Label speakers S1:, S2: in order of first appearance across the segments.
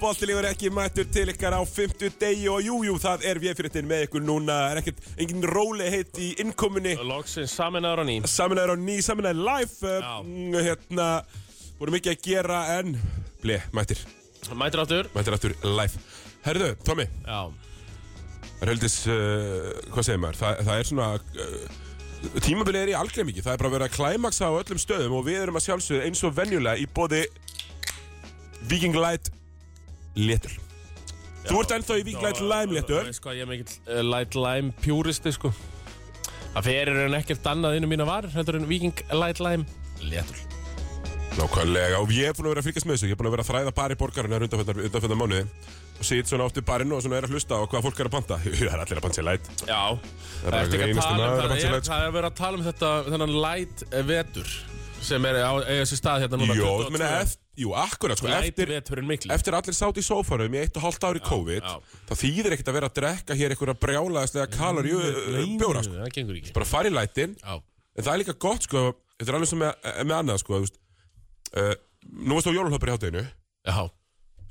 S1: Bóttilífur ekki mættur til ykkar á 50 degi og jújú, jú, það er við fyrirtin með ykkur núna. Það er ekkert, engin róli heitt í innkomunni.
S2: Lóksins saminnaður á ný
S1: Saminæður á ný, saminæður live.
S2: Já.
S1: Mm, Hérna, voru mikið að gera en, ble, mættir,
S2: Mætir áttur
S1: mættir aftur live. Herðu, Tommy,
S2: Já
S1: það er heldis, uh, hvað segir maður, það, það er svona... Uh, Tímabilið er í algreimingi, það er bara verið að klæmaksa á öllum stöðum og við erum að sjálfsögðu eins og venjulega í bóði Viking Light letur. Þú ert ennþá í Viking Light Lime
S2: Þú
S1: letur.
S2: veist hvað, ég er mikill uh, light lime pjúristi sko Það ferir en ekkert annað innu mína var Heldur en viking light lime Léttul
S1: Nákvæmlega, og ég er búin að vera að fylgjast með þessu, ég er búin að vera að þræða bari borgarinnar undanfjönda mánuði og sit svona átti barinn og svona er að hlusta á hvað fólk er að panta. Það er allir að panta sér læt.
S2: Já
S1: er
S2: Ertu
S1: ekki
S2: ekki að
S1: einasta
S2: tala
S1: maður
S2: um
S1: að panta
S2: það er,
S1: light, sko.
S2: Það er verið að tala um þetta Þennan light eh, vetur Sem er á eiga sér stað hérna núna
S1: Jó,
S2: 22.
S1: þú meina, eft- jú, akkurat, sko,
S2: Light
S1: eftir,
S2: veturinn mikli
S1: eftir allir sátt í sófanum í eitt og hálft ári COVID,
S2: já.
S1: það þýðir ekkert að vera að drekka hér einhverja brjálaðislega kaloríu
S2: Nei,
S1: bjóra, sko.
S2: Það gengur ekki
S1: Bara fara í lætin,
S2: Já
S1: en það er líka gott, sko, þetta er alveg sem með, með annað, sko, þú veist. Uh, nú varst á jólunhöpur í hátteginu,
S2: Já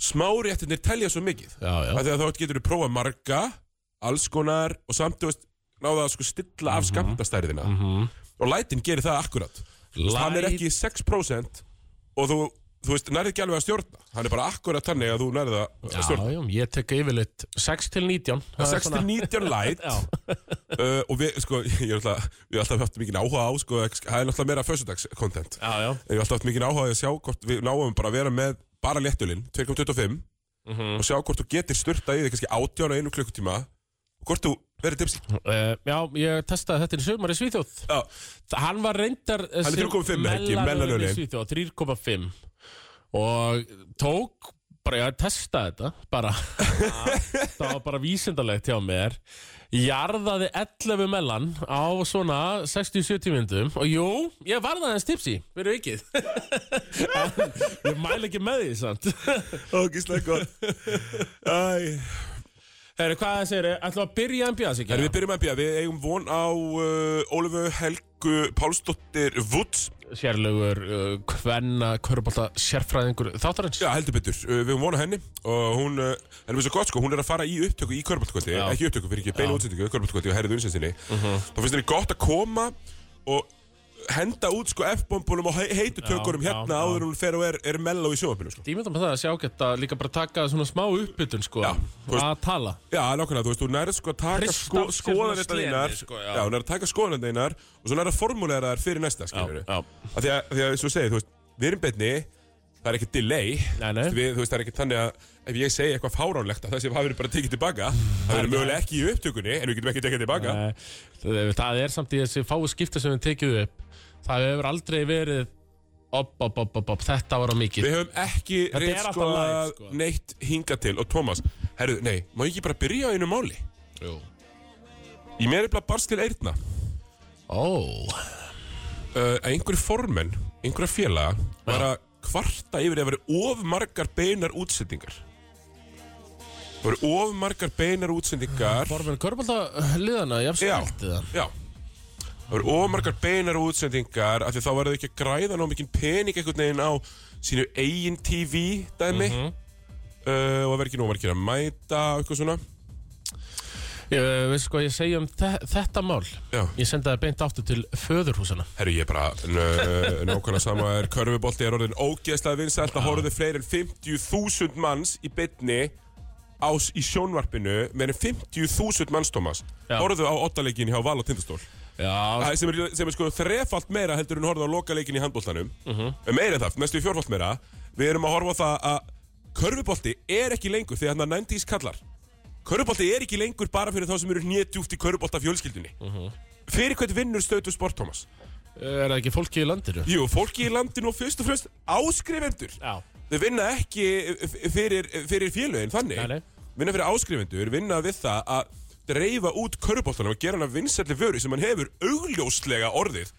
S1: smáréttinir telja svo mikið.
S2: Já, já
S1: að því að þá getur þú prófað marga alls konar og samt þú veist náða að sko stilla
S2: Mhm.
S1: af skamtastærðina og lætin gerir það akkurat Light. hann er
S2: Light-
S1: ekki 6% og þú, þú veist, nærði ekki alveg að stjórna hann er bara akkurat þannig að þú nærði að
S2: Já,
S1: stjórna
S2: já, ég tek yfirleitt 6 til 19 Það er
S1: 6 til
S2: svona-
S1: 19 light
S2: Já.
S1: uh, og við, sko, ég er alltaf við erum alltaf haft mikið áhuga á, sko, ex- það er alltaf meira föstudags content,
S2: Já, já
S1: en við erum alltaf haft mikið áhuga á því að sjá hvort við náum bara að vera með bara léttulinn, 2.25
S2: mhm.
S1: og sjá hvort þú getur styrta í því kannski 18 á einu klukkutíma og hvort þú verður tipsi
S2: Uh, já, ég testaði þetta í sumar í Svíþjóð
S1: Já,
S2: Þa- Hann var reyndar eh,
S1: Hann er
S2: sem
S1: 3,5 ekki,
S2: mellanölin
S1: mellanölin.
S2: í Svíþjóð, 3,5 Og tók bara, ég testaði þetta bara Það var bara vísindalegt hjá mér Jarðaði 11 mellan á svona 60-70 myndum Og jú, ég varðaði hans tipsi, verið vikið En Ég mæla ekki með því, sant
S1: ógislega gott Æ
S2: Herru, hvað það segir, ætlum við að byrja en bjöðs
S1: Herri,
S2: ekki?
S1: við byrjum að býja, við eigum von á uh, Ólöfu Helgu Pálsdóttir Woods
S2: Sérlegur, uh, hvenna, körbólta, sérfræðingur, þáttarins
S1: Já, heldur betur, uh, við eigum von á henni og hún, uh, en við svo gott sko, hún er að fara í upptöku í Körbáltkvöldi,
S2: Já. Mhm.
S1: ekki upptöku fyrir ekki, beina útsendingu, Körbáltkvöldi og herrið unnsendinni Þá finnst henni gott að koma og henda út sko F-bombunum og he- heitu tökunum
S2: já,
S1: hérna
S2: já.
S1: áður en hún fer og er, er melló í sjónvarpinu sko
S2: Ég mynda með það að sjá geta líka bara taka svona smá uppbytun sko
S1: Já, þú veist-
S2: að tala
S1: Já, nákvæmlega, þú veist, þú nærið sko að taka
S2: Hrista
S1: sko,
S2: af sér svona
S1: skoðanir
S2: slenið,
S1: þínar
S2: sko, já.
S1: já. já, hún er að taka skoðanir þínar og svo nærið að formulera þær fyrir næsta, skilur
S2: já.
S1: Af því að, því að, svo segið, þú veist, við erum betni það er ekki delay
S2: Nei, nei.
S1: Þú veist, Við, þú veist, það er ekki þannig að ef ég segi eitthvað fáránlegt að það sem hafi verið bara tekið tilbaka það verður mögulega ekki í upptökunni, en við getum ekki tekið tilbaka
S2: Nei, Eh, það- Það er samt í þessi fáu skipta sem við tekjum upp Það hefur aldrei verið op, op, op, op, op, þetta var á mikið
S1: Við höfum ekki
S2: er
S1: reynt
S2: alltaf
S1: sko
S2: live, sko.
S1: neitt hinga til og Thomas, herru, nei, má ég ekki bara byrja á einu máli?
S2: Jú.
S1: Í mér er bara barst til eyrna
S2: Ó,
S1: uh, að einhverju formenn, einhverja félaga var að kvarta yfir að vera of margar beinar útsendingar Það voru of margar beinar útsendingar
S2: forminu körbólta liðana, ég hef
S1: Já,
S2: stilt það
S1: já Það voru of margar beinar útsendingar af því þá var þau ekki að græða ná mikinn pening einhvern veginn á sínu eigin TV dæmi uh, og það verður ekki nóg margir að mæta og eitthvað svona
S2: Ég veist sko, ég segi um þe þetta mál
S1: Já.
S2: Ég sendi það beint áttu til föðurhúsana
S1: Herru, ég er bara nö- nákvæmlega sama er körfubolti er orðin ógeðslega vinsælt að horfðu fleiri en 50.000 manns í bytni ás í sjónvarpinu meir en 50.000 manns, Thomas
S2: Já.
S1: horfðu á ottaleikin hjá Val og Tindastól
S2: Já,
S1: Það sem er, sem er sko þrefalt meira heldur en horfðu á lokaleikin í handbóltanum meira en það, næstu í fjórfalt meira við erum að horfa á það að körfubolti er ekki lengur því að hann 90s kallar körfubolti er ekki lengur bara fyrir þá sem eru hnjedjúft í körfubolta fjölskyldunni fyrir hvern vinnur stöðu sport, Thomas?
S2: er það ekki fólki í landinu?
S1: Jú, fólki í landinu og fyrst og fremst áskrifendur.
S2: Já,
S1: Þau vinna ekki f- fyrir, fyrir félögin þannig.
S2: Nei, nei.
S1: Vinna fyrir áskrifendur, vinna við það að dreifa út körubóltanum og gera hana vinsælli vöru sem hann hefur augljóslega orðið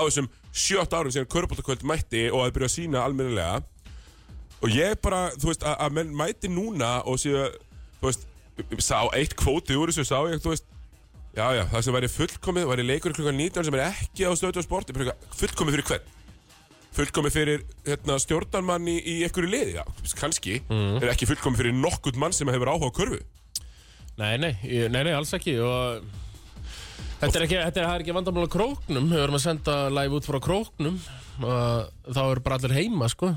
S1: á þessum sjött árum sem körubóltakvöld mætti og að byrja að sína almennilega. Og ég bara, þú veist, að, að menn mæti núna og séu, þú veist, sá eitt kvóti úr þessu, sá ég, þú veist, já, já, það sem væri fullkomið, væri leikur klukkan 19 sem er ekki á stöðu og sporti, fullkomið fyrir hvern? fullkomið fyrir hérna, stjórnarmanni í einhverju liði, já, kannski
S2: Mm.
S1: er ekki fullkomið fyrir nokkurt mann sem hefur áhuga á körfu
S2: Nei, nei, ég- nei, nei, alls ekki og þetta er ekki, þetta er, það er ekki vandamál á króknum, við erum að senda live út frá króknum og þá eru bara allir heima, sko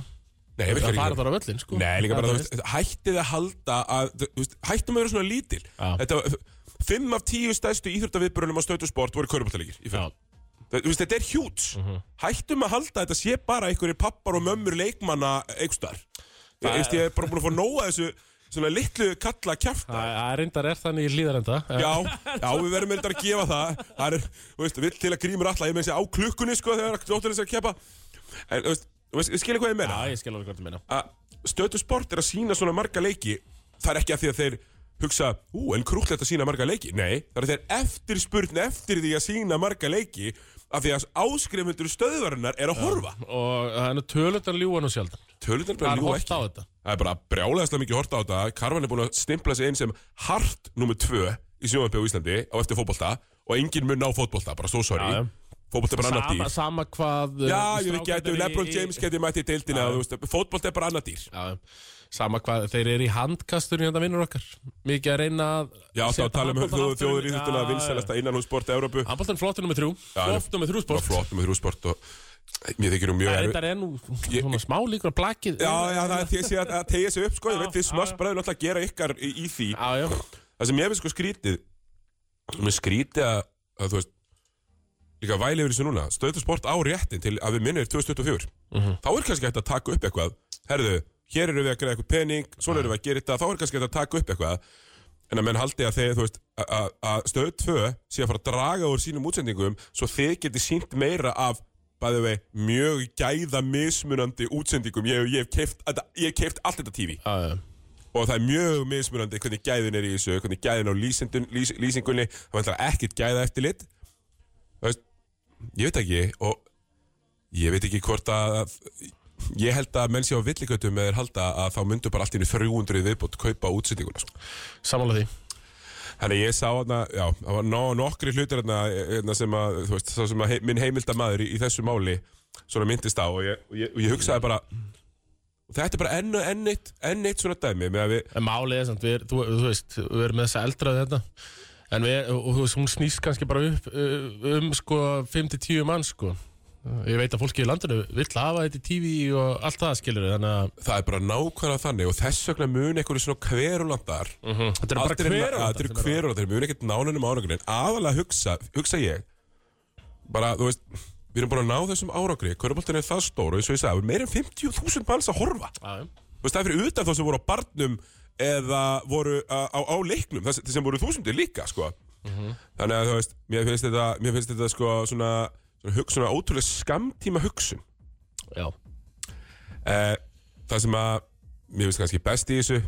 S1: Nei, virkar
S2: það
S1: ekki
S2: fara
S1: þannig.
S2: þar á völlin, sko
S1: Nei, líka bara,
S2: Það
S1: þú
S2: er
S1: veist, hættið að halda að, þú veist, hættum að vera svona lítil
S2: Já.
S1: Þetta, fimm af tíu stærstu íþjóttaviðbrunum á stöðu sport voru körbáttalíkir í fyrra
S2: Já, Mhm.
S1: Þú veist, þetta er hjút Hættum að halda að þetta sé bara einhverjir pappar og mömmur leikmanna einhverstar Ég veist, ég er bara búin að fá nóga þessu svona litlu kalla kjafta
S2: það það reyndar er þannig í hlýðarenda
S1: Já, já, við verðum eitthvað að gefa það Það er, þú veist, vill til að grímur alltaf Ég með þessi á klukkunni, sko, þegar dótturins er að keppa En, þú veist, þú veist, skilja hvað ég meina
S2: Já, ég skil alveg hvað þú meina
S1: að stötu sport er að sína svona marga leiki það er ekki að því að þeir hugsa ú, en krúllegt að sína marga leiki nei, það er að þeir eftirspurn eftir því að sína marga leiki af því að áskrifundur stöðvarinnar er að horfa
S2: og það er nú tölundan ljúan og sjaldan
S1: tölundan er bara
S2: Það er
S1: ljú
S2: hótt
S1: ekki
S2: á þetta
S1: það er bara brjálæðislega mikið horta á þetta Karvan er búin að stimpla sig inn sem hart nummer tvö í sjónvarpi á Íslandi á eftir fótbolta og enginn mun ná fótbolta bara svo
S2: Já, já.
S1: sorry, fótbolta er bara annar
S2: sama,
S1: dýr
S2: sama hvað uh,
S1: já, ég veit ekki,
S2: strákarnir
S1: ættu
S2: í-
S1: Lebron
S2: í-
S1: James geti mætt í deildina, þú veist, fótbolta er bara annar dýr
S2: Já, sama hvað, þeir eru í handkastur hérna vinnur okkar Mikið að reyna að
S1: Já, þá
S2: setja
S1: tala um
S2: handboltann
S1: þjóð-
S2: aftur-
S1: þjóður í þetta
S2: Já,
S1: vinsælasta innanhússport Európu.
S2: já. Handboltan flottur nummið þrjú
S1: hann er-
S2: Flott nummið þrjú
S1: Bara
S2: sport
S1: flott með þrjúsport og mér þykir hún mjög
S2: Það er
S1: erfið.
S2: þetta er nú svona smá líkur að blakið
S1: Já, já, það er því að sé að að tegja sig upp, sko. Ég
S2: Já,
S1: veit, þið
S2: já,
S1: smast
S2: já.
S1: bara náttúrulega að gera ykkar í, í því.
S2: já, já.
S1: Það sem ég finnst sko skrítið, mér skrítið að, að þú veist, líka væli yfir þessu núna, stöðusport á réttin til að við minnir 2024. Þá er kannski hægt að taka upp eitthvað. Herðu, hér eru við að greiða eitthvað pening, svona eru við að gera þetta, þá er kannski hægt að taka upp eitthvað. En að menn haldi að þeir, þú veist, að- að að stöð 2 sé að fara að draga úr sínum útsendingum svo þeir geti sínt meira af bæðið vei, mjög gæða mismunandi útsendingum. Ég, ég hef keift, ég hef keift allt þetta TV
S2: Já, já.
S1: og það er mjög mismunandi hvernig gæðin er í þessu, hvernig gæðin á lýsindun, lýs, lýsingunni, það vantar ekkert gæða eftir lit veist, ég veit ekki og ég veit ekki hvort að ég held að menn sé á villigötum með þeir halda að þá myndu bara allt í einu 300 viðbútt kaupa útsendinguna sko.
S2: Samanlega því
S1: þannig að ég sá hana, já, það var no, nokkri hlutir hana, hana sem að, þú veist, það sem að he, minn heimildamaður í, í þessu máli svona myndist á og ég, og ég, og ég hugsaði bara þetta er bara enn, enn, eitt, enn eitt svona dæmi með að við
S2: En málið er samt, við, er- þú, þú veist, við erum með þessa eldraði þetta En við, og, þú veist, hún snýst kannski bara upp uh, um sko 5-10 mann sko Ég veit að fólki í landinu vill hafa þetta í TV og allt það skilur Þannig að
S1: það er bara nákvæmlega þannig og þess vegna mun einhverju svona kverulandar
S2: þetta er bara hver
S1: þetta eru kverulandar mun ekkert nánunum árangurinn aðalega hugsa, hugsa ég bara, þú veist við erum bara að ná þessum árangri hverjuboltin er það stór og eins og ég sagði, það eru meira en 50.000 manns að horfa þú veist, það er fyrir utan þá sem voru á barnum eða voru á, á, á leiknum það sem- sem voru þúsundir líka, sko þannig að þú veist, mér finnst þetta mér finnst þetta sko svona, svona, hug, svona ótrúlega skamtíma hugsun
S2: Já,
S1: Eh, Það sem að mér finnst kannski best í þessu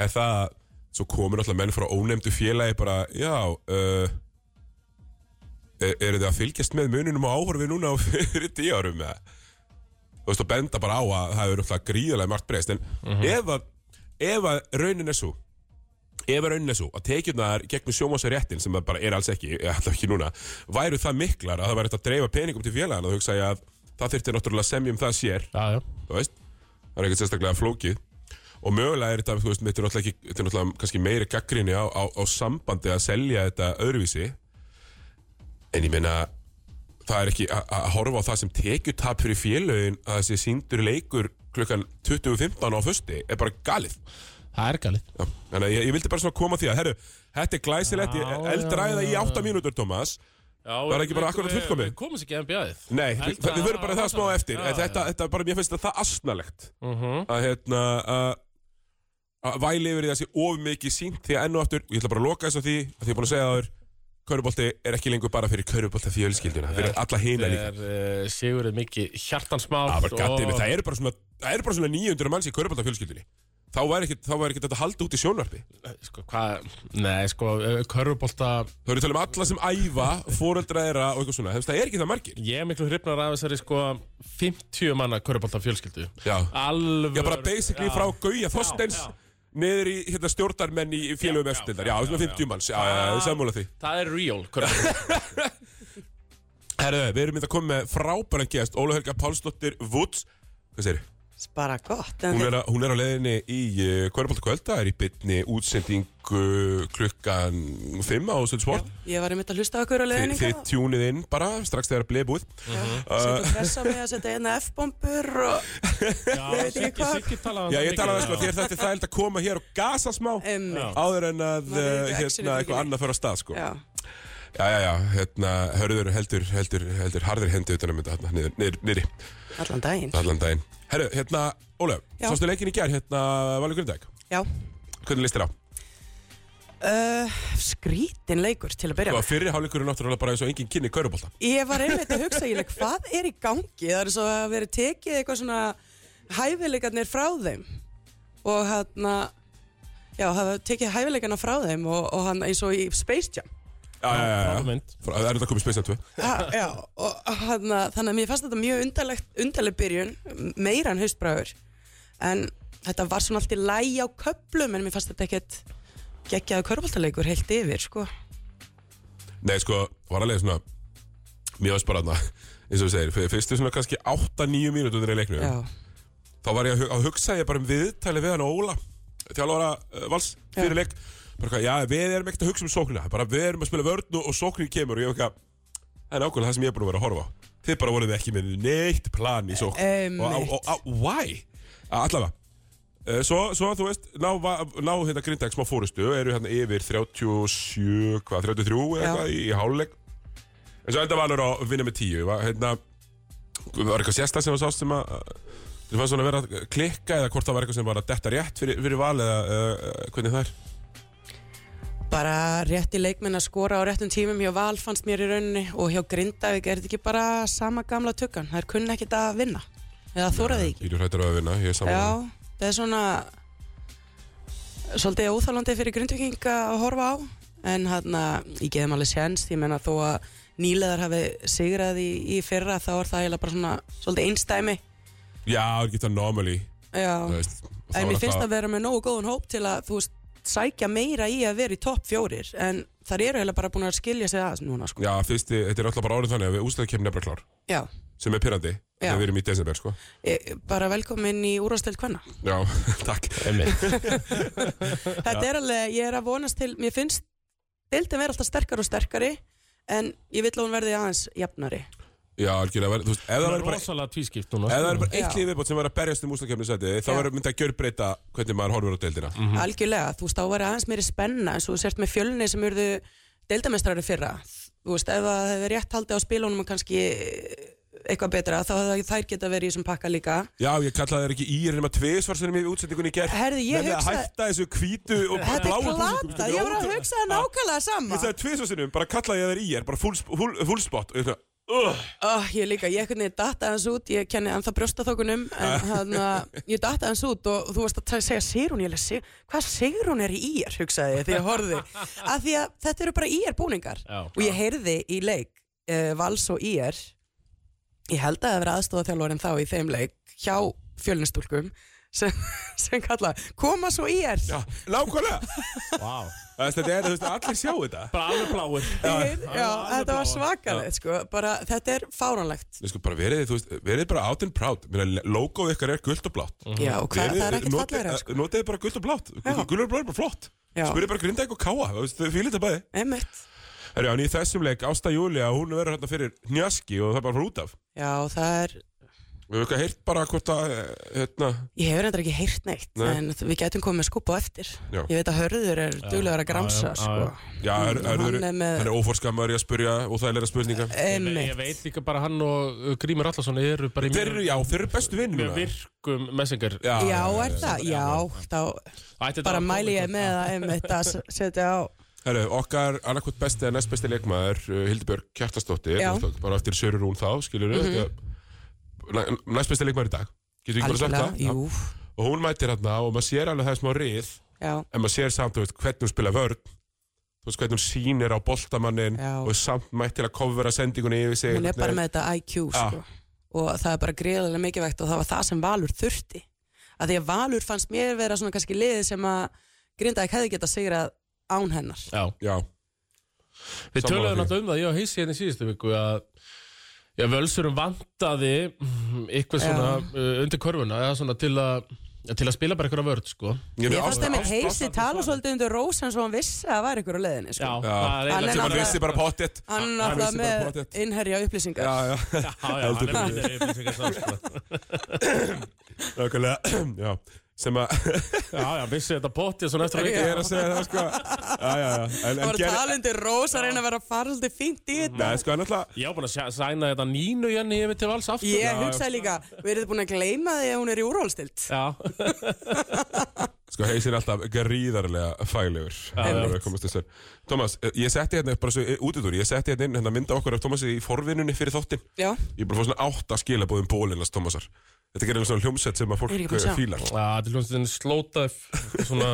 S1: er það að svo komur alltaf menn frá ónefndu félagi bara, já uh, er, eru þið að fylgjast með mununum og áhorfið núna á fyrir tíu árum eða? Þú veist, og benda bara á að það eru alltaf gríðarlega margt breyst en ef, að, ef að raunin er svo ef að raunin er svo að tekjurnar gegnum sjómásaréttin sem það bara er alls ekki, eða alltaf ekki núna væru það miklar að það væri hægt að dreifa peningum til félagana, þú hugsa ég að það þyrfti náttúrulega að semja um það sér
S2: já, já
S1: þú veist, það er ekkert sérstaklega flókið og mögulega er þetta, þú veist, þetta er náttúrulega ekki, þetta er náttúrulega kannski meiri gaggrinni á, á, á sambandi að selja þetta öðruvísi en ég meina það er ekki að að horfa á það sem tekjutap fyrir félögin að þessi síndur leikur klukkan 20.15 á fösti er bara galið
S2: Það er galið
S1: Já, Þannig að ég, ég vildi bara svona koma að því að herru, þetta er glæsilegt,
S2: Já,
S1: ég
S2: já,
S1: eldræða í
S2: já,
S1: 8 mínútur, Tómas
S2: Já,
S1: Var ekki bara
S2: við-
S1: akkurat
S2: við-
S1: fullkomið?
S2: Við komum ekki í NBA-ið
S1: Nei, við, við verum bara það smá eftir en þetta, þetta er bara, mér finnst þetta asnalegt
S2: Mhm.
S1: að hérna að að væli yfir í þessi of mikið sínt því að enn og aftur, og ég ætla bara að loka þess að því að því ég er búin að segja þaður Körfubolti er ekki lengur bara fyrir körfubolta fjölskylduna fyrir alla hina líka
S2: Það er uh, Sigurður mikið hjartansmál
S1: Það, var gaddið mitt, það eru bara svona, það eru bara svona 900 manns í körfubolta fjölskyldunni Þá væri ekkert þá væri ekkert þetta haldi út í sjónvarpi
S2: Sko, hvað Nei, sko, körfubólta
S1: Þá erum við að tala um alla sem æfa, foreldra þeirra og eitthvað svona Þess, Það er ekki það margir
S2: Ég er miklu hrifnar af þessari, sko 50 manna körfubólta fjölskyldu
S1: Já,
S2: Alvör
S1: Já, bara basically
S2: Já.
S1: frá Gauja Þorstens
S2: já.
S1: niður í hérna, stjórnarmenn í félögum
S2: Já, Ah. já,
S1: efstildar. Já, svona 50 manns. Já, já, já,
S2: Já.
S1: sammála því.
S2: Það er real körfubólta
S1: Herðu, við erum þetta komið með frábæra gest Óla Helga Pálsdóttir Woods Hvað segir
S3: Bara gott. En
S1: Hún
S3: þið-
S1: er, að- hún er á leiðinni í uh, Hverjabólta kvölda er í bytni útsendingu klukkan 5 á Söld Sport
S3: Ég var einmitt að hlusta á okkur á
S1: Þi-
S3: leiðinni.
S1: Þið Uh-huh. tjúnið inn bara strax þegar bleið búið
S3: Sett að pressa mig að setja eina F-bombur og
S2: Já,
S3: veit ekki
S2: Siggi,
S3: hvað.
S2: Siggi talaði
S1: Já,
S2: um
S1: ég
S2: það
S1: talaði
S2: mikið.
S1: sko þér þetta er þægild að koma hér og gasa smá
S3: emmi.
S1: áður en að
S3: Maður er
S1: uh,
S3: ekki actually
S1: hérna, eitthvað
S3: fylginn.
S1: annað fyrir að stað sko.
S3: Já.
S1: Já, já, já, hérna, hörður heldur, heldur, heldur harðir hendi utan að mynda hérna, niður, niður, niðri,
S3: Allan daginn.
S1: allan daginn. Herru, hérna, Ólaf,
S3: Já.
S1: sástu leikin í gær, hérna, Valur Grindæk,
S3: Já.
S1: hvernig listir á?
S3: Uh, skrítin leikur til að byrja
S1: Sko,
S3: með.
S1: fyrri hálfleikur er náttúrulega bara eins og engin kynni í kaurubólta.
S3: Ég var einmitt að hugsa, ég leik, hvað er í gangi? Það er svo að verið tekið eitthvað svona hæfileikarnir frá þeim og hann já, það var tekið hæfileikarna frá þeim og, og hann eins og í Space Jam.
S1: Já, já, já,
S2: Frábær
S1: já.
S2: mynd.
S1: Frá- Það er þetta komið spesnað tvö.
S3: Ha, já, og hann þannig að mér fannst þetta mjög undarlegt, undarleg byrjun, meira en haustbræður, en þetta var svona allt í lægi á köplum, en mér fannst þetta ekkert geggjaðu körbóltaleikur heilt yfir, sko.
S1: Nei, sko, var alveg svona, mjög sparaðna, eins og þú segir, fyr- fyrstu svona kannski 8-9 mínútur í leiknum.
S3: Já,
S1: þá var ég að, hu- að hugsa ég bara um viðtali við hann Óla þjálfara uh, vals fyrir
S3: Já.
S1: leik bara hvað, já við erum ekkert að hugsa um sóknina bara við erum að spila vörn og, og sóknin kemur og ég okkar, það er nákvæmlega það sem ég er búin að vera að horfa á þið bara voruð ekki með neitt plan í sókn
S3: Einmitt.
S1: og, og, og, og why? Að allavega Eh, Svo, svo þú veist, ná, va- ná hérna Grindæk smá fórustu, eru hérna yfir 37, hvað, 33 eða
S3: Já.
S1: eitthvað í, í háluleik. En svo enda valur að vinna með 10, var, hérna, var eitthvað sérsta sem þú sást sem að, þú fannst svona að vera að klikka eða hvort það var eitthvað sem var að detta rétt fyrir, fyrir val eða uh, hvernig það er?
S3: bara rétti leikmenn að skora á réttum tímum hjá Val fannst mér í rauninni og hjá Grindavík er þetta ekki bara sama gamla tökkan, það er kunni ekkert að vinna, eða þóraði ekki.
S1: Ég er hrættur að vinna, ég er saman.
S3: Já, það er svona svolítið óþálandi fyrir grundvíkinga að horfa á en hérna, ég geðum alveg séns ég menna þó að nýleðar hafi sigrað í, í fyrra þá er það eiginlega bara svona svolítið einstæmi
S1: Já, það getur normally, þú
S3: Já,
S1: veist. og þá
S3: en mér
S1: er
S3: finnst
S1: alltaf-
S3: að vera með nógu góðan hóp til að þú veist, sækja meira í að vera í topp fjórir en þar eru eiginlega bara búin að skilja sig að núna sko
S1: Já, fyrsti, þetta er alltaf bara orðin þannig að við úslega kemur nefnilega klár,
S3: Já,
S1: sem er pyrrandi,
S3: Já.
S1: þegar við erum í desember, sko.
S3: e, bara velkomin í úrvastöld hvenna
S1: Já, takk.
S2: Einmitt.
S3: Þetta er alveg, ég er að vonast til, mér finnst deildin vera alltaf sterkari og sterkari en ég vil að hún verði aðeins jafnari.
S1: Já, algjörlega, verð- þú veist, ef það
S2: Það er
S1: verður bara
S2: rosalega tvískipt núna
S1: Ef það er
S2: sko.
S1: bara eitt
S3: Já.
S1: lið viðbót sem var að berjast um úslakefni sæti þá
S3: Já. Mhm.
S1: verður myndið að gjörbreyta hvernig maður horfir á deildina
S3: Algjörlega, þú veist, þá verði aðeins meiri spenna eins og þú sért með fjölni sem urðu deildamestrari fyrra. Þú veist, ef það hefur rétt haldið á spilunum og kannski eitthvað betra, þá hefðu þær geta verið í þessum pakka líka.
S1: Já, ég kallaði þær ekki ír nema tvisvar sem ég við útsendingunni gerð
S3: Herði, ég
S1: að
S3: hugsaði-
S1: hætta þessu hvítu og
S3: Þetta
S1: bláu
S3: er
S1: búningum,
S3: glata,
S1: þetta er
S3: ég var að
S1: ótrúlegt.
S3: hugsa það nákvæmlega sama.
S1: Ég sagði tvisvar sinnum, bara kallaði ég þær ír, bara full, full, full spot og ég sagði, "Ugh."
S3: Oh, ég líka, ég hvernig datta hans út, ég kenni ennþá brjóstaþókunum, en þannig að ég datta hans út og þú varst að ta- segja Sigrún, ég leið, Sig- hvað Sigrún er í ír, hugsaði ég þegar ég horfði, af því að þetta eru bara ír búningar
S2: Já.
S3: og ég heyrði í leik uh, Vals og ír, ég held að það vera aðstofaþjálfarinn þá í þeim leik hjá fjölnistúlkum sem, sem kalla, koma svo ír,
S1: Já, nákvæmlega
S2: Vá.
S1: Þess, Þetta er, þú veist, allir sjá þetta
S2: Bara alveg bláir
S3: já,
S2: alveg
S3: þetta var
S2: bláir.
S3: svakalegt, sko, bara þetta er fáránlegt.
S1: Nei, sko, bara verið, þið, þú veist, verið bara out and proud Mér, logoð ykkar er gult og blátt
S3: Já, og hvað, það er ekkert fallegra, sko.
S1: Notiði eh, bara gult og blátt,
S3: Já.
S1: gult og blátt er bara flott
S3: Já.
S1: Spurðið bara grinda eitthvað káa, þú veist, þau fílið þetta bæði
S3: Einmitt.
S1: Herri, en í þessum leik, Ásta Júlia, hún verður hérna fyrir njaski og það er bara frá út af.
S3: Já, það er
S1: Við hefum eitthvað heyrt bara hvort að, eh, hérna,
S3: Ég hefur endur ekki heyrt neitt,
S1: Nei.
S3: en við getum komið með skúpa á eftir.
S1: Já.
S3: Ég veit að Hörður er duglegar að
S2: já,
S3: gramsa,
S2: já,
S3: sko.
S1: já, er, er, er,
S3: Hann er með-
S1: hann er óforskammaður í að spurja og það er leira spurninga.
S2: Ég ve-
S3: Einmitt.
S2: Ég veit líka bara hann og uh, Grímur Allarsson eru bara í
S1: Þeir eru,
S2: mjög-
S1: já, þeir eru bestu vinn
S2: mjög virkum messengar
S3: Já, er það? Já, þá bara mæli ég með að einmitt að s- setja á.
S1: Herri, okkar annarkot besti eða næst besti leikmaður, uh, Hildibjörg Kjartastóttir,
S3: Já. Mhm.
S1: náttúrulega, bara eftir Söru Rún þá, skilur við, næst besti leikmaður í dag. Getur við ekki bara sagt það?
S3: jú.
S1: Já. Og hún mætir hérna og maður sér alveg það er smá rið,
S3: Já,
S1: en maður sér samt, þú veist, hvernig hún spila vörn þú veist, hvernig hún sýnir á boltamannin
S3: Já.
S1: og er samt mætt til að kofvera sendingunni yfir sig
S3: hún er bara með þetta IQ,
S1: Já.
S3: sko. Og það er bara greiðlega mikilvægt og það var það sem Valur þurfti. Að því að Valur fannst mér vera svona kannski liðið sem að Grindavík hefði getað sigrað án hennar.
S2: Já,
S1: Já, Sammála
S2: við töluðum
S1: því.
S2: náttúrulega um það, ég og Heisi hérna í síðustu viku að Já, völsurum vantaði mm, eitthvað svona uh, undir körfuna eða svona til að til að spila bara eitthvað vörð, sko
S1: Ég
S3: Ég fannst einmitt heisi tala svolítið undir Rós eins og hann vissi að það var ykkur á leiðinni sko.
S2: Já, það
S1: Já, hann
S2: er
S3: Hann er
S1: sem hann
S3: náttúrulega-
S1: vissi bara pottet
S3: Hann
S1: Hann
S3: náttúrulega
S1: vissi bara
S3: með
S1: pottet.
S3: innherja upplýsingar
S1: Já, já,
S2: Já, já, hann er með upplýsingar sko.
S1: nákvæmlega Já, sem að
S2: Já, já, vissi þetta potið svona eftir að
S1: Ég
S2: vika
S1: er að segja það, sko Já, já, já En,
S3: Það
S1: en
S3: var um
S1: gerði
S3: tala undir Rós að reyna að vera að fara svolítið fínt í þetta
S1: Nei, sko, hann alltaf
S2: Ég var búin að sjá- sæna þetta nínu Jenny yfir til vals aftur
S3: Ég hugsaði líka, við erum búin að gleyma því að hún er í úrvalstild
S2: Já,
S1: Sko, heisir alltaf gríðarlega fælegur
S2: einmitt.
S1: ja, Thomas, eh, ég setti hérna bara svo út úr Ég setti hérna inn, hérna mynda okkur af Thomasi í forvinnunni fyrir þóttin
S3: Já,
S1: Ég er bara að fá svona átta skilabóð um bólinnast Thomasar Þetta gerir um svona hljómsett sem að fólk
S3: Ég er ekki búin að
S1: eh,
S3: sjá.
S1: fílar
S2: Já, þetta er hljómsveitin slótaf svona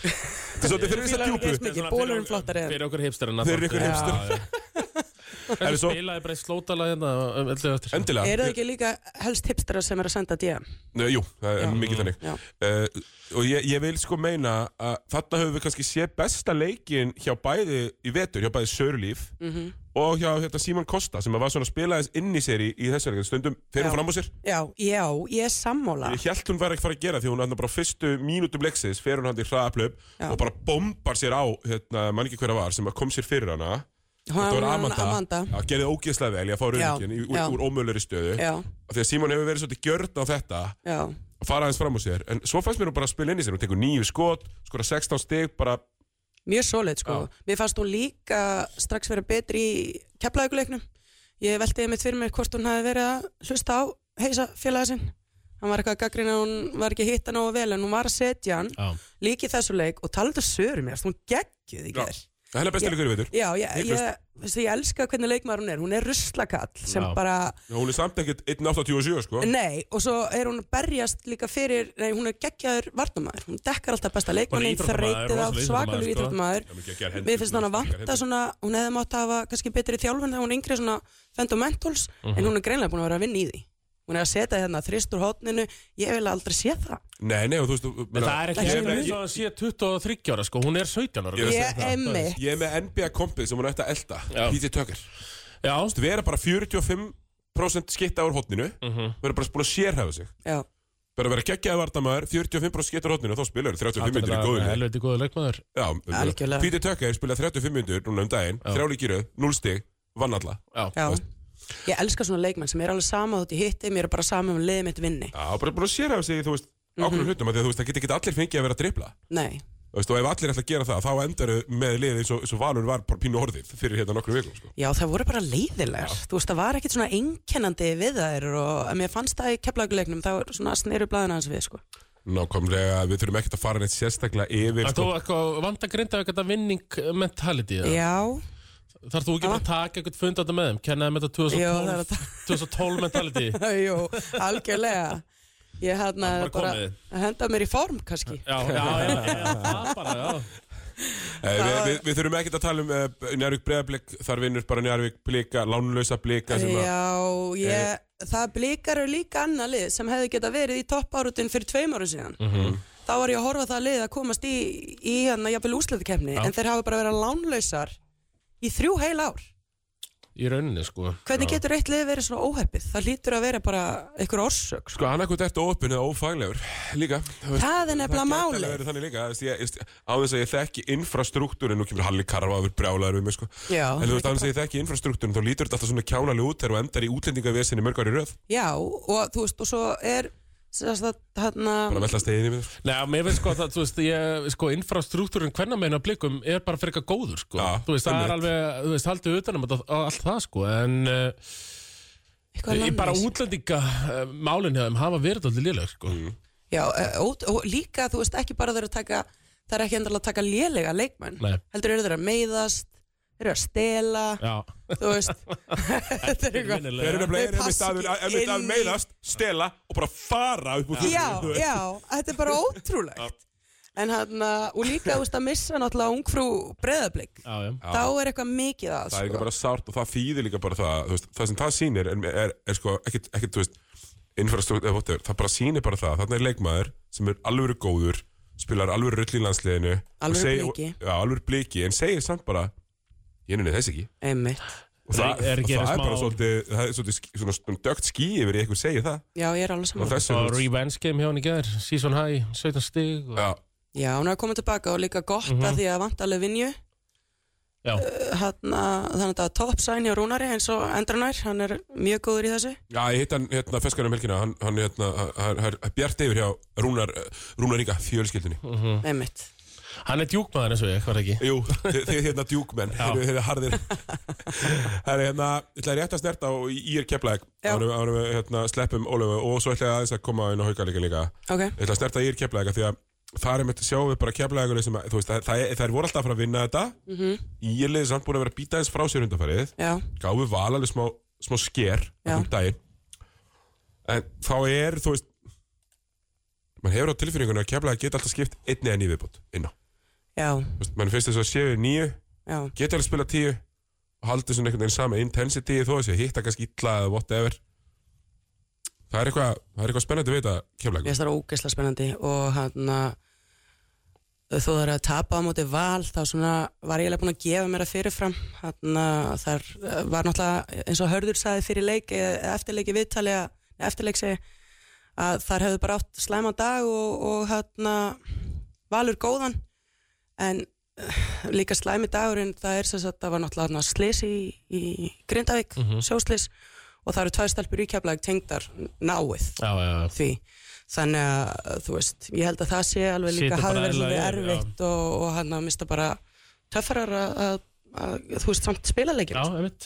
S1: Þetta er svolítið fyrir þess að
S3: Fílar
S1: djúpu
S3: ekki mikið, bólurinn flottari en-
S2: Fyrir okkur hipsterina
S1: Fyrir ykkur hipster.
S2: Það
S1: Er svo-
S2: spilaði bara slótalag hérna um öllu eftir
S1: Endilega
S3: eru það ekki líka helst hipstara sem er að senda DM?
S1: Nei, Jú, það er mikið þannig
S3: Já.
S1: uh, Og ég, ég vil sko meina að þarna höfum við kannski séð besta leikin hjá bæði í vetur, hjá bæði Sörlíf
S3: Mhm.
S1: og hjá hérna, Simon Kosta sem að var svona að spila aðeins inn í sér í, í þessu leikinu stundum fyrir hún
S3: Já.
S1: fram á sér
S3: Já, já, ég er sammála
S1: Ég held hún væri ekki fara að gera því hún hann bara á fyrstu mínútum leiksins fer hún hann í hraðaplöp
S3: Já.
S1: og bara bombar sér á hérna, mann ekki hverja var sem að kom sér fyrir hana Þetta var
S3: Hann-
S1: Amanda,
S3: Amanda.
S1: Já, gerði ógeðslega vel í að fá rauningin
S3: Já,
S1: úr,
S3: já.
S1: úr ómöðlari stöðu
S3: Já,
S1: Af því að Simon hefur verið svolítið gjörn á þetta
S3: já,
S1: að fara aðeins fram á sér en svo fannst mér hún bara að spila inn í sér hún tekur nýju skot, skora 16 stig bara,
S3: mjög svolít sko
S2: Já.
S3: Mér fannst hún líka strax vera betri í keflaðuguleiknum Ég veltiði mitt fyrir mér hvort hún hafi verið að hlusta á heisa félaga sinn Hann var eitthvað að gaggrina, hún var ekki að hitta nógu vel en hún var að setja hann
S2: Já,
S3: líki þessu leik og tala þetta sögur um mér, hún geggjuð í
S1: Já.
S3: gerð
S1: hennar besti
S3: Já.
S1: leikur í veitur
S3: Já, ég, ég,
S1: Hiklaust.
S3: veistu, ég elska hvernig leikmaður hún er Hún er ruslakall sem
S2: Já.
S3: bara
S1: hún er samt ekkert 1.87 sko
S3: Nei, og svo er hún að berjast líka fyrir Nei, hún er geggjaður varnamaður Hún dekkar alltaf besta
S2: Hún
S3: leikmanni
S2: er íþróttamaður, sko.
S3: Þreytið af
S2: rosalega
S3: svakalur
S2: íþróttamaður,
S3: íþróttamaður
S1: Já, mikið að gera hendur,
S3: Mér finnst hann að
S1: mikið að
S3: vanta svona Hún hefði mátt hafa kannski betri þjálfun Þegar hún er yngri svona fundamentals En hún er greinlega búin að vera að vinna í því Hún er að setja hérna þrist úr hótninu Ég vil aldrei sé það
S1: nei, nei, og þú veist þú-
S2: En það er ekki
S1: ég,
S2: eins
S1: er
S2: og
S1: með-
S2: að sé 23 ára sko, hún er 17 ára
S1: Ég er að
S3: Ég emmi
S1: ég, ég er með NBA kompið sem hún ætti að elda
S2: Já.
S1: Píti Tökker,
S2: Já,
S1: þú vera bara 45% skitta úr hotninu vera bara búin að sérhæfa sig
S3: Já,
S1: bara vera geggjaði vartamæður, 45% skitta úr hotninu og þá spilaður 35 minnir í góðinu
S2: helviti góður leikmaður
S3: Algjörlega.
S1: Píti Tökker spilaði 35 minnir núna um daginn þrjáleikiröð, 0 stig, vann alla
S2: Já,
S3: já
S1: Þú veist.
S3: Ég elska svona leikmenn sem er alveg sama þótt ég hitti Mér er bara sama um að liðið mitt vinni
S1: Já, bara búin að sérhæfa sig, í, þú veist,
S3: Mhm.
S1: ákveðum hlutum af því að þú veist, það geta ekki allir fengið að vera að dribla
S3: Nei,
S1: Þú veist, og ef allir ætla að gera það, þá endar með liðið eins og, eins og Valur var bara pínu orðið fyrir hérna nokkru vikum, sko.
S3: Já, það voru bara leiðilegar. Þú veist, það var ekkert svona einkennandi við þær og að mér fannst það í keflaguleiknum, þá er svona sneru blæðina hans við, sko.
S1: Nákvæmlega, við þurfum ekkert að fara neitt sérstaklega yfir, sko.
S2: En þú eitthvað vant að grinda eitthvað vinning mentality
S3: Já,
S2: eða? Þarf þú ekki bara að taka eitthvað fund þetta með þeim Kenna þeim þetta
S3: Jú, það er að
S2: 2012,
S3: taka.
S2: 2012 mentality
S3: jú, algjörlega. Ég hann
S2: Það
S3: að
S2: er bara
S3: bara
S2: komið.
S3: að henda mér í form, kannski.
S2: Já, já, já, já, já, það bara, já
S1: Eh, við, við, við þurfum ekkert að tala um uh, Njárvík breðablik, þar vinnur bara Njárvík blika, lánlösa blika sem að... Eh.
S3: Já, ég, það blikar eru líka annað lið sem hefði geta verið í toppárutin fyrir tveim árum síðan.
S1: Mhm.
S3: Þá var ég að horfa á það lið að komast í, í hérna, jafnvel úsleitukefni, en þeir hafa bara verið lánlausar í þrjú heil ár.
S2: Í rauninni, sko
S3: Hvernig getur eitt lið verið svona óherpið? Það lítur að vera bara einhver orsök.
S1: Sko, annarkvæmt ertu óöppin eða ófaglegur líka. þú veist.
S3: Það er nefnilega
S1: Það
S3: málið.
S1: geta verið þannig líka, þú veist, ég, ég, á þess að ég þekki infrastruktúrin, nú kemur Halli Karvaður brjálaður við mig, sko.
S3: Já,
S1: En þú veist, annars að ég þekki infrastruktúrin, þá lítur þetta alltaf svona kjánalega út þegar þú endar í útlendingavesinni mörg ári röð.
S3: já, og þú veist, og svo er sérst að
S1: Bara
S3: hérna,
S1: velta steginni við þessu.
S2: Nei, að mér finnst sko að það, þú veist, ég, sko, infrastruktúrin hvernig meina blikum er bara frekar góður, sko.
S1: Já,
S2: þú veist, það er
S1: einmitt.
S2: alveg, þú veist, haldið utanum þetta og allt það, sko, en uh,
S3: eitthvað
S2: bara
S3: landlýs.
S2: útlendinga uh, málinn hjá þeim hafa verið allir léleg, sko.
S3: Já, eh, út- og líka, þú veist, ekki bara þeir eru að taka, það er ekki endalega að taka lélega leikmenn.
S2: Nei.
S3: Heldur eru þeir að meiðast, þeir eru að stela,
S2: Já.
S3: þú veist, þetta er eitthvað.
S1: Þeir eru
S3: Þeir
S1: nefnilega, ef
S3: passa
S1: við
S3: ekki
S1: að
S3: inn í-
S1: meðast, stela og bara fara upp úr
S3: Já, já, þetta er bara ótrúlegt. En hann, og líka, þú veist, að missa náttúrulega ungfrú breðablík.
S2: Já, já.
S3: Þá er eitthvað mikið að,
S1: Það er líka
S3: sko.
S1: bara sárt og það þýðir líka bara það, þú veist, það sem það sýnir er, er, er sko, ekkert, ekkert, þú veist, infrastruktúr, eða whatever, það bara sýnir bara það, þarna er leikmaður sem er alvöru góður, spilar alvöru rull í landsliðinu. og
S3: Alvöru
S1: segir-
S3: bliki.
S1: Já, alvöru bliki, en segir samt bara, ég nenni þess ekki.
S3: Einmitt.
S1: Og
S2: Nei,
S1: það,
S2: er ekki
S1: það
S2: einu
S1: er
S2: smá-
S1: bara svolítið, það er svolítið sk- svona, svona dögt skí yfir í eitthvað segir það.
S3: Já, ég er alveg
S1: Og
S3: saman.
S1: þessu,
S2: Og revenge game hjá hann í gær Season high, 17 stig og...
S1: já,
S3: Já, hún er að koma tilbaka og líka gott
S2: Mhm.
S3: að því að vant alveg vinju.
S2: Já,
S3: Hanna, Hérna, þannig að það er top sign hjá Rúnari eins og endranær, hann er mjög góður í þessu.
S1: já, ég hitt hann hérna feskanum helgina, hann, hann er hérna, hann hann er bjart yfir hjá Rúnar, eh, Rúnar Inga, fjölskyldinni.
S3: Einmitt.
S2: hann er djúkmaður eins og ég, hvað ekki
S1: Jú, þið þið hérna djúkmenn,
S2: Já.
S1: þeir eru- þeir eru harðir. Það er hérna, ég ætla rétt að snerta á ír keflæk,
S3: Já.
S1: ánum við hérna, sleppum Ólöfu og svo ætla ég aðeins að koma inn á haukalega líka.
S3: Ok,
S1: Ég ætla að snerta ír keflæk, því að þar er mitt sjáum við bara keflæk sem, að- þú veist, það, það, það er voru alltaf að fara að vinna þetta. Mm -hmm. Ég leði samt búin að vera að býta eins frá sér undanfarið.
S3: Mhm. já,
S1: gáðu val alveg smá, smá sker
S3: Já.
S1: um daginn en þá er, þú veist mann hefur á tilfinningunni að kemla að geta alltaf skipt einni eða nýju viðbót inn á,
S3: já,
S1: þú veist, mann finnst þess að séu nýju,
S3: já,
S1: geta alveg spila tíu og haldi svona einhvern veginn sama intensity þó að sé hitta kannski illa eða whatever það er eitthvað það er eitthvað spennandi við þetta kemla
S3: ég veist það er ógeðslega spennandi og hérna, hann að þú þarf að tapa á móti val þá svona var ég eiginlega búin að gefa mér að fyrirfram hann að þar eh, var náttúrulega eins og Hörður saði fyrir leik eh, eftirleik í viðtali að, eftirleik segi að þar hefðu bara átt slæma dag og, og hann að valur góðan en eh, líka slæmi dagurinn það er sem sagt það var náttúrulega þarna slis í, í Grindavík, sjóslis og það eru tvær stelpur íkjaflega tengdar náið
S2: Já, já, já
S3: því þannig að þú veist, ég held að það sé alveg líka
S2: Situr bara
S3: hafi verið svolítið
S2: eðlilega yfir,
S3: erfitt og, og hann að mista bara töffarar að, að, að þú veist, samt spila leikir
S2: Já, einmitt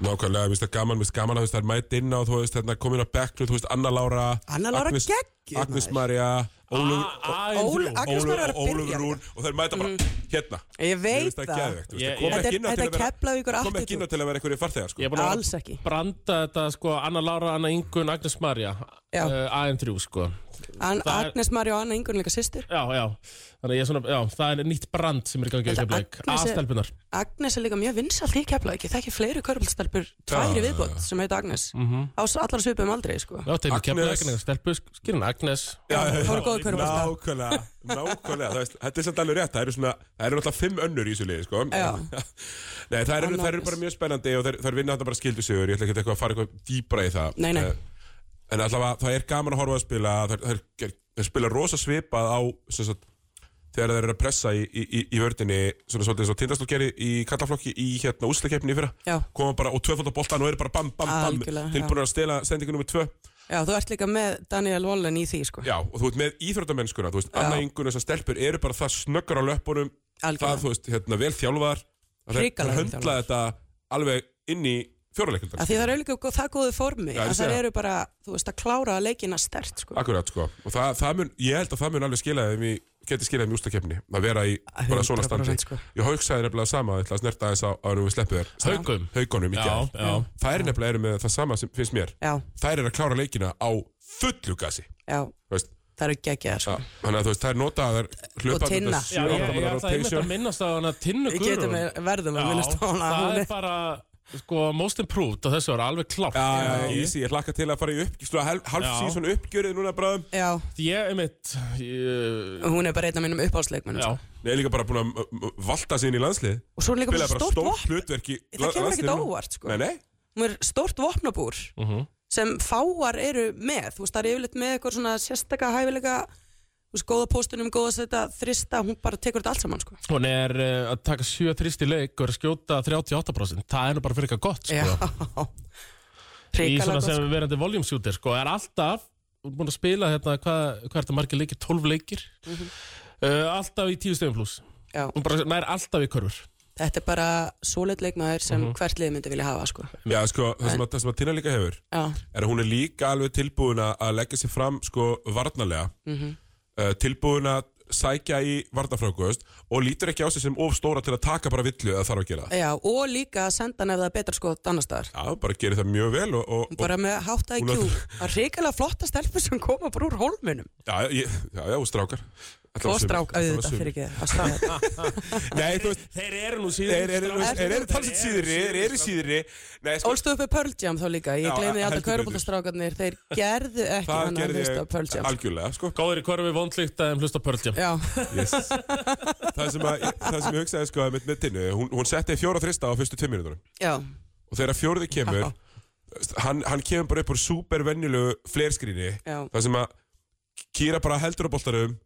S1: nákvæmlega, mér finnst það gaman, mér finnst gaman að þú veist, það er mætt inn á, þú veist, þarna komin á bekknu þú veist, Anna Lára,
S3: Anna Lára
S1: Agnes,
S3: geggjuð,
S1: Agnes
S3: maður.
S1: Maria Ólöf,
S3: Ól-
S2: Ól
S3: Agnes María er að
S1: Ólafur
S3: byrja. Mm.
S1: Rún og þeir mæta bara hérna
S3: ég
S1: Mér
S3: veit
S1: finnst það
S3: það
S1: geðvegt, þú veist,
S2: Ég-
S1: það kom ekki
S2: ég-
S3: þetta
S1: inn
S3: er,
S1: á til að
S3: þetta
S1: vera
S3: er kefla ykkur
S1: kom ekki inn á
S3: attitút
S1: til að vera einhverju farþegar
S2: Ég
S1: sko.
S2: er búin að
S3: alls ekki,
S2: branda þetta sko Anna Lára, Anna Ingun, Agnes Marja
S3: Já.
S2: uh, AM3 sko
S3: An,
S2: það er-
S3: Agnes Mari og Anna Ingun líka sýstir
S2: Já, já Þannig að ég er svona, já, það er nýtt brand sem er í gangi á
S3: Þetta
S2: Keflæk
S3: Agnes er-
S2: Aðstelpunar
S3: Agnes er líka mjög vinsalt í kefla ekki, þekki fleiri körbulstelpur tværi
S1: Já,
S3: viðbót sem heit Agnes mm -hmm. á s- allar svipum aldrei sko
S2: Mhm. Já, þeir eru
S1: Agnes-
S2: Keflæk, en það stelpur, skýrinn Agnes
S1: Já, já,
S3: það
S1: já.
S3: voru góð körbulstelpur
S1: nákvæmlega, nákvæmlega þú veist, þetta er samt alveg rétt, það eru svona það eru alltaf fimm önnur í þessu liði sko.
S3: Já.
S1: nei, það eru,
S3: Annars.
S1: það eru bara mjög spennandi og það er vinna þetta bara skildu sigur ég ætla ekki eitthvað að fara eitthvað dýbra í það
S3: Nei, nei.
S1: Eh, en allavega það er gaman að horfa að spila það er, spila rosa svipað á sem sagt, þegar þeir eru að pressa í, í, í, í vördinni svona svolítið eins og tindastól gerir í kallaflokki í hérna úslakeppni í fyrra
S3: Já.
S1: koma bara og tvöfald á boltan og eru bara bam bam bam
S3: Algjörlega,
S1: tilbúin að stela sendingu nummer tvö
S3: Já, þú ert líka með Daniel Wallen í því sko
S1: Já, og þú ert með íþróttamennskuna, þú veist, annað yngun þessar stelpur eru bara það snöggar á löpunum það,
S3: algjörlega,
S1: þú veist, hérna, vel þjálfaðar að þær- þær
S3: Hrikalega vel
S1: höndla þetta alveg inn í fjóruleikundar
S3: af því það eru líka gó- það góðu formi,
S1: Já, ég
S3: að
S1: segi
S3: það
S1: það.
S3: eru bara þú veist, að klára leikina stert sko
S1: Akkurat, sko, og það, það mun, ég held að það mun alveg skila þeim í, geti skilað þeim í ústakefni að vera í bara svona standi
S3: 100% sko.
S1: Ég haugsaði nefnilega sama, ég ætla að snerta þess að árum við sleppu þér
S2: Haukum
S1: haugunum í
S2: Já,
S1: gær
S2: já.
S1: Þær nefnilega eru með það sama sem finnst mér
S3: Já,
S1: Þær eru að klára leikina á fullu gasi
S3: já,
S1: þú veist,
S3: það eru geggjaðar sko.
S1: já, Þannig að þú veist, þær nota þær hlaupa
S3: Tinna.
S1: þarna
S2: Já,
S1: sjö,
S2: ég,
S1: átta
S2: ég
S1: manna
S2: ætla einmitt
S1: rotation.
S2: að minnast á hana Tinnu
S3: Við
S2: Guðrún
S3: getum við verðum að minnast á hana
S2: það
S3: hún
S2: er
S3: er-
S2: bara sko most improved og þessu var alveg klárt
S1: Já, já, já, easy, ég hlakka til að fara í uppgjörð halv, halv
S2: Já.
S1: season uppgjörið núna bráðum
S3: Já,
S2: Því ég er mitt ég,
S3: hún er bara einn af mínum uppáhaldsleikmennum
S2: Já,
S3: sko.
S1: Nei, líka bara búin að m- m- valta sig inn í landslið
S3: Og svo er hún líka bara
S1: Spilaði bara
S3: stórt
S1: stórt
S3: vopn
S1: hlutverk í
S3: Það kemur ekkert
S1: landsliðinu.
S3: óvart sko
S1: Nei, nei,
S3: Hún er stórt vopnabúr sem fáar eru með Þú veist, það er yfirleitt með eitthvað svona sérstaka hæfilega Þú veist, góða póstunum, góða setta, þrista Hún bara tekur þetta allt saman sko
S2: hún er uh, að taka 7 þrist í leik og er að skjóta 38% Það er nú bara fyrir eitthvað gott
S3: Já
S2: sko. Í svona
S3: Ríkala gott
S2: sem
S3: sko.
S2: sko. verandi voljumsjútir sko, er alltaf Þú er búin að spila hérna, hvað hva er þetta margir leikir, 12 leikir
S3: Mhm.
S2: uh, Alltaf í 10 stegum pluss
S3: Já.
S2: Hún bara nær alltaf í körfur
S3: Þetta er bara sólit leikmaður sem hvert lið myndi vilja hafa sko
S1: já, sko, það sem, að, það sem að Tina líka hefur
S3: Já,
S1: er að hún er líka alveg tilbúin að- að leggja sig fram sko varnarlega mm
S3: Mhm.
S1: tilbúin að sækja í varnarfrákust og lítur ekki á sig sem of stóra til að taka bara villu eða þarf að gera það
S3: já, og líka að senda hann ef það er betra sko annar staðar
S1: Já, bara gerir það mjög vel og, og, og
S3: bara með hátt IQ
S1: Hún
S3: að ríkala flotta stelpur sem koma bara úr hólmunum
S1: já, ég, já, já, og strákar Allavega
S3: Og
S1: sumir.
S3: strák,
S1: Allavega
S3: auðvitað,
S1: sumir.
S3: fyrir ekki og strák.
S1: Ah. Nei, þú veist,
S2: Þeir eru nú síðan
S1: þeir eru þeir
S3: Þeir
S1: eru
S3: eru
S1: talsett síðri, þeir eru síðri Nei, sko,
S3: Ólstu upp með Pearl Jam þá líka, ég
S1: Já,
S3: gleymi því
S1: heldur
S3: alltaf
S1: betur.
S3: körbóltastrákarnir, þeir gerðu ekki
S1: það
S3: annað en
S1: gerði
S3: hlusta á Pearl
S1: ég
S3: Jam.
S1: algjörlega, sko
S2: Góður í korfi vondlíkt að þeim hlusta pörljum
S3: Já,
S1: yes. það, sem að, það sem ég hugsaði, sko, með, með tinnu hún, hún setti fjóra þrista á fyrstu tveim mínútur
S3: já,
S1: og þegar fjóruði kemur
S3: Já.
S1: hann, hann kemur bara upp úr supervenjulegu flerskríni
S3: já,
S1: það sem að kýra bara heldur á boltarum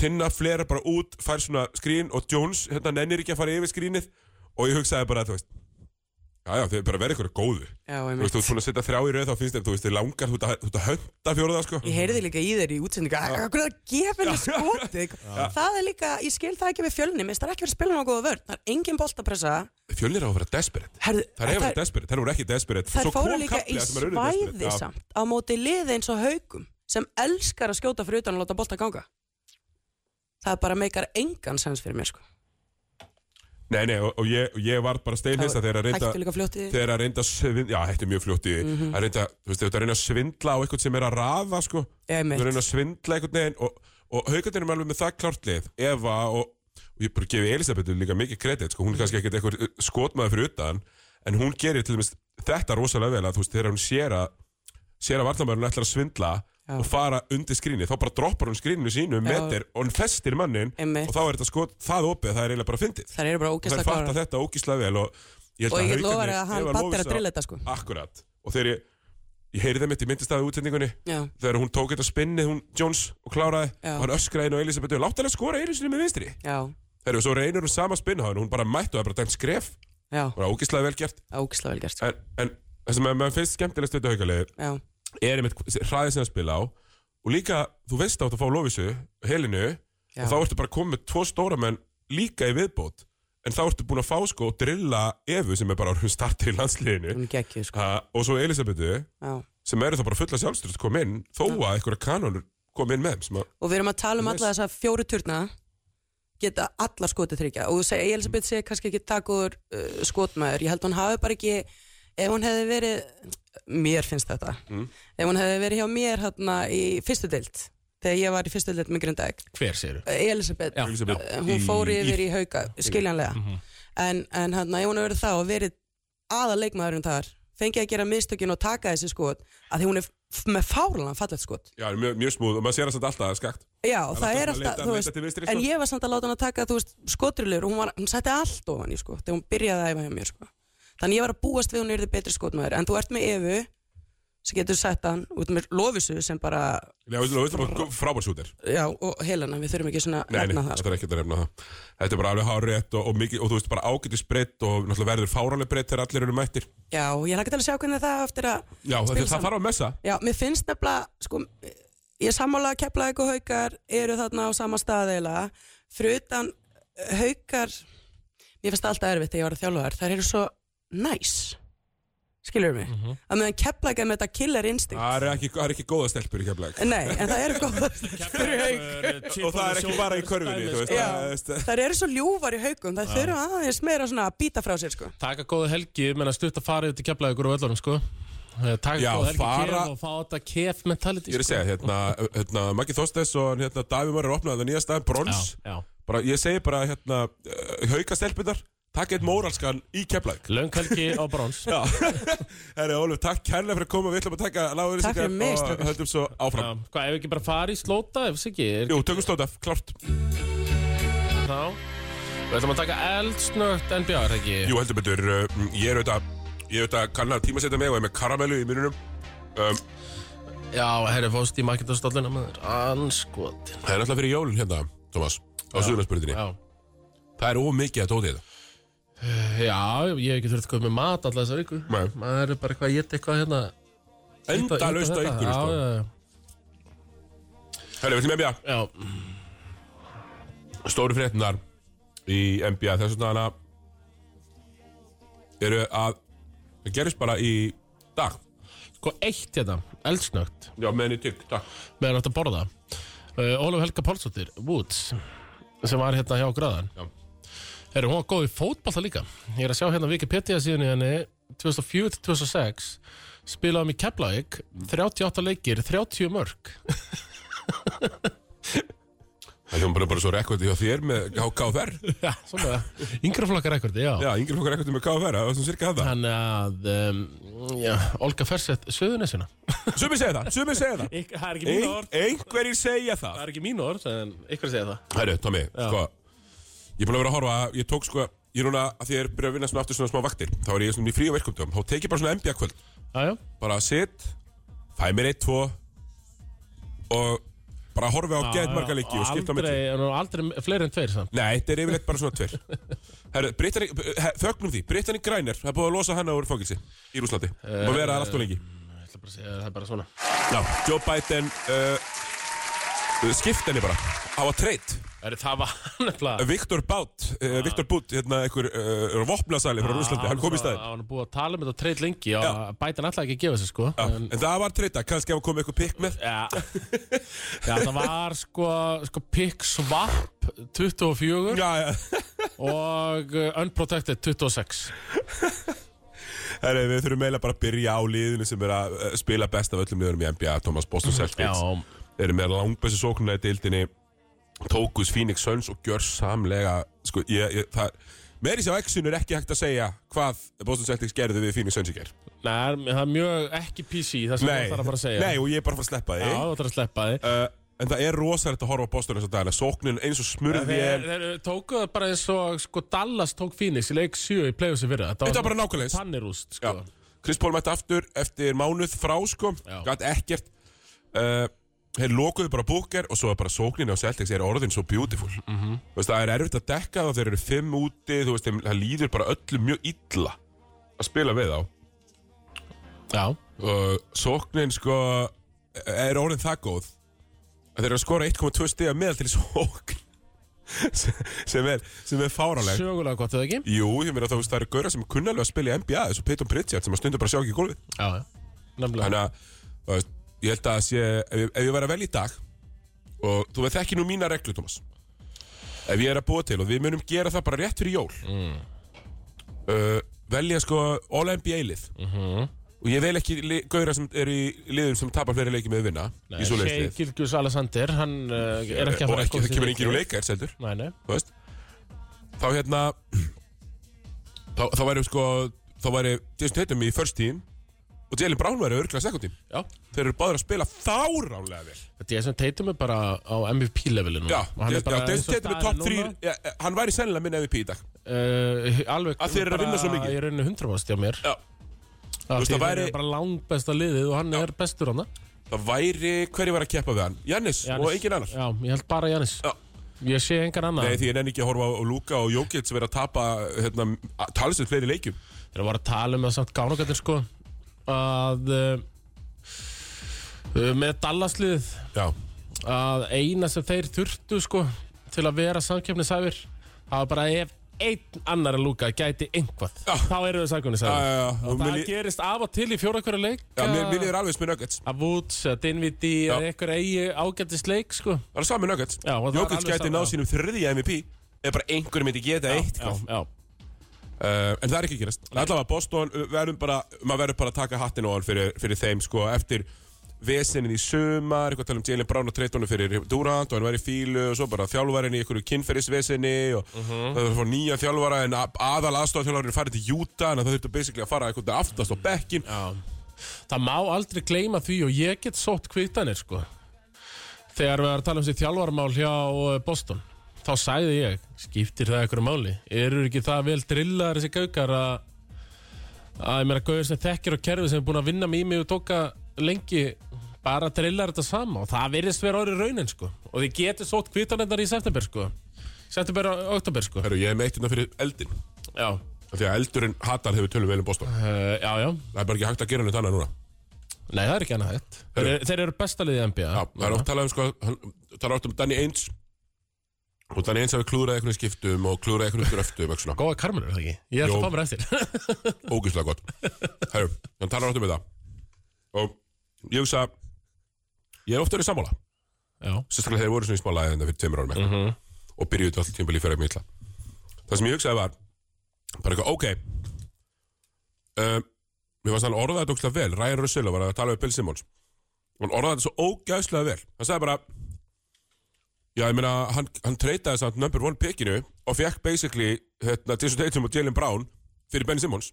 S1: tinna flera bara út fær svona skrín og Jones hérna nennir ekki að fara yfir skrínið og ég hugsaði bara þú veist já já þeir bara verða ykkur góðu
S3: já,
S1: þú veist
S3: einmitt.
S1: þú ert svona að setja þrjá í röð þá finnst þeim þú veist þeir langar þú ert að- þú ert að hönda fjóruða sko
S3: Ég heyrði líka í þeir í útsendingu, "Ah, að hvernig það gefa henni skotið. Það er líka, ég skil það ekki með fjölni, minnst það er ekki verið að spila náttúrulega góða vörn, það er engin boltapressa.
S1: fjölnir á að vera desperate
S3: Herðu,
S1: það er að vera desperate það voru ekki desperate
S3: þær
S1: Svo kom
S3: fóru líka
S1: kafli
S3: í
S1: þar sem þær urðu desperate.
S3: svæði
S1: Já.
S3: samt á móti liði eins og haugum sem elskar að skjóta fyrir utan og láta bolta ganga það bara meikar engan sens fyrir mér sko
S1: nei nei og, og, ég, og ég var bara steinhissa þegar að reynda
S3: hættu líka fljótti
S1: þegar að reynda að svindla, já þetta er mjög fljótt í því
S3: Mhm.
S1: að reynda, þú veist, þetta er að reyna að svindla á eitthvað sem er að raða, sko þú
S3: einmitt,
S1: reyna að svindla einhvern veginn og, og haugarnir er alveg með það klart lið Eva og, og ég bara gefi Elisabetu líka mikið kredit, sko, hún er kannski ekkert eitthvað skotmaður fyrir utan, en hún gerir til dæmis þetta rosalega vel að þú veist, þegar hún sér að sér að varnamæðurinn ætlar að svindla
S3: Já.
S1: og fara undir skrínið, þá bara droppar hún skríninu sínu, metir og hún festir mannin
S3: einmitt.
S1: og þá er þetta skot, það opið, það er eiginlega bara fyndið
S3: þær eru bara
S1: og þær
S3: ógæsta
S1: fatta
S3: klára
S1: þetta ógíslega vel og ég held
S3: og ég get
S1: Haukarnir-
S3: lofað að hann
S1: Eva
S3: patt er að
S1: Lovísa-
S3: drilla þetta sko
S1: Akkurat, og þegar ég, ég heyrði það mitt í myndistæðu útsendingunni
S3: já,
S1: þegar hún tók þetta spinnið, hún Jones og kláraði
S3: Já.
S1: og hann öskraði inn á Elisabethu og látt hann að skora einu sinni með vinstri
S3: já,
S1: þegar svo reynir hún sama spinnháðin, hún bara mættu og það er bara dæmt skref,
S3: já,
S1: hún er ógislega vel gert
S3: ógæsta vel gerst sko.
S1: en, en það sem að maður finnst skemmtilegst við þetta haukalegi
S3: já,
S1: er einmitt hraðið sem að spila á og líka, þú veist átt að fá lofísu helinu,
S3: já,
S1: og þá ertu bara komið með tvo stóra menn líka í viðbót en þá ertu búin að fá sko og drilla Evu sem er bara orðin startið í landsliðinu
S3: hún gekkið sko
S1: ha, og svo Elisabethu
S3: já.
S1: sem eru þá bara fulla sjálfstyrst kom inn þó að einhverja kanonur kom inn með þeim sem að
S3: og við erum að tala um
S1: Yes.
S3: alla þessa fjóru turna geta alla skotið þryggja og þú segir Elisabeth segir kannski ekki takur uh, skotmaður, ég held hún hafi bara ekki ef hún hefði verið mér finnst þetta,
S1: Mm.
S3: ef hún hefði verið hjá mér hérna í fyrstu deild þegar ég var í fyrstu deild með Grindæk
S2: Hver séru?
S3: Elisabeth,
S2: Já.
S1: Elisabeth
S3: eh, hún fór yfir í hauka skiljanlega, en, en hérna ef hún hefði verið þá og verið aða leikmaðurinn þar, fengið að gera mistökin og taka þessi skot, að því hún er f- með fárlan fallegt skot
S1: Já, hann er mjög, mjög smúð og maður sér það samt alltaf að það er skakt er
S3: Já, það,
S1: alltaf
S3: er
S1: að
S3: alltaf,
S1: leita-
S3: þú
S1: leita
S3: veist,
S1: til vinstri,
S3: en
S1: sko.
S3: ég var samt að láta hann að taka, þú veist, skotrilur og hún, var, hún sætti allt ofan í, sko, þegar hún byrjaði að æfa hjá mér, sko. Þannig ég var að búast við hún yrði betri skotmaður, en þú ert með Evu, sem getur sett hann, út með Lofisu, sem bara,
S1: Já, við veitum að frábærsútir
S3: já, og Helena, við þurfum ekki svona að
S1: Nei, nei,
S3: nefna það, sko.
S1: þetta er ekkert að nefna það Þetta er bara alveg hárétt og, og, mikið, og þú veist bara ágætis breytt og náttúrulega verður fáraleg breytt þegar allir eru mættir
S3: sko. Já, ég lakka til að sjá hvernig það á eftir að,
S1: Já, þetta, það þarf að messa
S3: já, mér finnst nefnilega, sko, ég er sammála að kepla eitthvað haukar, eru þarna á sama stað eiginlega, fyrir utan eh, haukar, mér finnst það alltaf erfitt þegar ég var að þjálfa þær, þær eru svo næs, nice. skilur mig, að meðan kepla ekki með þetta killer instinct,
S1: Það er ekki, það eru ekki góða stelpur í keflæk
S3: nei, en það eru góð fyrir hauk,
S1: Og það er ekki bara í körfunni, þú veist
S3: sko. Já.
S1: það- veist,
S3: þær eru svo ljúfar í haukum, það þurfa aðeins meira svona að býta frá sér, sko,
S2: Taka góða helgi, menna stutt að fara yfir til keflaði ykkur á öllarum sko Eh, Taka
S1: Já,
S2: góða helgi
S1: fara-
S2: kef og fá þetta kef mentality
S1: Ég er að
S2: sko.
S1: segja, hérna, hérna Maggi Þorstens og hérna, Davi Mörður opnaði það nýja staðin brons
S2: Já, já
S1: bara, Ég segi bara, hérna, uh, hauka stelpunar Takk eitt móralskan í keflæk
S2: Löng helgi á brons
S1: Já, herri Ólf, takk kærlega fyrir að koma Við ætlum að taka lágur
S3: Takk fyrir mig, strákar.
S1: og höldum svo áfram
S2: Já, Hvað, ef ekki bara fara í slóta, ef þess ekki er,
S1: Jú, tökum slóta, klart
S2: Þá Við ætlum að taka eldsnögt NBA, er það ekki?
S1: Jú, heldur betur, uh, mm, ég er auðvitað Ég er auðvitað kann að tímasetja mig og er með karamellu í mununum um,
S2: Já, herri, fóst í makintastóllina með þér Anskotin
S1: Það er náttúrulega fyrir jólun hérna, Thomas Á suðunarspörutinni,
S2: Já,
S1: það er ómikið að tótið
S2: já, ég hef ekki þurft að köpa með mat alltaf þessar ykkur
S1: Nei.
S2: Maður er bara eitthvað að geta eitthvað hérna
S1: Enda laust á
S2: þetta.
S1: ykkur,
S2: Já,
S1: sko
S2: já,
S1: Herri, við ætlum NBA,
S2: já, já
S1: stóru fréttinar Í NBA, þess vegna hana Eru að Það gerist bara í dag
S2: Sko eitt hérna, eldsnögt
S1: Já, meðan í tygg, takk
S2: meðan átt að borða uh, Ólaf Helga Pálsdóttir, Woods sem var hérna hjá Gröðan
S1: Já.
S2: Heru, hún var góð í fótballta líka ég er að sjá hérna Wikipedia síðan í henni 2004-2006 spilaði hann í Keflavík 38 leikir, 30 mörg
S1: Það er bara, bara svo rekordi hjá þér með KFR
S2: Já, svona Yngra flokkar ekkurti, já.
S1: Já, yngri flokkar rekordi með KFR, það var svona cirka það
S2: Þannig að, um, já, Olga Fersett, Suðunessuna
S1: Sumir segja það, sumir segja það
S2: Það er ekki
S1: Ein, Einhverjir segja það
S2: Það er ekki mín orð, en ykkur segja það
S1: Hæru, Tommy, sko Ég er búin að vera að horfa, ég tók sko Ég er núna, að því ég er byrjað að vinna svona aftur svona smá vaktir Þá er ég svona í frí og verkumdum, þá tek ég bara svona NBA kvöld
S2: Já, já,
S1: Bara sitt, fæ mér eitt, tvo Og bara horfa á
S2: Já,
S1: geðt
S2: já,
S1: marga leiki og skipta á
S2: aldrei,
S1: milli
S2: en hún er aldrei fleiri en tveir samt
S1: Nei, þetta er yfirleitt bara svona tver Herru, Britannic, he- þögnum því, Britannic Griner Það er búið að losa hana úr fangilsi í Rúslandi Og vera það allt og lengi
S2: Ég ætla bara að segja, það er bara svona
S1: Já, Joe Biden uh, skipt henni bara á að treyt
S2: er, Það var nefnilega
S1: Viktor Bát, uh, Viktor Bút hérna einhver uh, vopnasæli frá Rúslandi, hann kom í staðinn
S2: Ah. Það var búið að tala um þetta treyð lengi og
S1: Já.
S2: bætan alltaf ekki að gefa sér sko
S1: Já,
S2: en,
S1: Ah, En það var treyta, kannski hafa komið eitthvað pikk með
S2: Já, já það var sko, sko pick swap 24
S1: Já, já,
S2: og uh, unprotected 26
S1: herru, við þurfum eiginlega bara að byrja á liðinu sem er að uh, spila best af öllum liðurum í NBA Thomas Boston
S2: Mm, Já,
S1: Celtics eru með langbæstu sóknuna í deildinni tókus Phoenix Suns og gjör samlega sko, ég, ég, það, með því á Exxon er ekki hægt að segja hvað Boston Celtics gerðu við Phoenix Suns í ger
S2: Nei, það er mjög ekki PC það sem það er að fara að segja
S1: nei, og ég er bara að fara að sleppa
S2: Já,
S1: því
S2: það er að sleppa því
S1: uh, en það er rosalegt að horfa á Boston þess að dagana sóknin eins og smurði
S2: Þeir, þeir tóku það bara eins og sko, Dallas tók Phoenix í leik 7 í playoffs í fyrra
S1: þetta var bara nákvæmleins
S2: Tannirúst sko.
S1: Já. Chris Paul mætti aftur eftir mánuð frá sko,
S2: Já.
S1: gæt ekkert uh, þeir lokuðu bara búker og svo er bara sókninni á Celtics er orðin svo beautiful
S2: Mhm.
S1: Þú veist, það er erfitt að dekka það þeir eru fimm úti, þú veist, þeim- það líður bara öllum mjög illa að spila við þá
S2: Já.
S1: og sóknin sko er orðin það góð að þeir eru að skora 1,2 stiga meðal til í sókn sem- sem er, sem er fáraleg
S2: Sögulega gott eða ekki
S1: Jú, ég meina þá þú veist, það eru gaurar sem kunnalega að spila í NBA eins og Peyton Pritchard sem að stundu bara sjá ekki í gólfið
S2: Já, já Nefnilega
S1: Þannig að, þú veist, ég held að sé, ef ég, ef ég væri að velja í dag og þú veist ekki nú mína reglu, Thomas ef ég er að búa til og við munum gera það bara rétt fyrir jól
S2: Mm.
S1: uh, velja sko All-NBA-lið
S2: Mhm.
S1: og ég vel ekki li- gauðra sem eru í liðum sem tapar fleiri leiki með að vinna í svo
S2: Shea
S1: leiðslið
S2: Gilgjus Alessander Hann uh, er ekki
S1: og
S2: að fara
S1: ekki, það kemur enginn úr leika er seldur
S2: Nei, nei
S1: þú veist þá hérna þá, þá væri sko þá væri Jason Tatum í first team og Jalen Brown væri örgla second team
S2: Já
S1: þeir eru báður að spila þáránlega vel
S2: Þetta er sem Tatum er bara á MVP-levelinu
S1: Já,
S2: Og hann
S1: já,
S2: er bara eins
S1: Jason
S2: og
S1: Tatum er
S2: staðan
S1: top 3
S2: núna,
S1: ja, Hann væri sennilega minn MVP í dag
S2: uh, Alveg
S1: Að þeir eru að vinna svo mikið.
S2: Ég rauninni 100 mást hjá mér
S1: Já.
S2: Af
S1: veist,
S2: Því
S1: það
S2: þeir
S1: væri-
S2: eru bara langt besta liðið Og hann er bestur hann
S1: Það væri, hverju var að keppa við hann? Jannis og engin annar
S2: Já, ég held bara Jannis
S1: Já.
S2: Ég sé engan annar
S1: Nei, því ég nenni ekki að horfa á á Luka og Jókic sem er að tapa hérna, talsett fleiri leikjum
S2: Þeir voru að tala um það samt gánugatir sko að uh, með Dallasliðið
S1: Já,
S2: að eina sem þeir þurftu sko til að vera samkjöfnisæfir það var bara ef einn annar en Lúka gæti einhvað
S1: Já.
S2: þá eru þau
S1: Já, já, já. Eh,
S2: samkjöfnisæfir
S1: Og
S2: og
S1: mér
S2: það
S1: lí-
S2: gerist af og til í fjóra hverju leik
S1: já mér, mér
S2: að
S1: liður alveg smið Nuggets
S2: að Woods, að Dinvidi
S1: Já.
S2: eða einhver eigi ágættis leik sko
S1: Það er sami Nuggets
S2: Já, og það er
S1: Jókic
S2: alveg
S1: gæti
S2: sama,
S1: náð
S2: já.
S1: sínum þriðja MVP Ef bara einhverjum myndi geta eitt
S2: já, já.
S1: uh, En það er ekki að gerast Allavega Boston, uh, verðum bara, maður verður bara að taka hattin á hann fyrir, fyrir þeim sko Eftir vesenið í sumar, eitthvað tala um Jalen Brown og 13 fyrir Durant og hann var í fílu og svo bara þjálfværin í einhverju kynferðisvesinni og
S2: Mhm.
S1: það var að fá nýja þjálfvara en a- aðal aðstofþjálfværin er farið til Utah en það þurfti basically að fara eitthvað aftast á
S2: Mm.
S1: bekkin
S2: það má aldrei gleyma því og ég get sótt kvitanir sko þegar við erum að tala um sér þjálfarmál hjá eh, Boston þá sagði ég, skiptir það einhverju máli eru ekki það vel drillar þessi gaukar að að ég meira gauður sem þekkir og kerfi sem er búin að vinna með í mig og tóka lengi bara drillar þetta sama og það virðist vera orðið raunin sko og þið getur sótt kvitanirnar í september sko september og oktober sko
S1: Heru, Ég er meitt hérna fyrir eldin
S2: já,
S1: Af Því að eldurinn hatar þegar við tölum vel um Boston
S2: uh, já, já
S1: Það er bara ekki hægt að gera neitt annað núna
S2: nei það er ekki annað hægt þeir, eru- þeir eru bestaliðið NBA
S1: Já, það er oft talað um sko hann, Það er oft um Danny Ainge Og Danny Ainge hafi klúrað einhvern skiptum og klúrað einhvern dröftum eitthvað svona.
S2: Góða karmur er það ekki? Ég
S1: Jú.
S2: ætla að fá mér eftir
S1: ógeðslega gott Herru, hann talar átt um þetta og ég hugsa ég er ofta verið sammála
S2: Já,
S1: sérstaklega þegar þeir voru svona í smá lagi þetta fyrir tveimur árum mm
S2: Mhm.
S1: -hmm. og byrjuðu þetta alltaf tímabili fyrir mjög illa það sem ég hugsaði var bara eitthvað, ok um, mér fannst hann orðaði þetta ógeðslega vel Ryan Russillo var að tala við Bill Simmons hann orðaði þetta svo ógeðslega vel hann sagði bara ég Já, ég meina, hann, hann treytaði samt number one pickinu og fekk basically hérna, Jason Tatum og Jalen Brown fyrir Ben Simmons.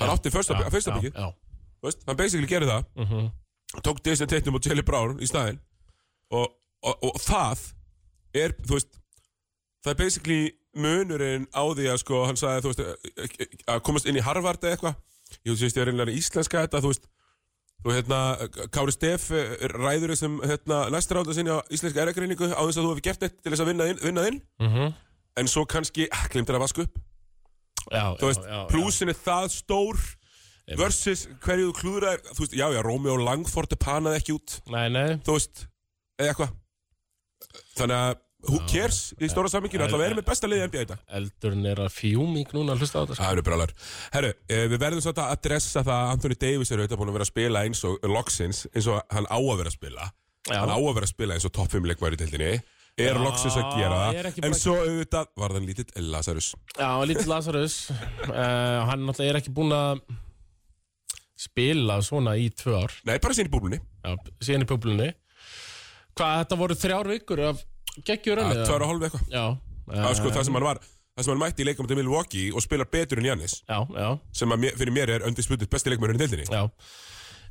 S1: Hann átti fyrsta,
S2: Já,
S1: fyrsta
S2: já,
S1: pickið,
S2: já.
S1: þú veist, hann basically gerði það. Tók Jason Tatum og Jalen Brown í staðinn og, og, og það er, þú veist, það er basically munurinn á því að sko, hann sagði, þú veist, að komast inn í Harvard eða eitthvað. Ég veist, ég er einlega íslenska þetta, þú veist, Þú hérna, Kári Steff ræður þessum hérna, næsta ráða sinni á íslenska eragreiningu á þess að þú hefur gert eitt til þess að vinna þinn, vinna þinn.
S2: Mhm.
S1: en svo kannski ah, glimtir að vaska upp.
S2: Já,
S1: Þú veist, plúsin er það stór versus hverju þú klúðrar, þú veist, já, já, Rómi og Langford panaði ekki út,
S2: Nei, nei
S1: þú veist, eða eitthvað. Þannig að, who cares í stóra samminginu, alltaf erum við besta liðið NBA í dag.
S2: Eldurinn er að fjúmík núna að hlusta á þetta sko.
S1: Það eru brálar. Herru, eh, við verðum svolítið að adressa það að Anthony Davis er auðvitað búin að vera að spila eins og loksins, eins og hann á að vera að spila.
S2: Já.
S1: Hann á að vera að spila eins og topp 5 leikmæri í tildinni. Er
S2: Já,
S1: loksins að gera
S2: er
S1: það.
S2: ekki
S1: En
S2: bara-
S1: svo auðvitað var þann lítill Lazarus.
S2: Já, lítið Lazarus uh, Hann náttúrulega er ekki búin að spila svona í tvö ár
S1: Nei, bara sín í búlunni.
S2: Já, síðan í pöblunni Hvað, þetta voru þrjár vikur af geggjur
S1: Það
S2: rönni?
S1: er tvær og hálf eitthvað.
S2: Já
S1: Það
S2: eh,
S1: er sko það sem hann var, það sem hann mætti í leikum til Milwaukee og spilar betur en Jannis,
S2: Já, já,
S1: sem að mér, fyrir mér er öndisputuð besti leikmæri í tildinni.
S2: já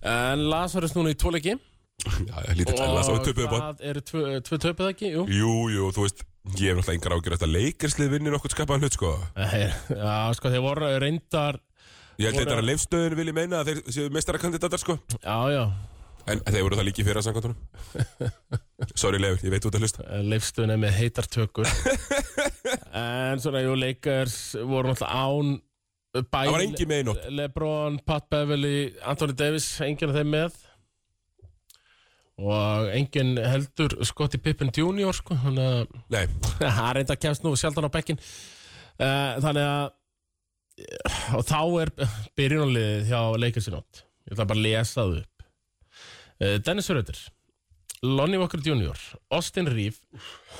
S2: En Lazarus núna í tvoleiki
S1: Já, lítill Lazarus og töpuðu bótt.
S2: það eru tvö, tvö töpuð ekki, jú
S1: Jú, jú, þú veist, ég hef náttúrulega engar ágjur að þetta leikerslið vinnir okkur skapaðan hlut, sko.
S2: Eh, Já, sko, þeir voru reyndar
S1: Ég held
S2: Voru-
S1: þetta að leifstöðin vilji meina að þeir séu mestarakandidatar sko
S2: Já, já,
S1: En þeir voru það líki fyrir að samkvæmtunum Sorry Leifur, ég veit út að hlusta
S2: leifstuðin er með heitar tökur En svona, jú, Lakers voru náttúrulega án bæði,
S1: Það var engin með í nótt.
S2: Lebron, Pat Beverly, Anthony Davis Engin af þeim með Og engin heldur Scottie Pippen Jr. sko Þannig að
S1: Nei,
S2: Það reynda að kemst nú sjaldan á bekkin uh, Þannig að Og þá er byrjunarliðið hjá Lakers í nótt Ég ætla bara að lesa það upp uh, Dennis Röder Lonnie Walker Jr. Austin Reeve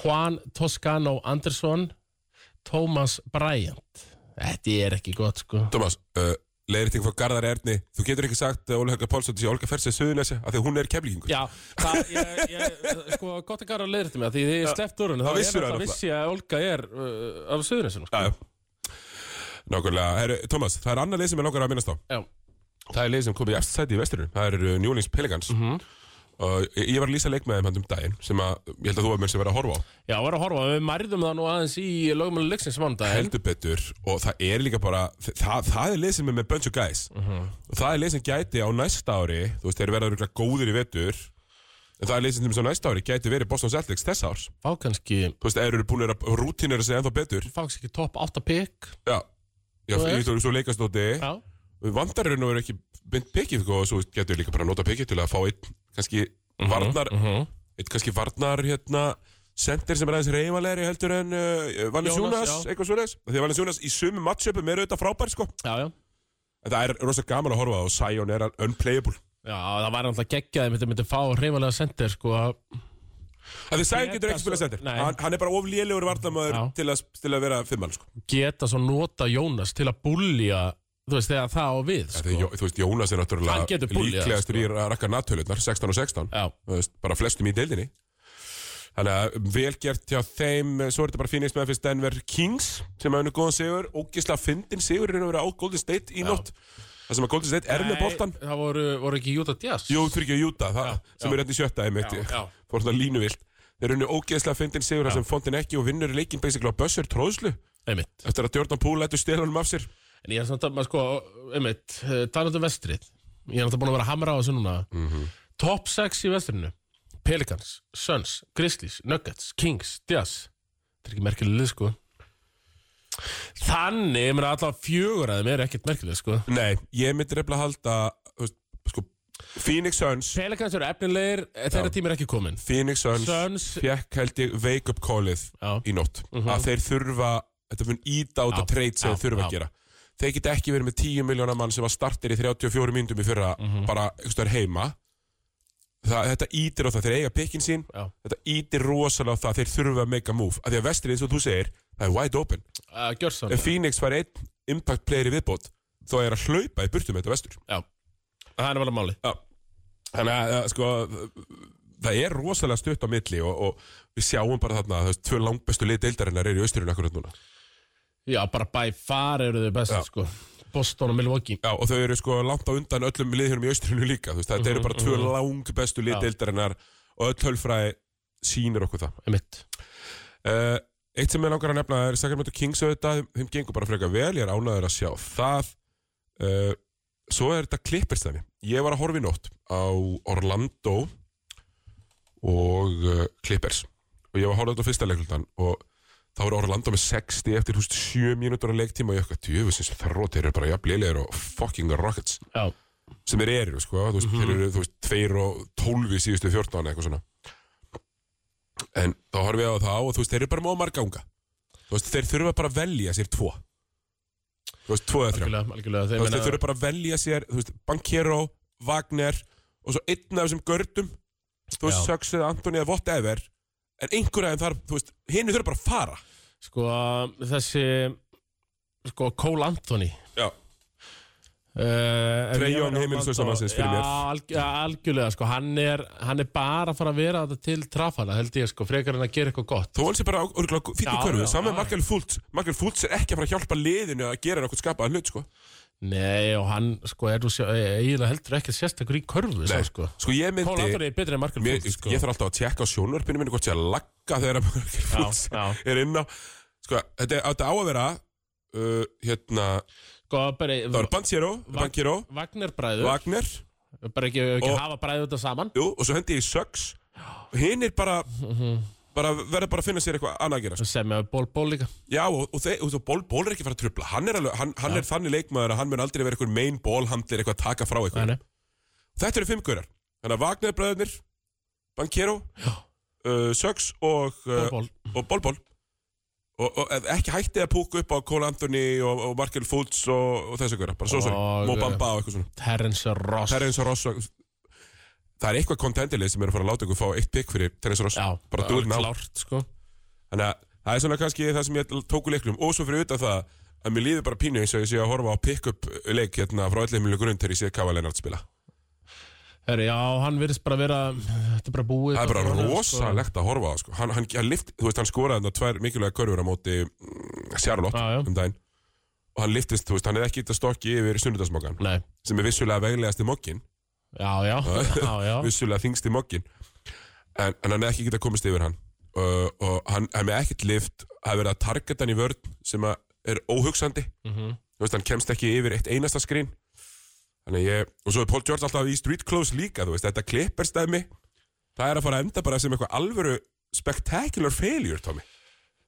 S2: Juan Toscano Anderson Thomas Bryant Þetta er ekki gott sko
S1: Thomas, uh, leiðrétting frá Garðar Erni Þú getur ekki sagt að Óli Helga Pálsson sé Olga Fersið Suðunesi af því að hún er keflíkingur
S2: Já, það, ég, ég, sko, gott að gara að leiðrið til mig af Því því ég sleppt úr henni,
S1: Það
S2: þá er
S1: vissirðu
S2: alltaf
S1: það
S2: vissi að Olga er uh, af Suðurnesinu sko.
S1: Já, já Nákvæmlega, Heru, Thomas, það er annað leið sem ég langar að minnast á
S2: Já,
S1: Það er leið sem komið í eftir sæti í vesturinn Það eru New Orleans Pelicans
S2: Mhm.
S1: mm Og ég ég var að lýsa leik með þeim handum daginn sem að, ég held að þú var mér sem verið að horfa á
S2: Já, var að horfa, við mærðum það nú aðeins í lögmáli leiksins mánudaginn
S1: heldur betur og það er líka bara það, það er lið sem er með bunch of guys
S2: Mhm.
S1: og það er lið sem gæti á næsta ári þú veist, þeir verða örugglega góðir í vetur en það er lið sem á næsta ári gæti verið Boston Celtics þess árs
S2: Fá kannski,
S1: þú veist, þeir eru búin að rútinera sig ennþá betur
S2: fá kannski topp 8 pikk
S1: já, já
S2: Þú
S1: ég
S2: veist.
S1: veit að þú leikastóti
S2: Já,
S1: vandarinn og eru ekki mynd pikið sko, og svo getur líka bara að nota pikið til að fá einn kannski varnar
S2: mhm.
S1: einn kannski varnar hérna sendir sem er aðeins reyfalegri heldur en uh, Valens
S2: Jonas,
S1: Jonas,
S2: já.
S1: eitthvað svoleiðis því að Valens Jonas í sumu matchupum er auðvitað frábær sko
S2: já, já
S1: En það er rosa gaman að horfa á það og Sion er unplayable.
S2: Já, það væri alltaf geggjaði, myndi myndi fá hreifalega sendir sko
S1: Af því Sion getur ekki spila sendir.
S2: Nei.
S1: Hann, hann er bara of lélegur vartamöður
S2: Já.
S1: til, að- til að vera fimmann, sko.
S2: geta svo nota Jónas til að bullja þú veist, þegar það á við
S1: sko.
S2: sko.
S1: Jó, þú veist, Jónas er
S2: Hann
S1: náttúrulega
S2: getur sko. búljað,
S1: líklegastur í að rakka nattölutnar, 16 og 16.
S2: Já,
S1: Þú veist, bara flestum í deildinni. Þannig að velgjert hjá þeim, svo er þetta bara Phoenix Memphis Denver Kings sem hafði góðan sigur, ógislega fyndin sigur er að vera á Golden State í nótt. Það sem að Golden State er með
S2: Nei,
S1: boltan.
S2: Það voru, voru ekki Júta Díaz
S1: Jú, fyrir ekki að júta, það sem
S2: já.
S1: er hérna í sjötta einmitt,
S2: Já, já.
S1: fór svona línuvilt Þeir runni ógeðslega fyndin sigur þar sem fóndin ekki og vinnur leikinn basically á bössur tróðslu
S2: Einmitt
S1: eftir að Jordan Poole lætur stelunum af sér
S2: En ég er samt að, maður sko, einmitt eh, talandi um vestrið, ég er alltaf búin að vera að hamra á þessu núna Top 6 í vestrinu Pelicans, Suns, Grizzlies, Nuggets, Kings, Diaz Þetta er ekki merkileg lið, sko Þannig, ég meina alltaf fjögur að þeim eru ekkert merkileg, sko
S1: Nei, ég myndi reyfla að halda þú veist, sko, Phoenix Suns
S2: Pelicans eru efnilegir, eh, þeirra tími er ekki komin
S1: Phoenix Suns,
S2: Suns,
S1: fekk held ég wake up callið
S2: já,
S1: í nótt að þeir þurfa, þetta mun íta út
S2: Mhm. Já,
S1: að treyt sem
S2: já,
S1: þeir þurfa
S2: já.
S1: að gera Þeir geta ekki verið með 10 miljónar mann sem var startir í 34 myndum í fyrra
S2: Mhm.
S1: bara einhvers staðar heima Það, þetta ítir á það, þeir eiga pikkin sín
S2: já
S1: þetta ítir rosalega á það þeir þurfa að make a move af því að vestrið eins og þú segir það er wide open
S2: uh, Gjörsan,
S1: ef Phoenix fær einn impact player í viðbót þá er að hlaupa í burtu með þetta vestur
S2: já Það er vel að máli
S1: þannig að eh, sko það er rosalega stutt á milli og, og við sjáum bara þarna að tvö langbestu lið deildarinnar eru í austurinn akkurat núna.
S2: Já, bara by far eru þau best,
S1: Já.
S2: sko Boston og Milwaukee
S1: Já, og þau eru sko langt á undan öllum liðhjörnum í austurinu líka, þú veist, þetta eru bara tvö langbestu lið
S2: Já.
S1: deildarinnar og öll hölfræði sýnir okkur það.
S2: Einmitt.
S1: Uh, eitt sem ég langar að nefna er Sacramento Kings auðvitað, þeim- þeim gengur bara frekar vel, ég er ánæður að sjá það. Uh, svo er þetta klippirstæmi. Ég var að horfa í nótt á Orlando og uh, Clippers og ég var að horfa á þetta á fyrsta leiklutan og þá er Orlando með 60 eftir húst 7 mínútur að leiktíma og ég okkar tjöfusins þrótir eru bara jafnleilegir og fucking Rockets
S2: Já,
S1: sem þeir eru, sko, þú veist,
S2: Mhm.
S1: þeir eru, þú veist, 2 og 12 í síðustu 14 eitthvað svona. En þá horfum við á það og þú veist, þeir eru bara móð marganga. Þú veist, þeir þurfa bara að velja sér tvo. Þú veist, tvo eða þrjá.
S2: algjörlega, algjörlega
S1: Þú
S2: Þeir
S1: veist, þeir
S2: meina,
S1: þurfa bara að velja sér, þú veist, Bankero, Wagner og svo einn af þessum gördum, þú veist,
S2: Já.
S1: Söks eða Antoni eða whatever, en einhverja en þar, þú veist, hinn þurfa bara að fara.
S2: sko, þessi Sko, Cole Anthony
S1: Já.
S2: Uh,
S1: Treyjón heimilislausa mannsins fyrir mér.
S2: Já, alg, ja, algjörlega, sko, hann er, hann er bara að fara að vera þetta til trafala, held ég, sko, frekar en að gera eitthvað gott
S1: Þó hann sé bara örgulega fyrir
S2: Já,
S1: körfu,
S2: já,
S1: saman
S2: já.
S1: Markel Fultz. Markel Fultz er ekki að fara að hjálpa liðinu að gera eitthvað skapaðan hlut, sko.
S2: Nei, og hann, sko, er þú sjá, eiginlega heldur ekki sérstakur í körfu, svo,
S1: Nei.
S2: sko
S1: Sko ég myndi
S2: Cole Anthony er betri en Markel
S1: mér,
S2: Fultz, sko
S1: Ég þarf alltaf að tjekka á sjónvarpinu minni hvort ég að lagga þegar að Markel Fultz
S2: já.
S1: er inn á Sko, þetta, er- þetta á að vera uh, hérna,
S2: Sko, bara,
S1: það var Banchero, Banchero
S2: Vagner bræður
S1: Wagner,
S2: bara ekki, ekki
S1: Og-
S2: hafa bræðið þetta saman
S1: jú, og svo hendi ég í Suggs Hinn er bara, bara verður bara að finna sér eitthvað annað að gera sko.
S2: Mhm. sem er ból ból líka
S1: Já, og, og, þe- og, og ból, ból er ekki að fara að trubla Hann er, alveg, hann, hann er þannig leikmaður að hann mun aldrei vera eitthvað main ból, hann er eitthvað að taka frá eitthvað
S2: Nei, nei.
S1: Þetta eru fimm gaurar Þannig að Wagner bræðurnir, Banchero uh, Suggs og
S2: ból
S1: uh,
S2: ból
S1: og Bólból og, og ef ekki hættið að púka upp á Cole Anthony og, og Markel Fultz og, og þessu hverja bara svo
S2: Og- eh,
S1: sorry, Mo Bamba og eitthvað svona
S2: Terence Ross
S1: Terence Ross og, það er eitthvað kontentilið sem er að fara að láta ykkur fá eitt pikk fyrir Terence Ross
S2: Já,
S1: bara
S2: það er
S1: dúðurinn á
S2: klárt sko.
S1: þannig að það er svona kannski það sem ég tóku leiklum og svo fyrir utan það að mér líður bara pínu eins og ég sé að horfa á pick-up leik hérna frá allir heimilu grunn til ég sé Kava Lennart spila
S2: Herri, já, hann virðist bara vera Þetta er bara búið
S1: það er bara
S2: Sko.
S1: rosalegt að horfa á það, sko. hann, hann, hann, lift, þú veist, hann skoraði þarna tvær mikilvæga körfur á móti mm, Charlotte
S2: sko. Já, já.
S1: um daginn og hann liftist, þú veist, hann hefði ekki þetta stokki yfir sunnudasmokkan,
S2: Nei,
S1: sem er vissulega veglegasti mokkin,
S2: já, já, já, já.
S1: vissulega þingsti mokkin en, en hann hefði ekki getað komist yfir hann uh, og hann hefði með ekkert lift hafi verið að targeta hann í vörn sem að er óhugsandi
S2: Mhm.
S1: þú veist, hann kemst ekki yfir eitt einasta skrín þannig að ég, og svo er Paul George alltaf í street clothes líka, þú veist, þetta klipperstæmi það er að fara að enda bara sem eitthvað alvöru spectacular failure, Tommy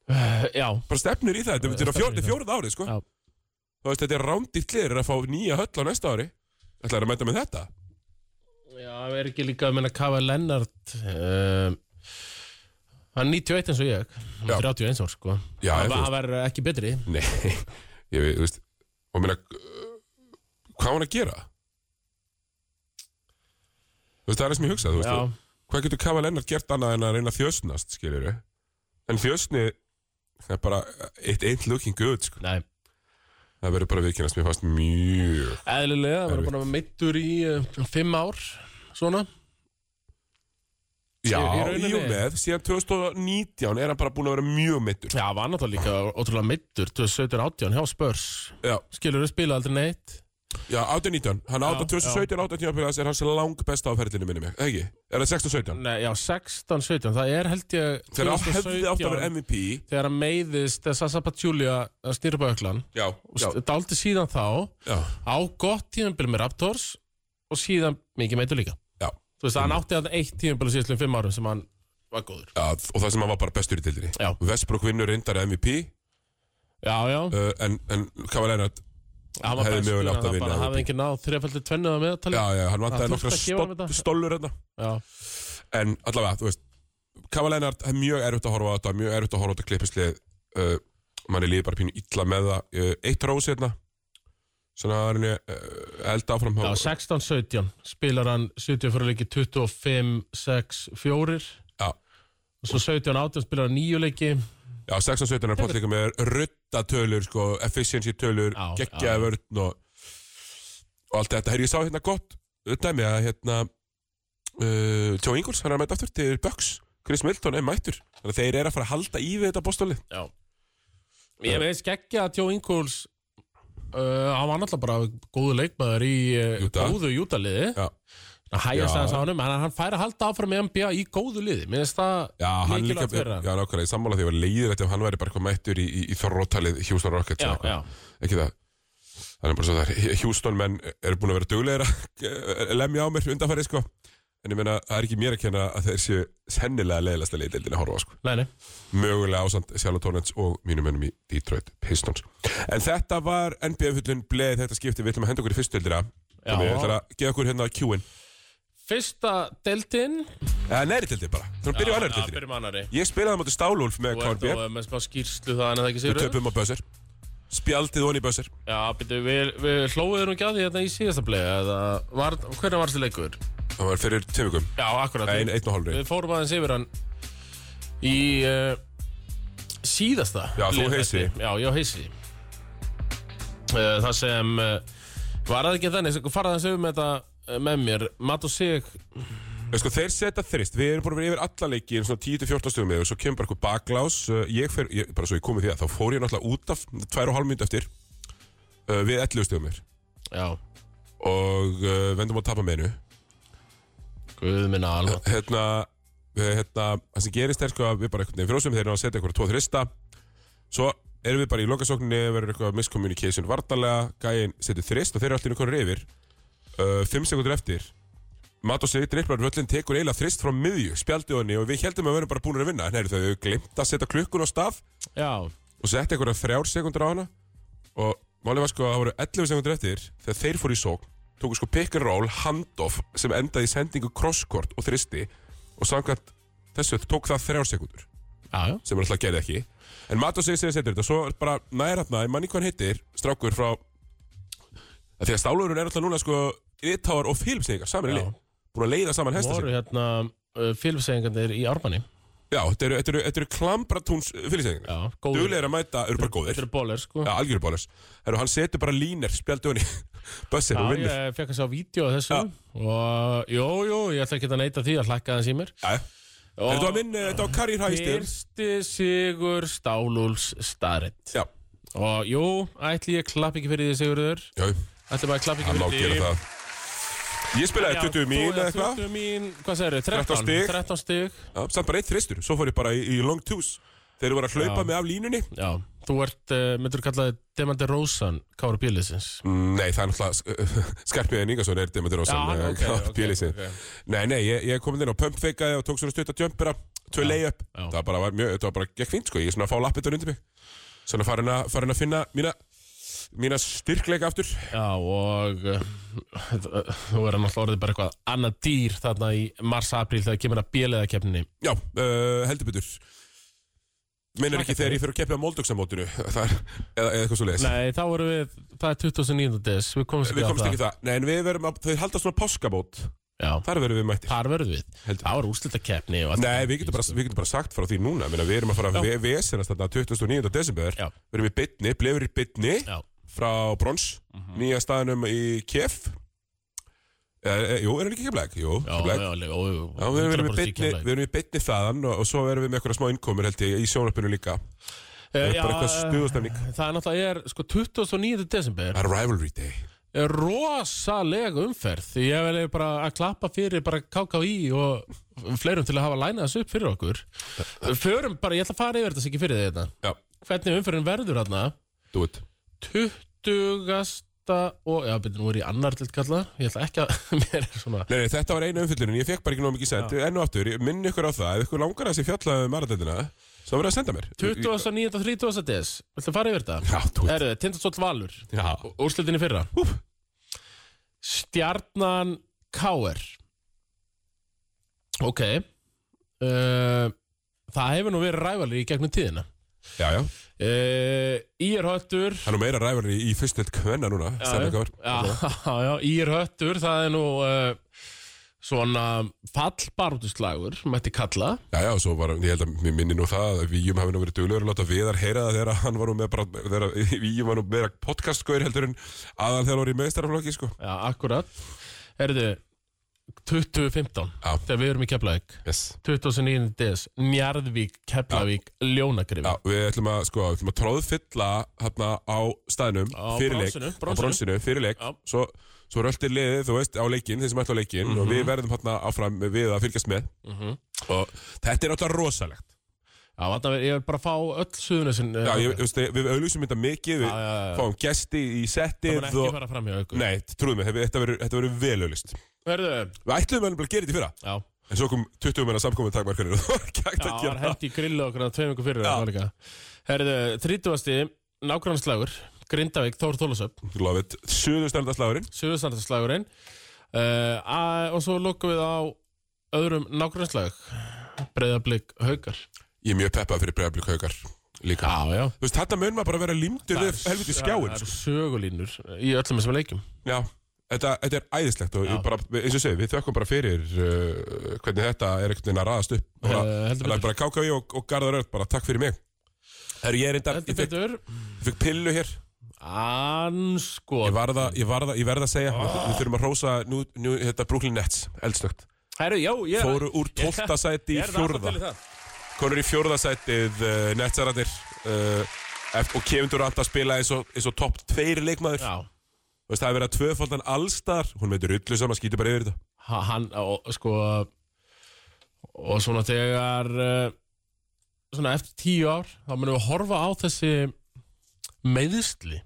S2: Uh, já,
S1: bara stefnir í það, þetta- þetta er á
S2: Stefnir í
S1: fjórið
S2: það.
S1: fjórið árið, sko
S2: Já.
S1: þú veist, þetta er rándýrt liður að fá nýja höll á næsta ári ætlaður að mæta með þetta
S2: já, er ekki líka að menna Kava Lennart uh, Hann er 91 eins og ég Hann
S1: Já.
S2: er 31 ár, sko
S1: Já,
S2: Hann
S1: þú
S2: hann var ekki betri
S1: nei, ég veit, þú veist og meina, uh, hvað á hann að gera þú veist, það er það sem ég hugsa, þú veist
S2: Já,
S1: þú- hvað getur Kava Lennart gert annað en að reyna að þjósnast, skiljur en þjósni það er bara eitt einn looking good sko.
S2: nei
S1: það verður bara viðkynast mér fast mjög
S2: Eðlilega, hann var bara meittur í uh, Fimm ár, svona
S1: já,
S2: í
S1: í
S2: rauninni-
S1: og með, síðan 2019 er hann bara búin að vera mjög meittur
S2: Já, var náttúrulega líka ótrúlega meittur 2017-18 hjá Spurs
S1: já,
S2: Skilur þú spila aldrei neitt
S1: já 18-19, hann
S2: Já,
S1: átta 2017 18 tímapilas er hans lang besta á ferðinu minni mig, ekki, er það 16-17
S2: Nei, já, 16-17, það er held ég
S1: þegar hann hefði átt að vera MVP
S2: Þegar hann meiðist eh, Sasa Pachulia að snýra bæklan
S1: já, já,
S2: Daldi síðan þá
S1: já,
S2: á gott tíðanbili með Raptors og síðan mikið meittur líka
S1: já
S2: Þú veist,
S1: Mm.
S2: hann átti að eitt tíðanbili síðan fimm árum sem hann var góður
S1: Já, og það sem hann var bara bestur í dildinni
S2: Já.
S1: Vestbrook vinnur reyndar MVP
S2: Já, já,
S1: uh, en, en Kava Lennart
S2: hann var
S1: hefði
S2: bestur
S1: mögulega
S2: en
S1: átt að
S2: hann
S1: vinna
S2: bara
S1: MVP.
S2: hafði enginn náð þrefaldi tvennuða meðatali
S1: Já, já, hann vantaði
S2: Það
S1: nokkra
S2: þurfti að gefa honum
S1: stól-
S2: þetta.
S1: stólur hérna
S2: já.
S1: En allavega, þú veist Kava Lennart, það er mjög erfitt að horfa á þetta Mjög erfitt að horfa á þetta klippislið uh, Man er lífið bara pínu illa með það uh, Eitt rós hérna Svona að henni uh, elda áfram
S2: Já, 16-17 spilar hann 74 leiki 25, 6, 4
S1: Já.
S2: og svo 17-18 spilar hann 9 leiki
S1: já 16-17 er pott líka með ruttatölur sko, Efficiency tölur,
S2: Já, já.
S1: geggjaði vörn og, og allt þetta Herri, ég sá hérna gott Dæmi að hérna uh, Joe Ingles, hann er að mæta aftur til Bucks Chris Milton er mættur þannig að þeir eru að fara að halda í við þetta bóstóli
S2: Já Ég veist ekki að Tjó Ingúls uh, hann var náttúrulega bara góðu leikmaður í uh,
S1: Utah.
S2: góðu jútaliði
S1: Já.
S2: að hægjast
S1: Já.
S2: aðeins á honum en hann fær að halda áfram í NBA í góðu liði Mér finnst það
S1: Já, hann líka,
S2: mikilvægt fyrir hann.
S1: já, nákvæmlega, ég sammála því að ég var leiðilegt ef hann væri bara eitthvað mættur í, í, í þorrótalið Houston Rockets
S2: Já,
S1: eða eitthvað.
S2: já.
S1: ekki það Það er bara svo þar, Houston menn eru búin að vera duglegir að lemja á mér undanfæri sko En ég meina, það er ekki mér að kenna að þeir séu sennilega leiðilegsta leiðildin að horfa á sko
S2: Nei, nei.
S1: mögulega ásand Charlotte Hornets og mínum ennum í Detroit Pistons En þetta var NBA-fullun bleið þetta skipti, við ætlum að henda okkur í fyrstöldina
S2: Já.
S1: og við ætlum að gefa okkur hérna Q-in
S2: Fyrsta deltinn
S1: eða neðri tildin bara, þannig að byrja á annari tildinni
S2: byrjum annari
S1: Ég spilaði á móti Stálúlf með
S2: Þú ert
S1: KNB
S2: og eh, með smá skýrslu það en það ekki
S1: við
S2: sigur
S1: töpum á buzzer spjaldið honi í buzzer
S2: Já, byrju, við, við hlóðum ekki að því þetta í síðasta play Hvernig var þessi leikur?
S1: það var fyrir tvö vikum,
S2: Já, akkurat
S1: ein, einn og hálfri
S2: Við fórum aðeins yfir hann í uh, síðasta
S1: Já, þú
S2: liðfætti.
S1: heisi.
S2: Já, ég heisi uh, Það sem uh, var það ekki þannig sem faraði aðeins yfir með þetta uh, með mér Matt og Sig
S1: En sko, þeir setja þrist, við erum búin að vera yfir alla leiki um svona 10-14 stöðum með og svo kemur bara eitthvað baklás uh, ég fer, ég, bara svo ég komið því að þá fór ég náttúrulega út af 2,5 mynd eftir uh, við 11 stöðum með
S2: Já,
S1: og uh, vendum á tapamennu
S2: guð minna alveg
S1: hérna, við, hérna það sem gerist er sko að við bara einhvern veginn frósum þeir ná að setja eitthvað tvo þrista svo erum við bara í lokasókninni verður eitthvað miscommunication vartalega gæin setur þrist og þeir eru allir einhvern reyfir uh, fimm sekundur eftir Matt og Sigrid dripplar völlin tekur eiginlega þrist frá miðju spjaldið honni og við heldum að við verðum bara búin að vinna en heyrðu, þau hefur glimt að setja klukkun á stað
S2: Já,
S1: og setti einhverja þrjár sekundur á hana og málið var sko að það voru 11 sekundur eftir þegar þeir fóru í sókn tóku sko pick and roll, handoff sem endaði í sendingu crosskort og þristi og samkvæmt þessu tók það þrjár sekundur
S2: já, já
S1: sem hann alltaf gerði ekki en Matos segir segir setur þetta svo er bara næra þarna, ég manni hvað hann heitir strákur frá að því að stálurinn er alltaf núna sko Ritáar og Filmsningar saman í lið
S2: Já.
S1: búin að leiða saman hesta sig
S2: voru hérna uh, fylgsegingandir í Ármanni
S1: já, þetta eru, þetta eru, þetta eru klambratúns Filmsningar
S2: Já, góður
S1: duglegir að mæta, eru bara góðir
S2: Þetta er bóler, sko
S1: Já, algjörur bólers. Herru, hann setur bara líner, spjaldu henni, bössir og vinnur.
S2: ég fekk að sjá vídeo af þessu og jú, jú, ég ætla ekki að neita því að hlækka aðeins í mér
S1: Já, já.
S2: Og-
S1: Þetta var minn, eh, þetta var Karir Hæstir.
S2: Fyrsti sigur Stálúls starrett
S1: Já,
S2: Og jú, ætli ég klapp ekki fyrir því Sigurður
S1: já,
S2: Ætli bara klapp ekki
S1: hann má
S2: fyrir
S1: gera
S2: því
S1: það. Ég spilaði 20 mín eða eitthvað.
S2: 20 mín, hvað segir þau? 13
S1: 13 stig.
S2: 13 stig
S1: Já, Samt bara eitt þristur, svo fór ég bara í, í long twos. Þeir eru bara að hlaupa mig af línunni.
S2: Já, þú ert, uh, myndur kallaði Demandi Rósan, Kára Bílisins
S1: Mm, Nei, það er náttúrulega skarpiðin Ingarsson er Demeter
S2: Já,
S1: Rósan,
S2: hann, ok, ok,
S1: bílisinn.
S2: ok.
S1: Nei, nei, ég, ég kom inn á pumpfeikaði og tók svona stutt að jumpera, tvö layup.
S2: já.
S1: Það bara var mjög, þetta var bara gekk fínt, sko. Ég er svona að fá lappetan undir mig. Svona farin að, farin að finna mína, mína styrkleika aftur.
S2: Já, og uh, þú er náttúrulega orðið bara eitthvað annað dýr þarna í mars-april þegar kemur að bíliðakefninni
S1: Já, uh, heldur betur Meinar ekki
S2: Takk
S1: þegar
S2: fyrir.
S1: ég fyrir að keppi á Moldóksamótinu eða, eða eitthvað svo leiðis
S2: Nei, þá erum við, það er 2009. des, við komumst
S1: Við
S2: ekki
S1: komst
S2: að
S1: ekki það, nei en við verum að, þau halda svona páskamót
S2: Já,
S1: Þar verum við mættir
S2: þar verðum við
S1: Heldur.
S2: Það var úrslitakeppni og allt
S1: Nei, við getum, bara, við getum bara sagt frá því núna Meina, Við erum að fara
S2: Já.
S1: að ve- vesenast þarna 29. desember
S2: Já.
S1: Við erum í bytni, blefur í bytni
S2: Já, Mhm.
S1: Frá Brons, nýja staðanum í Kef e, e, Jú, er hann ekki kemleg? Jú,
S2: já,
S1: kemleg
S2: já, já, já,
S1: Já, við erum, í beinni, við erum í bytni þaðan og, og svo erum við með eitthvað smá innkomur held ég í sjónarpinu líka Það
S2: Eh,
S1: er bara eitthvað stuðastemning
S2: Það er náttúrulega, er, sko, 29. desember
S1: Það er rivalry day
S2: er rosalega umferð ég vil bara að klappa fyrir bara KKI og fleirum til að hafa lænað þessu upp fyrir okkur Förum bara, ég ætla að fara yfir þetta sem ekki fyrir því þetta
S1: Já,
S2: Hvernig umferðin verður þarna
S1: do it
S2: 20. og, já, byrja, nú er ég annar til kalla Ég ætla ekki að, mér er svona
S1: Nei, nei, þetta var eina umfyllunin, ég fekk bara ekki nóg mikið send Enn og aftur, ég minni ykkur á það Ef ykkur langar að þessi fjallaðu maradeldina Svo verður að senda mér
S2: 29. og 30. des, viltu að fara yfir þetta?
S1: Já, þú
S2: Erðu þið, Tindastóll Valur
S1: Já,
S2: Úrslutinni fyrra
S1: Úff.
S2: Stjarnan K.R. Ok uh, Það hefur nú verið rævalir í gegnum tíðina
S1: já, já
S2: uh, Ír Höttur
S1: Það er nú meira rævar í, í fyrstild kvenna núna Stemma ykkur
S2: já, já, Ír Höttur Það er nú uh, svona fallbarðuslagur mætti kalla
S1: Já, já, svo var, ég held að mér minni nú það að Víum hafi nú verið duglegur að láta Viðar heyra það Þegar hann var nú með bara þegar, Víum var nú meira podcastgöður heldur en Aðal þegar hann var í meðstaraflokki, sko
S2: Já, akkurat Herðu 2015
S1: Já.
S2: þegar við erum í Keflavík
S1: Yes.
S2: 2009. des, Njarðvík, Keflavík, Ljónagrif
S1: Já, við ætlum að, sko, við ætlum að tróðfylla hérna á staðnum
S2: Á
S1: fyrir leik,
S2: bronsinu,
S1: á bronsinu, fyrir leik
S2: Já.
S1: svo, svo röltir liðið, þú veist, á leikinn þeir sem ætla á leikinn og við verðum hérna áfram við að fylgjast með
S2: Mhm.
S1: og þetta er náttúrulega rosalegt
S2: Já, vanda, ég vil bara fá öll suðunisinn
S1: Já, ég, ég veist, við auðlýsum þetta mikið við
S2: Já, já, já.
S1: fáum gesti í
S2: Það
S1: settið
S2: mun ekki
S1: og...
S2: fara fram hjá ykkur
S1: Nei, trúðum við, þetta verður- þetta verður vel auðlýst
S2: Hörðu,
S1: Við ætlum að gera þetta í fyrra
S2: já,
S1: En svo kom 20 menna samkomið takmarkanir og það var ekki hægt
S2: já,
S1: að
S2: var
S1: gera það.
S2: hendi í grillu okkur að tveim ykkur fyrir
S1: Já.
S2: það var líka. Hörðu, 30. nágrannslagur Grindavík, Þór Þólasöp,
S1: Love it. Suðurstændaslagurinn.
S2: Suðustandarslagurinn uh, og svo lokum við á öðrum nágrannslag Breiðablík Haukar
S1: Ég er mjög peppað fyrir bregðarblík haukar líka.
S2: Já, já
S1: Þú veist, þetta mun maður bara vera límdur
S2: Það er-
S1: við helviti
S2: Það
S1: skjáin.
S2: eru
S1: Sko.
S2: sögulínur í öllum þessum leikjum
S1: Já, þetta, þetta er æðislegt og
S2: Já.
S1: ég bara, eins og ég segi, við þökkum bara fyrir uh, hvernig þetta er einhvern veginn að raðast upp.
S2: Eh,
S1: Bara,
S2: heldur
S1: uh,
S2: betur.
S1: bara KKV og, og Garðar Örn, bara takk fyrir mig. Herru, ég er reyndar,
S2: Heldur
S1: ég fekk,
S2: betur
S1: ég fekk pillu hér.
S2: Anskot
S1: Ég varða, ég varða, ég verða að segja, við,
S2: Ah.
S1: við þurfum að rósa nú, nú þetta Brooklyn Nets, eldstökt.
S2: Herru, já, ég er
S1: Fóru úr
S2: Ég-
S1: 12. sæti
S2: Ég
S1: í
S2: er það alltaf
S1: fjórða.
S2: til í það
S1: konur í fjórðasætið uh, nettsararnir uh, eft- og Kevin Durant að spila eins og, eins og topp tveir leikmaður
S2: Já
S1: Þú veist, það er verið að tvöfaldan allstar hún veitur rullu saman, skýtur bara yfir þetta
S2: Ha- hann og sko og svona þegar eh, svona eftir tíu ár þá munum við horfa á þessi meiðsli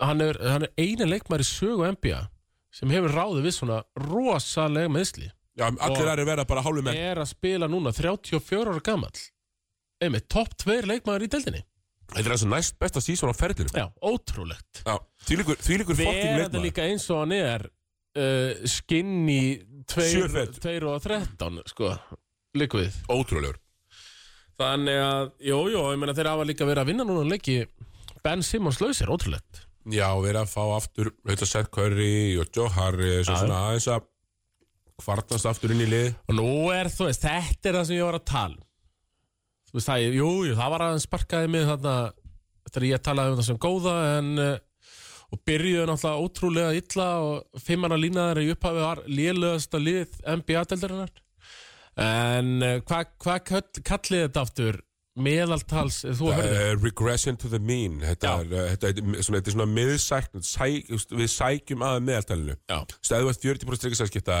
S2: hann er, hann er eini leikmæri sögu NBA sem hefur ráðið við svona rosalega meiðsli
S1: Já, allir
S2: Og-
S1: aðrir verða bara hálfum menn
S2: er að spila núna 34 ára gamall einmitt topp tveir leikmæri í deildinni
S1: Þetta er eins og næst besta sísón á ferðinu
S2: já, ótrúlegt
S1: Já, þvílíkur, þvílíkur fokking
S2: verða
S1: leikmaður
S2: líka eins og hann er uh, skinni
S1: Sjöfett.
S2: 2 og 13 sko, likvið
S1: Ótrúlegur
S2: Þannig að, jú, jú, ég meina þeir hafa líka verið að vinna núna um leiki Ben Simmons lausir, ótrúlegt
S1: Já, við erum að fá aftur, þetta Seth Curry og Joe Harris og
S2: Já.
S1: svona aðeins að kvartast aftur inn í lið
S2: Og nú er, þú veist, þetta er það sem ég var að tala um. Þú veist, það, jú, jú, það var að hann sparkaði mig þarna Þetta er ég talaði um það sem góða en, eh, og byrjuðu náttúrulega ótrúlega illa og fimmana línaðar í upphafi var lélegast að lið NBA-deldarinnar En eh, hvað hva kallið þetta aftur meðaltals, eh, þú hefur
S1: Uh, regression to the mean þetta
S2: Já.
S1: er, uh, þetta er svona, þetta er svona miðsækn sæk, við sækjum að meðaltalinu
S2: Já.
S1: Þú veist, ef þú ert 40% ríkisæðskipta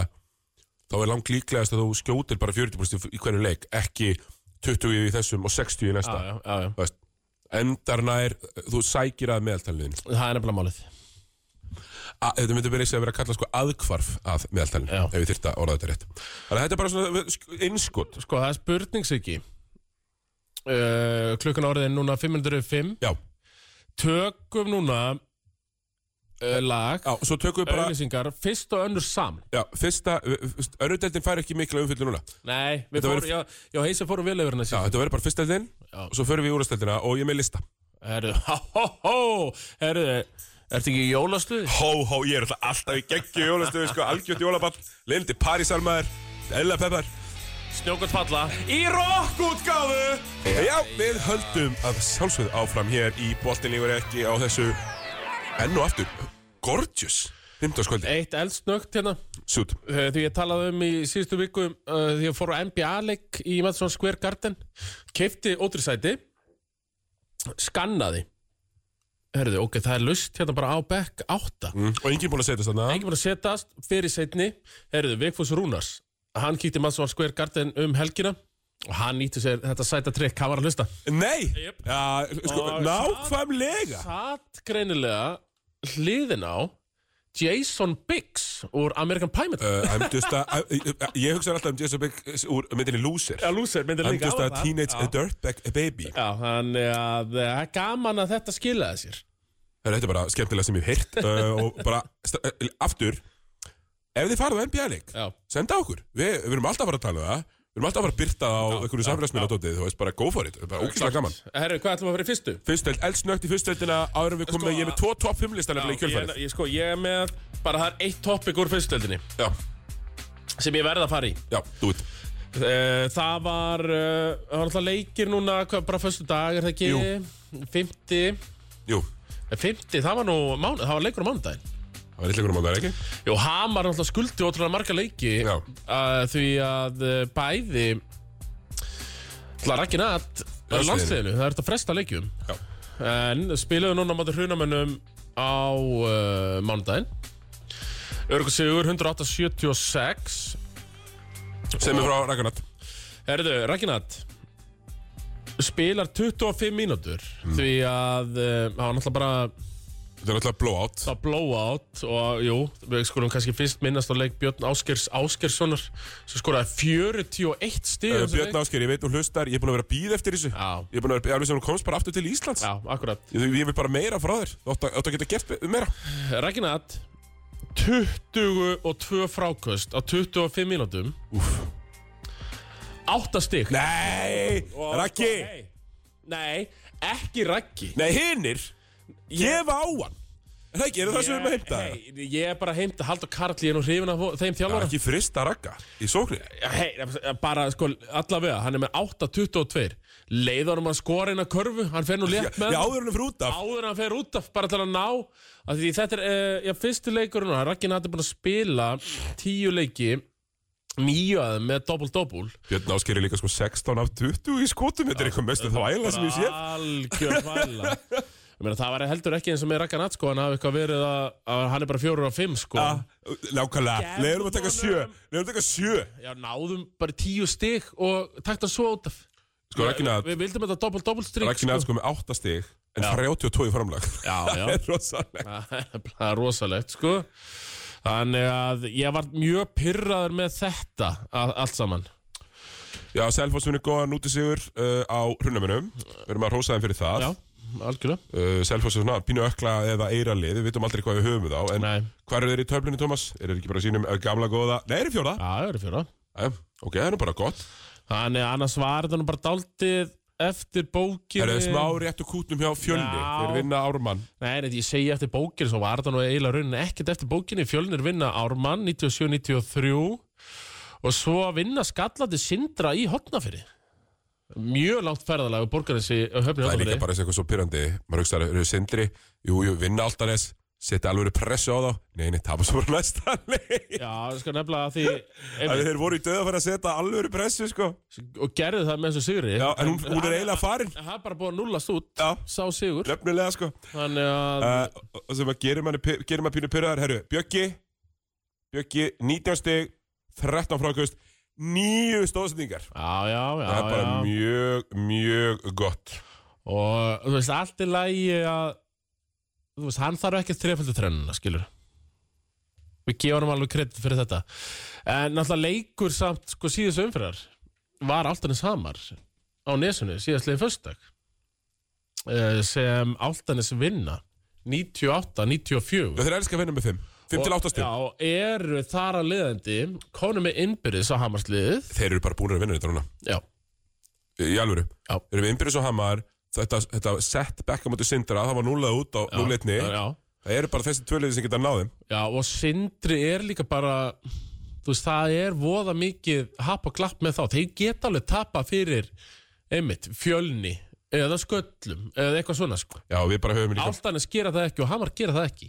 S1: þá er langt líklegast að þú skjótir bara 40% í hverju leik ekki 20 í þessum og 60 í
S2: Já,
S1: næsta
S2: já, já, já,
S1: Þú veist, endar nær þú sækir að meðaltalinu þínu.
S2: það er nefnilega málið
S1: A- þetta myndi verið að vera að kalla sko aðkvarf að meðaltalinu
S2: Já.
S1: ef við þyrfti að orða þetta rétt þannig að þetta er bara svona sk- innskot
S2: Sko, það er spurning Siggi uh, Klukkan árið er núna 505
S1: já,
S2: Tökum núna uh, lag,
S1: já, svo tökum við bara
S2: auðlýsingar Fyrst og önnur saman
S1: já, fyrsta, örudeldin fær ekki mikla umfyllu núna
S2: Nei, við
S1: Þetta
S2: fór,
S1: verður-
S2: já, já, heisi fórum vel yfir hana
S1: Já,
S2: Siggi
S1: þetta verður bara fyrsteldin
S2: Já.
S1: og svo förum við í úrasteldina og ég er með lista.
S2: Herru, há, hó, hó Herru, ertu ekki í jólastuði?
S1: Hó, hó, ég er alltaf alltaf í geggju jólastöðu, sko, algjört jólaball, lindi Parísalmaður, Ella Peppar.
S2: Snjókot falla
S1: Í rockútgáfu! Já, við höldum að sjálfsögðu áfram hér í Bóttinlíkur ekki á þessu enn og aftur. Gorgeous! 15. skvöldi.
S2: Eitt eldsnögt hérna
S1: Sút.
S2: eh, Því ég talaði um í síðustu viku uh, Því ég fór á NBA-leik í Madison Square Garden Keifti ótrísæti Skannaði Herðu, ok, það er lust hérna bara á bekk átta
S1: Mm. Og enginn búinn að setja þarna.
S2: Engin búin að setast fyrir setni Herðu, Vigfús Rúnars Hann kíkti Madison Square Garden um helgina Og hann nýtti sér þetta sæta trikk Hann var að hlusta
S1: Nei! Já, sko,
S2: Og-
S1: nákvæmlega!
S2: Satt greinilega hliðin á Jason Biggs Úr American Pie mynd
S1: Uh, I'm just a, I, I- ég hugsa alltaf um Jason Biggs úr myndinni Loser.
S2: lúsir, myndir
S1: I'm just a teenage dirtbag baby.
S2: Já, þannig að eh, það er gaman að þetta skilaði sér
S1: Hörru, Þetta er bara skemmtilega sem ég hef heyrt uh, og bara st- uh, aftur ef þið farið á NBA-leik
S2: Já,
S1: senda okkur, við, við erum alltaf að fara að tala um það við erum alltaf að fara að byrta á einhverju samfélagsmiðla dótið, þú veist, bara go for it, Það er bara ógíslega gaman
S2: herru, hvað ætlum við að vera í fyrstu?
S1: Fyrstöld, eldsnögt í fyrstöldina áður en við komum
S2: Sko,
S1: með, ég er með tvo top 5 listan nefnilega í
S2: ég,
S1: kjölfarið
S2: ég, sko, ég er með bara það er eitt topic úr fyrstöldinni
S1: Já,
S2: sem ég verði að fara í
S1: já, þú veit
S2: Eh, Það var, eh, það var alltaf leikir núna hvað, bara fyrstu dag, er það ekki?
S1: Jú.
S2: 50
S1: Jú,
S2: Eh, 50, það var nú mánu, það var leikur á mánudaginn
S1: það Það var illegur um að það er ekki
S2: Jó, Hamar náttúrulega skuldi ótrúlega marga leiki
S1: Já.
S2: uh, Því að uh, bæði Það er ekki nætt
S1: Landsliðinu.
S2: landsliðinu, það er þetta að fresta leikjum
S1: Já.
S2: En spiluðu núna mátur hrunamönnum á uh, mánudaginn Örgur sigur 176
S1: Sem er frá Ragnarnatt
S2: Herðu, Ragnat Spilar 25 mínútur Því að uh, það var náttúrulega bara
S1: Þetta er náttúrulega blowout
S2: Það blowout og jú, við skulum kannski fyrst minnast á leik Björn Áskers Áskerssonar sem skoraði 41 stíð
S1: Uh, Björn Ásker, ég veit hún hlustar, ég er búin að vera að býða eftir þessu
S2: um Já.
S1: Ég er búin að vera, alveg sem hún komst bara aftur til Íslands
S2: Já, akkurat
S1: Ég, ég vil bara meira frá þér, þú átt að, átt að geta gert meira
S2: Ragnat 22 frákvöst á 25 mínútum Úf 8 stík
S1: Nei, Raggi,
S2: Nei, nei, ekki Raggi
S1: nei hinnir, gefa á hann Er það ekki, er það það sem við erum að heimta það?
S2: Nei, ég er bara að heimta Haldur Karl, ég er nú hrifin af þeim
S1: Það
S2: þjálfara
S1: er ekki frista Ragga í sóknir
S2: Hei, bara sko, allavega, hann er með 8.22 Leiður um að skora inn að körfu, hann fer nú létt með
S1: Ég áður hann fyrir út af
S2: áður en hann fer út af bara til að ná að því þetta er, uh, já, fyrstu leikur núna, Ragnar Hatt er búin að spila tíu leiki nýju aðeim með dobbul-dobbul
S1: Björn Ásker er líka sko 16 af 20 í skotum Þetta er eitthvað mestu þvæla sem ég sé
S2: algjör fæla Ég meina, það var heldur ekki eins og með Ragnar Hatt sko, hann hafi eitthvað verið að, að hann er bara fjóru og fimm sko
S1: Nákvæmlega,
S2: Gefðu
S1: leiðum að taka
S2: honum.
S1: 7 Leiðum að taka 7
S2: já, náðum bara tíu stig og takt hann svo út af
S1: Sko Ragnar,
S2: við vildum þetta dobbul-dobbul strik
S1: Ragnar sko með 8 stig En
S2: Já.
S1: 32 í framlag
S2: Já, já.
S1: Það er rosalegt
S2: Það er nefnilega rosalegt sko Þannig að ég var mjög pyrraður með þetta a- allt saman
S1: Já, Selfoss finnir góðan út í sigur uh, á hrunamunum Við erum að rósa þeim fyrir það
S2: Já, algjörlega
S1: uh, Selfoss er svona pínu ökla eða eiralið Við vitum aldrei hvað við höfum við þá En
S2: Nei,
S1: hvað eru þeir í töflunni, Thomas? Er þeir ekki bara sínum eh, gamla góða? Nei, er þeir fjóða?
S2: já, það eru fjóra
S1: Ja. Ok, það er nú bara gott
S2: Þannig að annars var þetta nú bara daldið eftir bókinni
S1: Það eru smá rétt og kútnum hjá fjölni
S2: Já.
S1: Þeir vinna ármann
S2: Nei, nei, ég segi eftir bókinni Svo var þetta nú eiginlega raunin ekkert eftir bókinni Fjölnir vinna Ármann 97-93 Og svo vinna skallandi Sindra í Hotnafyrir Mjög langt ferðalega Borgarinsi höfni
S1: Það er líka
S2: Hotnafyrir
S1: bara eitthvað svo pyrrandi Maður hugsaðar, eru sindri, jú, jú, vinna alltaf þess Setja alveg pressu á þá Nei, nei, tapa svo bara næsta leik
S2: Já, sko nefnilega að því
S1: Það er þeir voru í döða að fara að setja alveg pressu, sko
S2: og gerði það með þessu sigri
S1: Já, en hún, hún er eiginlega farin
S2: það er bara búið að nullast út
S1: Já,
S2: sá sigur
S1: nefnilega, sko
S2: þannig að
S1: uh, og sem að gerir manni pi- gerir maður pínu pyrraðar, herru, Bjöggi Bjöggi, 19 stig 13 frákvöst, 9 stóðsendingar
S2: já, já, já,
S1: Það er bara
S2: já.
S1: mjög, mjög gott
S2: og þú veist, allt er lægi að þú veist, hann þarf ekki þrefaldu trennuna, skilur við gefum hann alveg kredit fyrir þetta en náttúrulega leikur samt sko síðustu umfyrir var Altanis Hamar á nesunni síðastliðið föstudag eh, sem Altanis vinna 98-94
S1: Þeir elskar að vinna með 5, 5 til 8 stig
S2: Já, eru þar að leiðandi konum með innbyrðis á Hamarsliðið
S1: Þeir eru bara búin að vinna þetta núna
S2: Já,
S1: Í alvöru
S2: Já.
S1: Erum við innbyrðis og hamar Þetta, þetta setback á móti sindra Það var núlega út á núleitni
S2: já,
S1: Það eru bara þessi tvöliði sem geta náðum
S2: já, og Sindri er líka bara þú veist, það er voða mikið happ og klapp með þá, þeir geta alveg tapa fyrir, einmitt, fjölni eða sköllum, eða eitthvað svona sko.
S1: Já, við bara höfum líka
S2: Áltanes gera það ekki og Hamar gera það ekki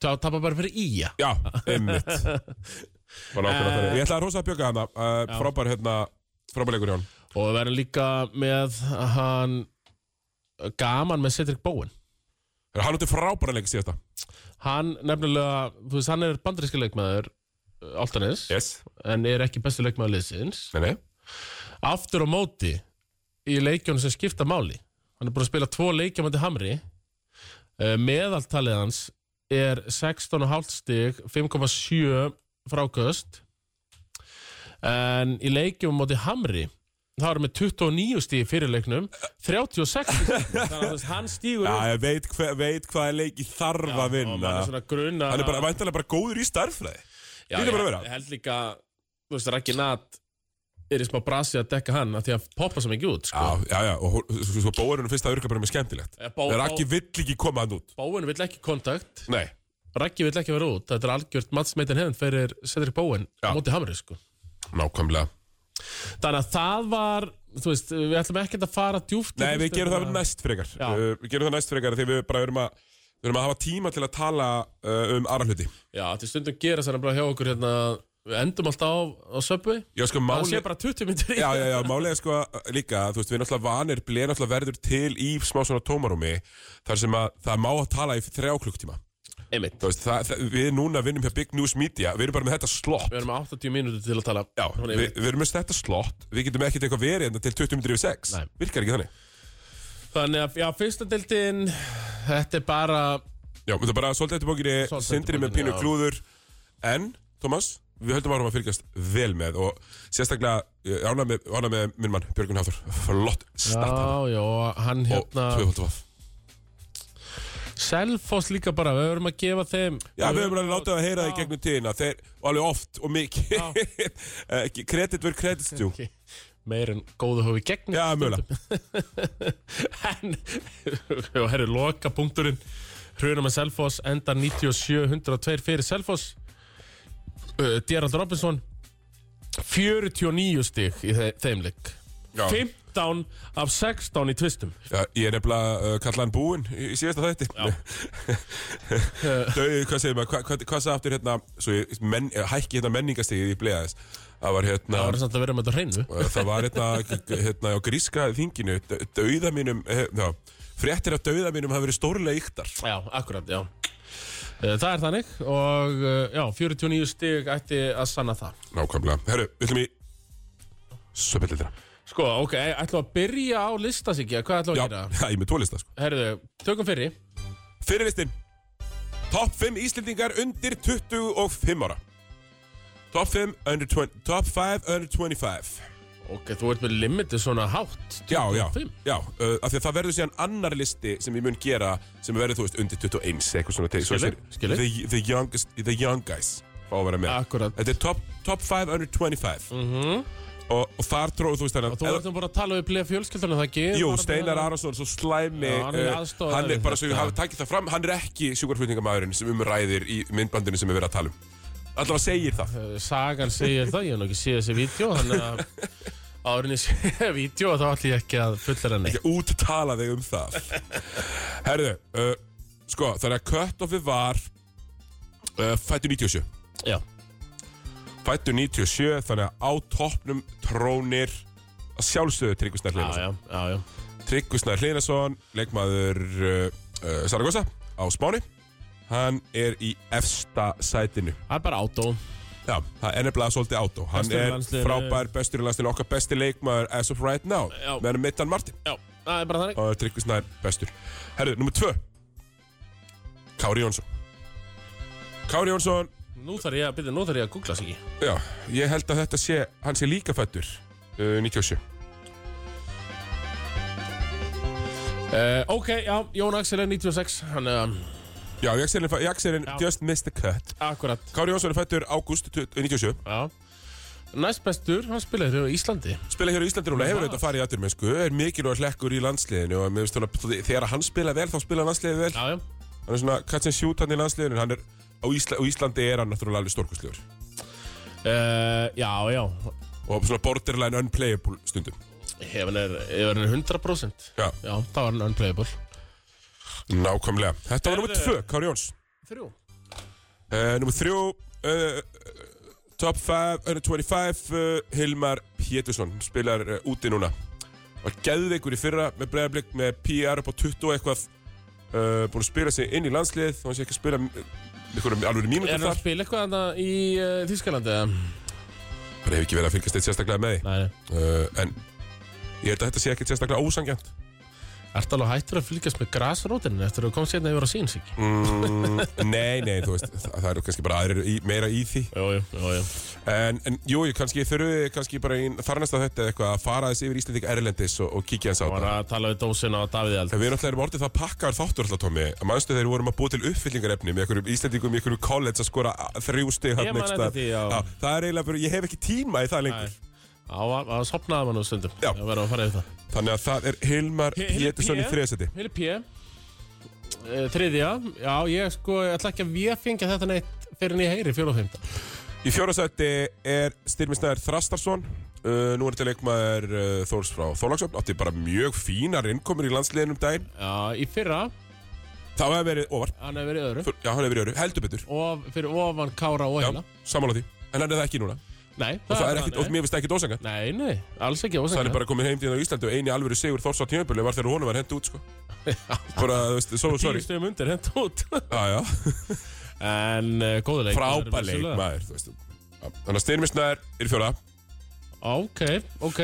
S2: þá tapa bara fyrir íja
S1: Já, einmitt Bara ákveðna þannig Ég ætla að rosa að bjöka hana uh, Frábær hérna Frábær leikur hjá hann
S2: og við verðum líka með hann gaman með Cedric Bowen
S1: Herra, Hann átti frábæra leik síðasta
S2: hann nefnilega, þú veist, hann er bandaríska leikmaður Altanis
S1: Yes
S2: en er ekki bestu leikmaður liðsins
S1: Nei, nei
S2: aftur á móti í leikjónu sem skipta máli hann er búin að spila tvo leikjum til Hamri Eh, meðaltalið hans er 16,5 stig 5,7 frákust en í leikjum móti Hamri þá erum við 29 stig fyrir leiknum 36 stig þannig að þú veist, hann stígur
S1: Já,
S2: upp
S1: ég veit, hve, veit hvaða leiki þarf að
S2: og
S1: vinna
S2: mann er svona gruna
S1: Hann er bara, væntanlega bara góður í starffræði
S2: Já,
S1: Hlýtur
S2: ég,
S1: bara að vera.
S2: ég held líka Þú veist, Raggi Nat er í smá brasi að dekka hann af Því að poppa sem ekki út sko.
S1: Já, já, já, og hó- sko, sko, bóðurinn fyrst að urka bara með skemmtilegt
S2: Já, Bó-
S1: Það er
S2: Bó-
S1: ekki vill ekki koma hann út
S2: Bóin vill ekki kontakt
S1: Nei
S2: Raggi vill ekki vera út Þetta er algjört matsmeitin hefn fyrir Cedric Bóin
S1: Já.
S2: á móti Hamri sko.
S1: Nákvæmlega
S2: Þannig að það var Þú veist, við ætlum ekkert að fara djúft í
S1: Nei, við
S2: fyrstu
S1: gerum það
S2: umræðu.
S1: næst frekar
S2: Já.
S1: uh, Við gerum það næst frekar því við bara erum að Við erum að hafa tíma til að tala uh, um aðra hluti.
S2: Já, til stundum gera sér nefnilega hjá okkur hérna Við endum alltaf á, á söpvi
S1: Já, sko,
S2: Það
S1: máli...
S2: sé bara 20 myndir í
S1: Já, já, já, málega sko líka, þú veist, við erum alltaf vanir, bleið alltaf verður til í smá svona tómarúmi þar sem að það má að tala í þrjá klukktíma.
S2: Einmitt
S1: Þú veist, það, það, við núna vinnum hjá Big News Media, við erum bara með þetta slott.
S2: Við erum með 80 mínútur til að tala
S1: Já,
S2: Hún
S1: við,
S2: er
S1: við erum með þetta slott, við getum ekkert eitthvað verið enda til 20 minnir yfir 6.
S2: Nei.
S1: Virkar ekki þannig.
S2: Þannig að, já, fyrsta deildin Þetta er bara
S1: Já, þetta er bara svolítið eftir bókinni,
S2: Svolítið eftir
S1: sindri með
S2: bókinni,
S1: pínu
S2: já.
S1: klúður, en, Thomas, við höldum árum að fylgjast vel með og sérstaklega ánað með, ánað með minn mann, Björgun Hafþór, flott startar
S2: Já, já, og hann
S1: og
S2: hérna
S1: 2.12.
S2: Selfoss líka bara, við erum að gefa þeim
S1: Já, við höfum alveg látið að heyra það í
S2: Já.
S1: gegnum tíðina, þeir, og alveg oft og mikið,
S2: Já.
S1: Eh, ekki- credit verð credit stjú.
S2: Ok, meir en góðu hófi gegn
S1: Já, mögulega.
S2: en og herri, loka punkturinn hruna með Selfoss, enda 97-102 fyrir Selfoss uh, Gerald Robinson 49 stig í þe þeim leik
S1: Já.
S2: 15 af 16 í tvistum
S1: Já, ég er nefnilega uh, kallað hann búinn í, í síðasta þætti Þau, hvað segir maður, hvað, hvað, hvað sagði aftur hérna Svo ég men, eh, hækki hérna menningastigið í blegaðis Það var hérna
S2: það var samt að vera með þetta á hreinu
S1: eh, Það var hérna, g- g- hérna á gríska þinginu d- Dauða mínum, eh, já Fréttir af dauða mínum hafa verið stórlega yktar
S2: Já, akkurat, já Eh, Það er þannig og eh, já, 49 stig ætti að sanna það
S1: Nákvæmlega, herru, við ætlum í Söpillildina
S2: Sko, ok, ætlum við að byrja á listasíkja, hvað ætlum við
S1: Já,
S2: að gera?
S1: já, ég er með tólista sko
S2: Herðu, tökum fyrir
S1: Fyrirlistin Top 5 Íslendingar undir 25 ára Top 5 under 20 Top 5 under 25
S2: Ok, þú ert með limitið svona hátt
S1: Já, já,
S2: 25.
S1: já, uh, af því að það verður síðan annar listi sem ég mun gera sem verður, þú veist, undir 21 eitthvað svona til svo
S2: Skilur,
S1: þeir-
S2: skilur.
S1: the, the, youngest, the young guys fá að vera með
S2: Akkurat. Mhm.
S1: Þetta er top, top 5 under 25 -hmm. og, og þar tróðu, þú veist,
S2: Og þú
S1: þannig
S2: ert nú bara að tala við bleið fjölskyldunum það ekki
S1: Jú,
S2: Bara-
S1: Steinar Arason, svo slæmi
S2: Já, hann er hérna.
S1: uh,
S2: aðstoðar-
S1: Hann er bara, svo ég
S2: þetta.
S1: hafi takið það fram Hann er ekki sjúkarflutningamæðurinn sem umræðir í myndbandinu sem við verðum að tala um Allavega segir það
S2: Eh, Sagan segir það, ég hef nú ekki séð þessi vídeo Þannig að árin ég sé vídeo þá ætlum ég ekki að fullera neitt
S1: Ekki úttala þig um það Herðu, uh, sko, þannig að cut-offið var uh, Fættu 97
S2: Já,
S1: Fættu 97, þannig að á toppnum trónir að sjálfstöðu Tryggvisnar
S2: já,
S1: Hlinason.
S2: já, já, já.
S1: Tryggvisnar Hlinason, leikmaður uh, uh, Saragossa á Spáni. Hann er í efsta sætinu.
S2: Það er bara átó
S1: Já, það er nefnilega svolítið átó. Hann
S2: Bestur í
S1: er
S2: landsliðinu.
S1: frábær, bestur í landsliðinu, okkar besti leikmaður as of right now.
S2: Já.
S1: Með hann Mittan Martin
S2: Já, það er bara þannig
S1: og Tryggvisnar bestur. Herðu, nummer tvö. Kári Jónsson. Kári Jónsson,
S2: Nú þarf ég að byrja, nú þarf ég að googla sig ekki
S1: já, ég held að þetta sé, hann sé líka fættur uh, 97.
S2: uh, Ok, já, Jón Axel er 96 Hann er um,
S1: Já, Jaxelin, Jaxelin
S2: Já.
S1: just missed the cut
S2: akkurat
S1: Kári Jónsson er fættur ágúst eh, 97
S2: Já Næst bestur, hann spilaði hér á Íslandi
S1: Spila hér á Íslandi núna, hefur
S2: Já.
S1: auðvitað farið í aturmennsku Er mikilvæg hlekkur í landsliðinu og mér finnst svona, Þegar hann spila vel, þá spila landsliðið vel
S2: Já, já
S1: Hann er svona catch and shoot hann í landsliðinu en Hann er, á, Ísla, á Íslandi er hann náttúrulega alveg stórkustlegur
S2: Uh, já, já,
S1: Og svona borderline unplayable stundum
S2: ef hann er, ef hann er 100%
S1: Já,
S2: Já, þá var hann unplayable
S1: nákvæmlega Þetta var nummer 2,
S2: Herðu.
S1: Kári Jóns
S2: Þrjú
S1: uh, Nummer 3 uh, Top 5, uh, 25 uh, Hilmar Pétursson spilar uh, úti núna var geðveikur í fyrra með bregðarblik með PR upp á 20 og eitthvað uh, búin að spila sig inn í landslið þá hann sé ekki að spila uh, einhverjum alveg
S2: Er
S1: mínútur
S2: hann að
S1: þar
S2: spila eitthvað hana í uh, Þískalandi? eða?
S1: bara hef ekki verið að fylgjast eitt sérstaklega með því
S2: Nei, nei
S1: uh, en ég held að þetta sé ekkert sérstaklega ósangjant
S2: Ertu alveg hættur að fylgjast með grasrótinu eftir að þú komst hérna yfir á sín sig?
S1: mm, nei, nei, þú veist það, það eru kannski bara aðrir í, meira í því
S2: Jú, jú, jú, jú.
S1: En, en jú, ég kannski þurfi kannski bara í þarnasta þetta eða eitthvað að fara þessi yfir Íslandík Erlendis og, og kíkja hans á
S2: Það var
S1: þetta.
S2: að tala við dósina á Davíð Eld
S1: En við náttúrulega erum orðið það pakkar þáttur alltaf, Tómi. Að mannstu þegar við vorum að búa til uppfyllingarefni með einhverjum Íslandíkum í einhverjum college að skora a- þrjú stig
S2: Ég man
S1: einhvers
S2: eftir
S1: staðar.
S2: því, já.
S1: Það er eiginlega bara, ég hef ekki tíma í það lengur.
S2: Það var að sopnaði mann á stundum
S1: Já.
S2: Það verðum að fara yfir það
S1: Þannig að það er Hilmar
S2: Hi- Hilmar
S1: Pétursson í
S2: P.
S1: þriðasetti.
S2: Hili P eh, Þriðja Já, ég sko, ég ætla ekki að vefengja þetta neitt fyrir en ég heyri fjóra og fymta
S1: Í fjórasetti er styrmisnæður Þrastarsson. Uh, nú er þetta leikmaður uh, um Þórs frá Þólagsöfn. Átti bara mjög fínar innkomur í landsliðinum daginn.
S2: Já, í fyrra
S1: Það hefði verið ofar
S2: Hann hefur verið öðru
S1: Fyr- Já, hann hefði verið öru, heldur betur
S2: og fyrir ofan Kára og
S1: Já,
S2: Heila
S1: sammála því En hann er það ekki núna Og
S2: Nei,
S1: það er
S2: bara
S1: ekkit,
S2: þannig.
S1: og mér finnst það ekkit ósanga
S2: Nei, nei, alls ekki ósækja
S1: Það er bara komin heim til það á Íslandi og eini alvöru sigur Þórs á tjömbölu var þegar honum var hent út sko Bara, þú veist, so
S2: Tíu
S1: sorry
S2: stöðum undir, hent út
S1: Já, já,
S2: En uh, góður leik
S1: frábæð leik
S2: vissulega.
S1: maður, þú veist Já, Þannig að styrmisnaður er í fjóra
S2: Ok, ok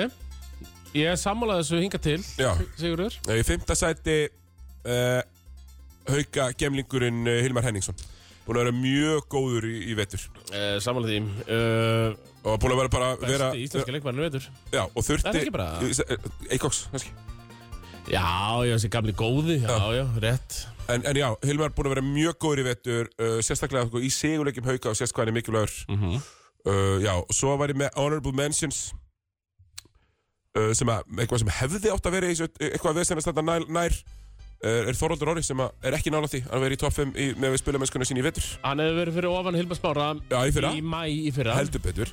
S2: Ég sammála þessu hinga til,
S1: Já,
S2: Sigurður
S1: í fymta sæti uh, Hauka gemlingurinn uh, Hilmar Henningsson Búin að vera mjög góður í, í vetur
S2: uh, Sammála því uh,
S1: Og búin að vera bara
S2: Besti
S1: vera,
S2: íslenski leikmærin veitur
S1: Já, og þurfti
S2: Er það ekki bara-
S1: Eikoks, kannski
S2: Já, já, þessi gamli góði, já, já, rétt
S1: En, en já, Hilmar er búin að vera mjög góður í vettur, uh, sérstaklega sko, í seguleikjum hauka og sérst hvað hann er mikilvægur.
S2: Mhm.
S1: Uh, já, og svo var ég með Honorable Mentions, uh, sem að, eitthvað sem hefði átt að vera í, þessu- uh, eitthvað við sem að standa nær, nær uh, er Þorvaldur Orri sem að er ekki nála því, hann verið í topp 5 í, með við spilamennskuna sín í vettur.
S2: Hann hefur verið fyrir ofan Hilma Smára
S1: Já, í fyrra,
S2: Í mæ í fyrra
S1: heldur betur.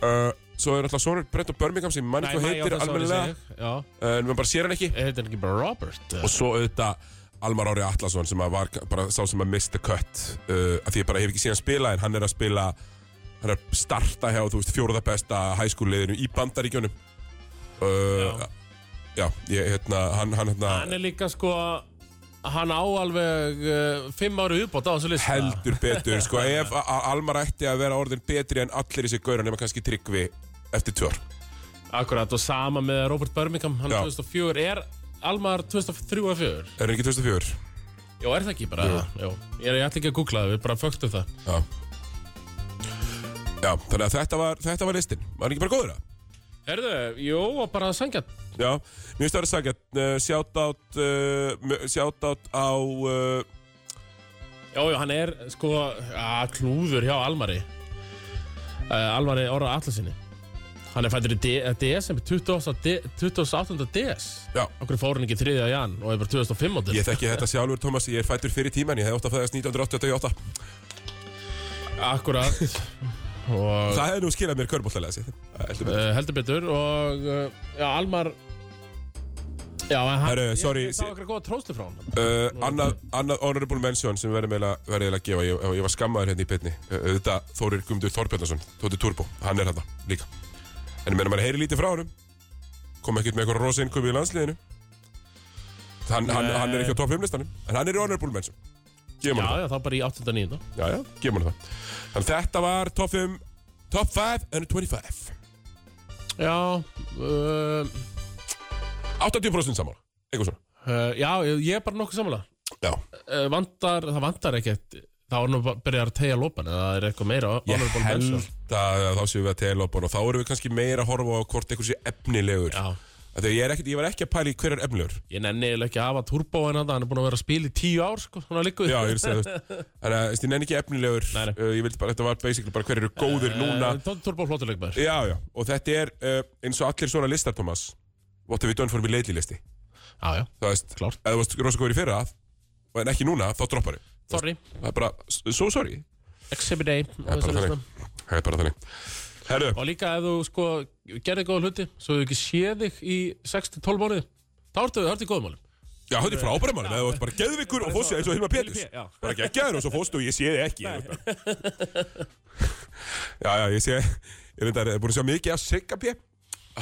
S1: Uh, svo er alltaf Sónur Brett og Birmingham sem mann
S2: Nei,
S1: eitthvað
S2: maí á
S1: heitir
S2: þessu ári,
S1: almennilega,
S2: segi ég. Já,
S1: uh, en maður bara sér hann ekki.
S2: heitir hann ekki bara Robert
S1: og svo auðvitað Almar Ári Atlasson sem að var bara sá sem að mista kött uh, að því ég bara hef ekki síðan spila en hann er að spila hann er að starta hjá þú veist fjóruða besta hæskúliðinu í bandaríkjónum uh, já. ég hérna hann, hann
S2: Hann
S1: hérna
S2: er líka sko Hann á alveg uh, Fimm ári uppbót á þessu lista
S1: heldur betur sko ef a- a- Almar ætti að vera orðin betri en allir þessi gaurar nema kannski tryggvi eftir tvör
S2: Akkurat og sama með Robert Birmingham Hann
S1: Já.
S2: er 2004 Er Almar 2003 og 2004
S1: er hann ekki 2004
S2: Jó, er það ekki bara Jó, ég, ég ætla ekki að googla það Við bara fögtum það
S1: já já þannig að þetta var þetta var listin var hann ekki bara góður að
S2: Herðu, jú, og bara sangja
S1: Já, mér finnst það að vera sækja uh, Shoutout uh, Shoutout á uh,
S2: Jó, jú, hann er sko að, Klúður hjá Almari uh, Almari orða allasinni Hann er fættur í D- eh, desember 28. de- 28. DS
S1: Já,
S2: Okkur fór hann ekki 3. jan og er bara 2005 áttur
S1: ég þekki þetta sjálfur Thomas, ég er fættur fyrir tíman Ég hefði ótt að fæðast 1988
S2: Akkurat og
S1: Það hefði nú skilað mér körbóltalega sér Heldur mig
S2: uh, heldur betur og uh, já, Almar Já, en hann
S1: Herru, sorry,
S2: Ég, ég sá okkur góða tróðslu frá hann
S1: Uh, annað, annað honorable mention sem verðum eiginlega verðum eiginlega að gefa, ég, ég var skammaður hérna í byrni uh, Þetta Þórir Gumdur Þorbjörnarsson Tóti Turbo, hann er hérna líka En meðan maður heyri lítið frá honum kom ekkert með eitthvað rosa innköpi í landsliðinu hann, hann,
S2: Nei.
S1: hann er ekki á top 5 listanum en hann er í honorable mention Gefum
S2: Já,
S1: hann
S2: já, þá bara í 89
S1: Já, já, gefum hann það Þannig þetta var top 5 Top 5 and 25
S2: Já uh,
S1: 80% sammála, eitthvað svona
S2: uh, Já, ég ég er bara nokkuð sammála
S1: Já,
S2: uh, Vandar, það vandar ekkert Þá er nú bara byrjar að tegja lópan eða það er eitthvað meira
S1: ég
S2: honorable mention.
S1: held að þá séum við að tela upp og þá erum við kannski meira að horfa á hvort einhver sé efnilegur
S2: Já,
S1: Af því að ég, er ekkert, ég var ekki að pæla í hver er efnilegur
S2: ég nenni eiginlega ekki að hafa turbóin að hann er búin að vera að spila í tíu ár sko, svona líku
S1: Já, ég veist það, þú veist Þannig að þú veist, ég nenni ekki efnilegur
S2: Nei, nei.
S1: Uh, Ég vildi bara, þetta var basically bara hver eru góðir
S2: Eh,
S1: núna
S2: Tótt turbó flottuleik maður
S1: Já, já, og þetta er uh, eins og allir svona listar, Thomas What have we done for me lately listi
S2: Já, já,
S1: Það veist,
S2: Klárt.
S1: ef þú varst rosa góður í fyrra En ekki núna, þá droppar þau
S2: sorry,
S1: Það er bara, so sorry
S2: exhibit A
S1: Það er bara þannig. Það er bara þannig. Herru,
S2: Og líka ef þú sko gerði góða hluti Svo þú ekki séð þig í 6-12 mánuði Þá ertu, ertu í góðum málum
S1: já, þetta er frábæra mannum. Það var bara geðvikur og fóstu eins og Hilma Péturs.
S2: Hilmar P, já.
S1: Bara geggjaður og svo fóstu og ég sé þið ekki. Þú veist bara. Já, já, ég sé, ég reyndar, er búin að sjá mikið af Sigga P.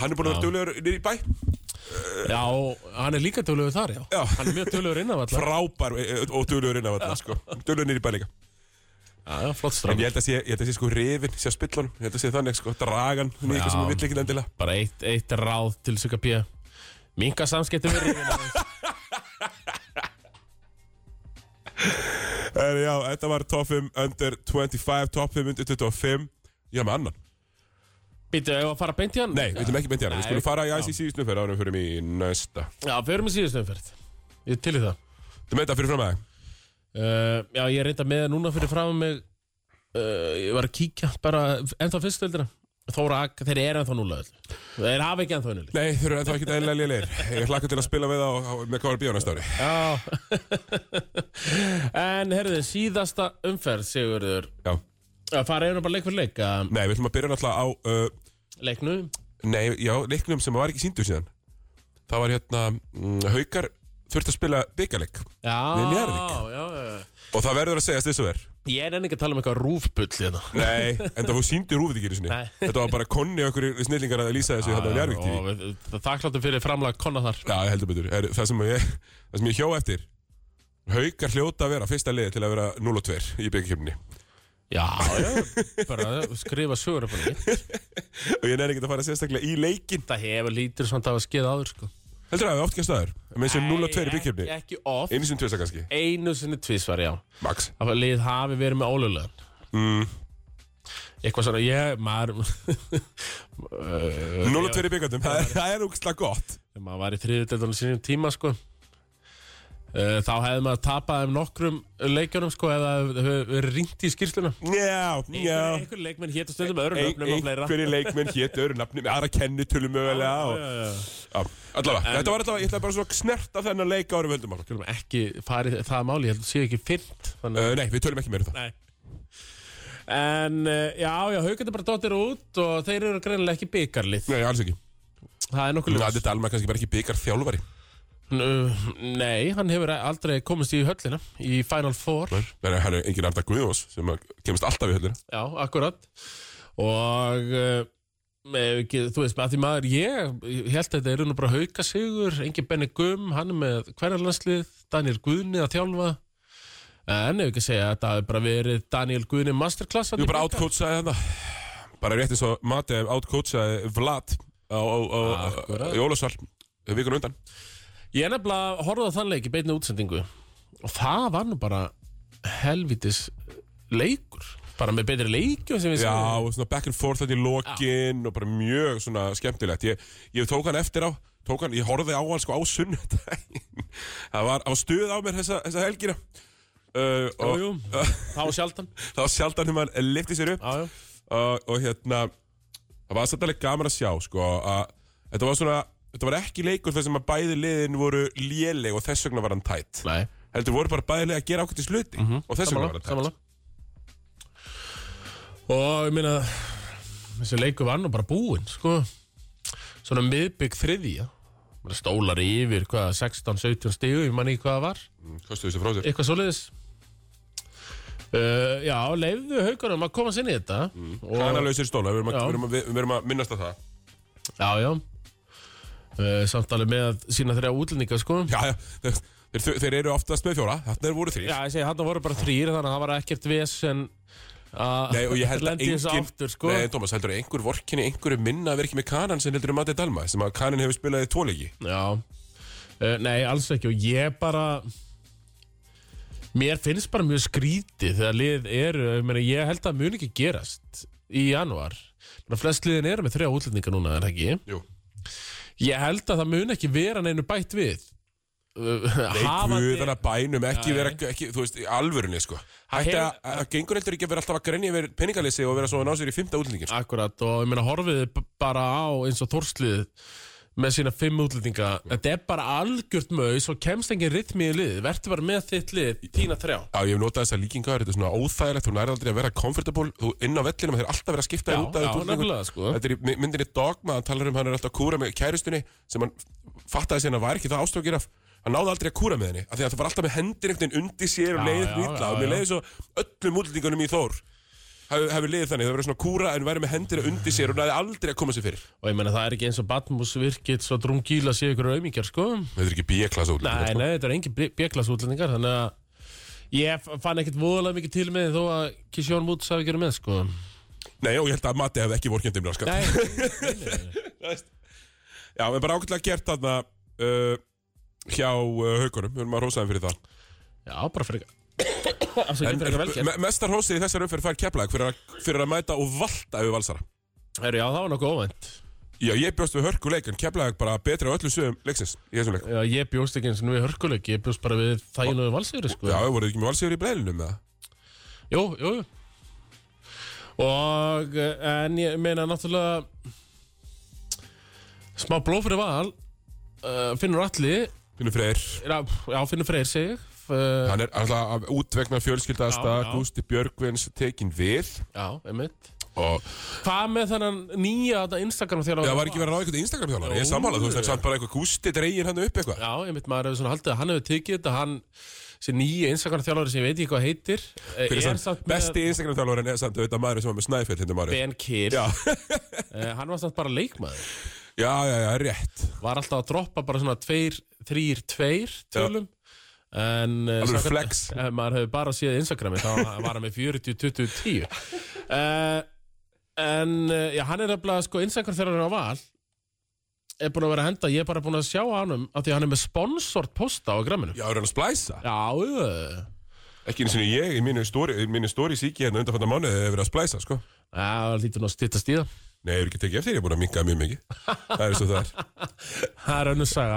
S1: Hann er búin að vera duglegur niður í bæ.
S2: Já, og hann er líka tölugur þar, já,
S1: Já.
S2: Hann er mjög tölugur innan allar
S1: Frábær e, e, og duglegur inn af þetta, sko. Duglegur niður í bæ líka.
S2: Já, já, flott
S1: En
S2: strafn
S1: ég held að sé, ég held að sé sko rifin, sé að spillunum, ég held að sé þannig, sko, dragan, hún er eitthvað sem
S2: Já.
S1: ég vill ekki endilega.
S2: Bara eitt, eitt ráð til Suka P Minka samskipti við rífina
S1: En já, þetta var top 5 under 25, top 5 under 25. Já, með annan.
S2: Býtu, ef að fara beint í hann?
S1: Nei, við viljum ekki beint í hana. Við
S2: Nei.
S1: skulum fara í ICC snuffer árum fyrir mig í næsta.
S2: Já, förum í síðustu umferð Ég til í það
S1: Þú með það fyrir fram að
S2: uh, Já, ég er reynda með það núna fyrir fram mig uh, Ég var að kíkja bara ennþá fyrstöldina Þóra Ak, þeir eru ennþá núla öll Þeir hafa ekki ennþá unnuleg
S1: Nei, þú eru ennþá ekkert eðlilega lélegir. Ég hlakka til að spila við það og- og með kára bíó næsta ári.
S2: Já En herðu, síðasta umferð Sigurður
S1: Já.
S2: að fara einu bara leik fyrir leik að
S1: Nei, við ætlum að byrja náttúrulega á, uh,
S2: leiknu
S1: nei, já, leiknum sem var ekki síndu síðan. Það var hérna mm, Haukar þurft að spila byggaleg og
S2: Já,
S1: Við Njarðvík.
S2: já, já, já.
S1: það verður að segja þess að er
S2: Ég er enn ekki að tala um eitthvað rúfbull hérna.
S1: Nei, en það fór síndu rúfið ekki einu sinni.
S2: Nei. Ah,
S1: Þetta var bara konni okkur snillingar að lýsa þessu hérna á Njárvík TV
S2: Þakkláttu fyrir framlag konna þar
S1: Já, ég heldur betur, er, það, sem ég, það sem ég hjó eftir Haukar hljóta að vera fyrsta liði til að vera 0 og 2 í byggakefni
S2: Já, já, bara skrifa sögur upp á nýtt.
S1: og ég nefnir ekki að fara sérstaklega í leikin
S2: Það hefur lítur svona að skeið áður sko
S1: Heldur það að við oft gæst aður með þessu 0 og 2 í byggakefni
S2: Ekki ekki oft,
S1: Einu sinni tvisa kannski,
S2: einu sinni tvísvar, já
S1: max
S2: Að lið hafi verið með ólöglegan Eitthvað svona, ég, maður
S1: 0 og 2 í byggakefni, það, er- það er úkslega gott
S2: Þegar maður var í þriðutöldunum sínum tíma sko Eh, Þá hefði maður tapað um nokkrum leikjunum sko eða hefði verið ringt í skýrsluna
S1: Já, já
S2: Einhver leikmenn hétu stundum öðrum
S1: Ein-
S2: öfnum og fleira
S1: Einhverjir leikmenn hétt öðru nafni með aðra kennitölu mögulega og,
S2: Já, já, já.
S1: já, Allavega, þetta var allavega, ég ætla bara svona að snerta þennan leik árum höldum áfram
S2: Skulum ekki farið það máli, ég held að sé ekki fyrnt þannig
S1: Uh, nei, við tölum ekki meira um það.
S2: Nei En eh, já, já, haugandi bara dottir út og þeir eru greinilega ekki byggarlið
S1: Nei, alls ekki.
S2: Það er nokkuð
S1: Næ,
S2: ljós
S1: þetta er Dalma kannski bara ekki byggar þjálfari.
S2: Nei, hann hefur aldrei komist í höllina í Final Four
S1: Nei, nei, hann er engin Arda Guðjóns sem að kemst alltaf í höllina.
S2: Já, akkurat Og uh, ekki, þú veist, að því maður ég, ég held að þetta eru nú bara hauka sigur Engin Benny Gum, hann er með hverjarlandslið Daniel Guðni að þjálfa En ef ekki að segja að þetta hafi bara verið Daniel Guðni masterclass
S1: Þú bara átkótsaði þetta. Bara rétt eins og Mati átkótsaði Vlad á, á, á,
S2: Akkurat.
S1: í Ólafsvall vikun undan.
S2: Ég er nefnilega horfði á þann leik í beinni útsendingu og það var nú bara helvitis leikur bara með betri leikjum sem við
S1: Já,
S2: sáum.
S1: og svona back and forth þetta í lokin og bara mjög svona skemmtilegt. Ég, ég tók hann eftir á, tók hann, ég horfði á hann sko á sunnudaginn. það var, það var stuð á mér þessa, þessa helgina. Uh,
S2: Jú,
S1: og
S2: jú, þá sjaldan
S1: það var sjaldan þegar maður lifti sér upp.
S2: Já, já,
S1: og, og hérna það var svolítið gaman að sjá sko, að þetta var svona þetta var ekki leikur þar sem að bæði liðin voru léleg og þess vegna var hann tætt
S2: nei Mhm.
S1: heldur voru bara bæði liðin að gera ákvæmt í sluti og þess vegna var
S2: Samanlega,
S1: hann tætt
S2: samanlega Og ég meina þessi leikur var nú bara búinn sko svona miðbygg þriðja Bara stólar yfir, hvað, 16-17 stíu ég manni hvað það var
S1: Mm, kostuðu þessu frá sér
S2: eitthvað svoleiðis uh, Já, leiðu haugunum að komast inn í þetta
S1: Mm.
S2: og,
S1: Kanalausir stóla, við erum, að,
S2: Já.
S1: við, erum að, við, við erum að minnast að það
S2: Já, já uh, Samt alveg með að sína þeirra útlendinga sko
S1: Já, já, þeir, þeir, þeir eru oftast með fjóra, þarna voru þrýr
S2: Já, ég segi, hann voru bara þrýr þannig að það var ekkert vesen að
S1: Nei, og ég held að
S2: lendi í þessu
S1: engin
S2: aftur, sko.
S1: Nei, Thomas, heldur að einhver vorkinni, einhverju minna að vera ekki með Kanan sem heldur um Mati Dalma sem að Kanan hefur spilað í tvoleiki
S2: Já uh, Nei, alls ekki og ég bara Mér finnst bara mjög skrítið þegar lið eru, ég, meina, ég held að það muni ekki gerast í janúar Meina, Flest liðin eru með þrjá útlendinga núna, er það ekki?
S1: Jú,
S2: Ég held að það mun ekki vera neinu bætt við Eh,
S1: Nei, guðana bænum, ekki
S2: Nei.
S1: vera, ekki, þú veist, í alvörunni, sko.
S2: Hann
S1: Hætti að,
S2: hefur-
S1: að gengur heldur ekki að vera alltaf að grenja yfir peningaleysi og vera svo að ná sér í fymta útlendingin, sko.
S2: Akkurat og ég meina horfið þið b- bara á eins og þorslið með sína fimm útlendinga Þetta er bara algjört mög og kemst engin rytmi í lið Vertu bara með þitt lið, tína þrjá
S1: Já, ég hef notað þessa líkingar, þetta er svona óþægilegt, þú nærið aldrei að vera comfortable, þú inn á vellinum, þeir er alltaf verið að skipta
S2: Já,
S1: þér út af
S2: já, nefnilega, sko.
S1: Þetta er í my- myndinni dogma, hann talar um hann er alltaf að kúra með kærustunni, sem hann fattaði síðan að var ekki það ástókir af, hann náði aldrei að kúra með henni, af því að það var alltaf með hendir einhvern veginn undir sér og
S2: Já,
S1: leiðið
S2: já,
S1: hlutla,
S2: já,
S1: og mér
S2: já.
S1: leiðið svo öllum útlendingunum í Þór hefur hef leiðið þannig, það verið svona kúra en væri með hendir undir sér og næði aldrei að koma sér fyrir.
S2: Og ég meina það er ekki eins og Batmus virkið svo drungíla séu ykkur aumingjar sko
S1: Þetta er ekki bíaklasa
S2: Nei, sko. nei, þetta er engin bjöklas útlendingar Þannig að ég f- fann ekkit voðalega mikið til með þó að Kisjón Múts hafi gerði með sko
S1: Nei, og ég held að Matti hefði ekki vorkjöndið mér skat.
S2: Nei,
S1: Já, en bara ákveðlega gert þarna uh, hjá uh, haukunum, við erum að rósa þeim fyrir það.
S2: já, bara fyrir Afsakið fyrir eitthvað velgerð
S1: me mestar rósið í þessar umferð fær keflaðið fyrir, að- fyrir að mæta og valta yfir valsara.
S2: Herru, já, það var nokkuð óvænt
S1: Já, ég bjóst við hörkuleik, en keflaðið bara betri á öllu sögum leiksins í þessum leik.
S2: Já, ég bjóst ekki eins og nú í hörkuleik Ég bjóst bara við þæginu valsýri sko
S1: Já, við voruð ekki með valsíður í breilunum með það.
S2: Jú, jú, jú Og, eh, en ég meina náttúrulega Smá blóð fyrir val uh, Finnur allir
S1: Finnur Freyr,
S2: Já, já, Finnur Freyr sig uh,
S1: hann er alltaf af útvegna
S2: Já,
S1: fjölskyldaðasta,
S2: já.
S1: Gústi Björgvins tekin við
S2: Já, einmitt
S1: og og
S2: Hvað með þennan nýja þetta Instagram þjálfara?
S1: það var ekki verið að ráða eitthvað Instagram þjálfari, ég er sammálað, þú veist, en samt bara eitthvað gústi dregin hann upp eitthvað.
S2: Já, einmitt maður hefur svona haldið að hann hefur tekið þetta hann, þessi nýja Instagram þjálfari sem ég veit ekki hvað heitir eh,
S1: Hver er
S2: er
S1: samt
S2: samt með
S1: besti Instagram þjálfarin er samt auðvitað maður sem var með snæfell hérna maður.
S2: Ben Kir
S1: Já.
S2: Eh, Hann var samt bara leikmaður
S1: Já, já, já, rétt.
S2: var alltaf að droppa bara svona tveir, þrýr, tveir tölum en eh,
S1: Alveg
S2: samkvæmt-
S1: flex.
S2: ef maður hefur bara séð Instagrami þá var hann með 40, 20, 10 uh, en eh, já, hann er nefnilega sko Instagram þegar hann er á val er búin að vera að henda, ég er bara búin að sjá á honum af því að hann er með sponsort posta á græminu já,
S1: Já, er hann að splæsa?
S2: já,
S1: Ekki eins og ég í mínu stóri, mínu stóri síki hérna undanfænda mánuði hefur verið að splæsa, sko.
S2: já lítur nú að styttast í það
S1: Nei, ég hefur ekki tekið eftir, ég er búin að minka mjög mikið. Það er svo það er.
S2: það er önnur saga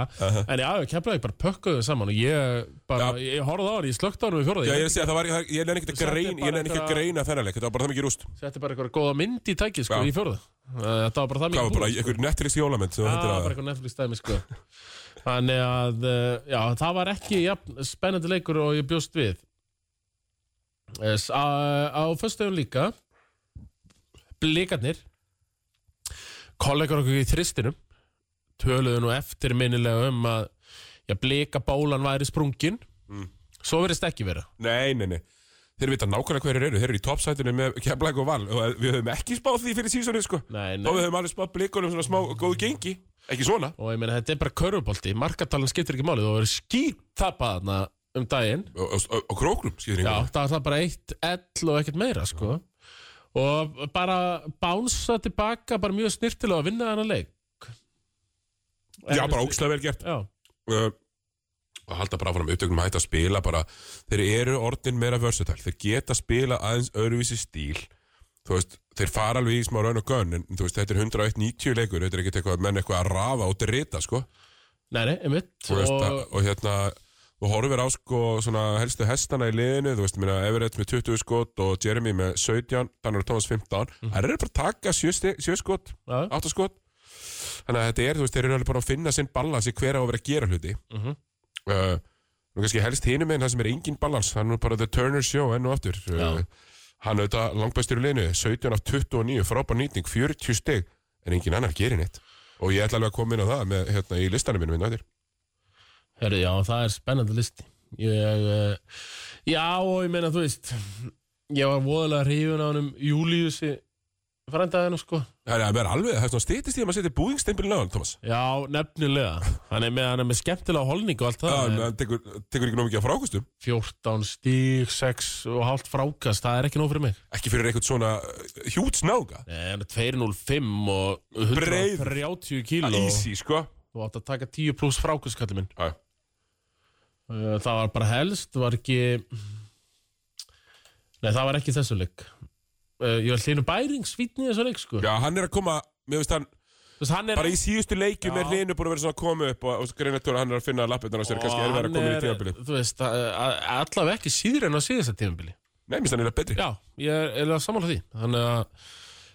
S2: en já, kemlaði bara pökkuðu saman og ég bara, ég horfði á hann, ég slökti á hann við fjóraði,
S1: Já, ég er
S2: ég
S1: að segja, það var, ég, ég nefn ekki að
S2: Þetta er
S1: greina, ég
S2: bara
S1: nefn ekki að
S2: eitthvað-
S1: greina þennan leik, þetta var bara það mikið rúst.
S2: setti bara eitthvað góða mynd í tækið
S1: Já.
S2: sko, í fjóraði þetta var bara
S1: Það
S2: það
S1: var
S2: mikið
S1: bara einhver Netflix jólamynd sem þú
S2: sko. Já,
S1: hendur
S2: bara
S1: að...
S2: eitthvað Netflix dæmi sko Þannig að, eh, já, það var ekki jafn, spennandi leikur og ég bjóst við yes, Á, á föstuðum líka Blikarnir Kollegar okkur í þristinum Töluðu nú eftir minnilega um að Já, blika bólan væri sprungin
S1: Mm.
S2: Svo verðist ekki vera
S1: Nei, nei, nei. Þeir vita nákvæmlega hverjir eru, þeir eru í topsætunum með Keflæk og Val og við höfum ekki spáð því fyrir sísonið, sko.
S2: Nei,
S1: Þá við
S2: nei
S1: höfum alveg spáð blikunum svona smá góðu gengi, ekki svona.
S2: Og ég meina, þetta er bara körfubolti Markatalinn skiptir ekki máli Þú verður skítapað þarna um daginn
S1: Og, og, og, og króknum, skýður
S2: Já,
S1: yngur.
S2: það var það bara eitt ell og ekkert meira sko. og bara bánsa tilbaka bara mjög snirtilega að vinna þennan leik
S1: Já, bara ógstlega vel gert.
S2: Já,
S1: Uh, og halda bara áfram upptökum að hætta að spila bara, þeir eru orðin meira versatile, þeir geta spila aðeins öðruvísi stíl þú veist, þeir fara alveg í smá raun og gönn en þú veist, þetta er 101-90 leikur þetta er ekkert eitthvað, menn eitthvað að rafa og drita sko,
S2: nei, nei, einmitt
S1: þú veist, og,
S2: og,
S1: og hérna þú horfir á sko svona helstu hestana í liðinu, þú veist, minna Everett með 20 skot og Jeremy með 17 Daniel Thomas 15, mm. það er bara að taka 7, 7 skot,
S2: Já.
S1: 8 skot þannig að þetta er, þú veist, þeir eru alveg bara að finna sinn balans í hver á að vera að gera hluti
S2: Mhm.
S1: uh, nú kannski helst hinum meginn það sem er engin balans, hann er nú bara The Turner Show enn og aftur uh, hann er auðvitað langbæstur í liðinu, 17 af 29 frábær nýting, 40 stig en engin annar gerir neitt og ég ætla alveg að koma inn á það með, hérna, í listanum mínum hérna,
S2: Heru, Já, það er spennandi listi ég, eh, Já, og ég meina, þú veist ég var voðalega hrifun á honum Júliusi frændaðinu sko
S1: Það er að vera alveg, það er svona stýttist í að maður setja búðingstempilin á hann, Thomas.
S2: Já, nefnilega Hann er með, hann er með skemmtilega holning og allt
S1: Já,
S2: það
S1: en
S2: en
S1: hann tekur, tekur ekki nóg mikið á frákustum.
S2: 14 stíg, 6 og hálft frákast það er ekki nóg fyrir mig
S1: Ekki fyrir eitthvað svona uh, hjút snáka.
S2: Nei, hann er 205 og 130 kíl og
S1: Easy, sko.
S2: þú átt að taka 10 pluss frákuskalli minn.
S1: Já,
S2: Uh, Það var bara helst, var ekki... Nei, það var ekki þessu leik. Uh, Ég var hlýnum bæringsvítni þessu leik, sko.
S1: Já, hann er að koma, mér finnst hann,
S2: Þess, hann er,
S1: bara í síðustu leikjum
S2: Já.
S1: er hlinu búin að vera svona að koma upp og, og greina tóra hann er að finna lappirnar á sér, kannski er verið að koma í tímabili.
S2: Þú veist, að- að- allavega ekki síður en á síðasta tímabili.
S1: Nei, mér finnst hann er betri.
S2: Já, ég er eiginlega sammála því. Þannig að,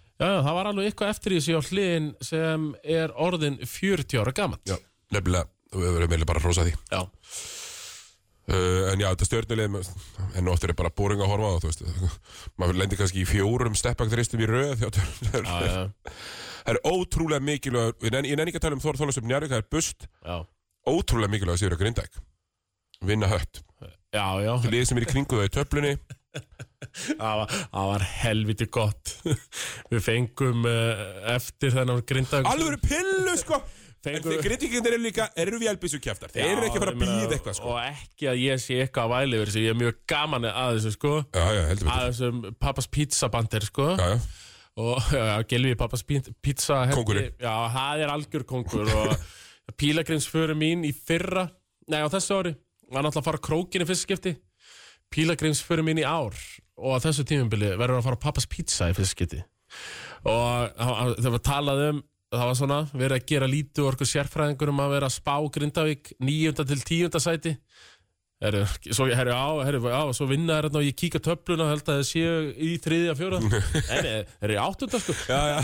S2: já, já, það var alveg eitthvað eftir í þessu á hlýn sem er orðin 40 ára gamalt.
S1: Já, nefnilega, þú hefur meðlega bara að hrósa því.
S2: Já.
S1: Uh, en já, þetta stjórnulegum, en oftur er bara boring að horfa á það, þú veist. Maður lendir kannski í fjórum steppakþristum í röð hjá Turner.
S2: Já, já,
S1: Það er ótrúlega mikilvæg, ég nenni ég nenni ekki að tala um Þór Þólasöfn Njárvík, það er bust,
S2: já.
S1: ótrúlega mikilvæg að sigur að grindæk. Vinna hött.
S2: Já, já,
S1: Lið sem er í kringu það í töflunni,
S2: það var, það var helviti gott Við fengum uh, eftir þennan grindag
S1: alveg pillu sko. En
S2: Fengu-
S1: þeir grindvíkindir eru líka, eru við elbísu kjæftar, þeir eru ekki að fara að býða eitthvað sko.
S2: Og ekki að ég sé eitthvað að væli yfir þessu Ég er mjög gaman að þessu sko
S1: Já, já, heldur
S2: Að
S1: betur.
S2: þessum pappas pizzabandir sko
S1: Já, já.
S2: Og já, já, gelfi pappas pi- pizza helgi.
S1: Kóngurinn.
S2: Já, það er algjör kongur Og pílagrimsföru mín í fyrra Nei, á þessu ári Var náttúrulega að fara á krókinn í fyrsta skipti pílagrimsföru mín í ár og á þessu tímumbili verður að fara á pappas pizza í fyrst skipti og þegar við talaðum um, það var svona verið að gera lítið úr okkur sérfræðingur um að vera að spá Grindavík 9. til 10. sæti herru, svo, herru, á, herru, á, svo vinna er hérna og ég kíka töfluna held að það séu í þriðja, fjóra en er í áttunda sko
S1: Já, já,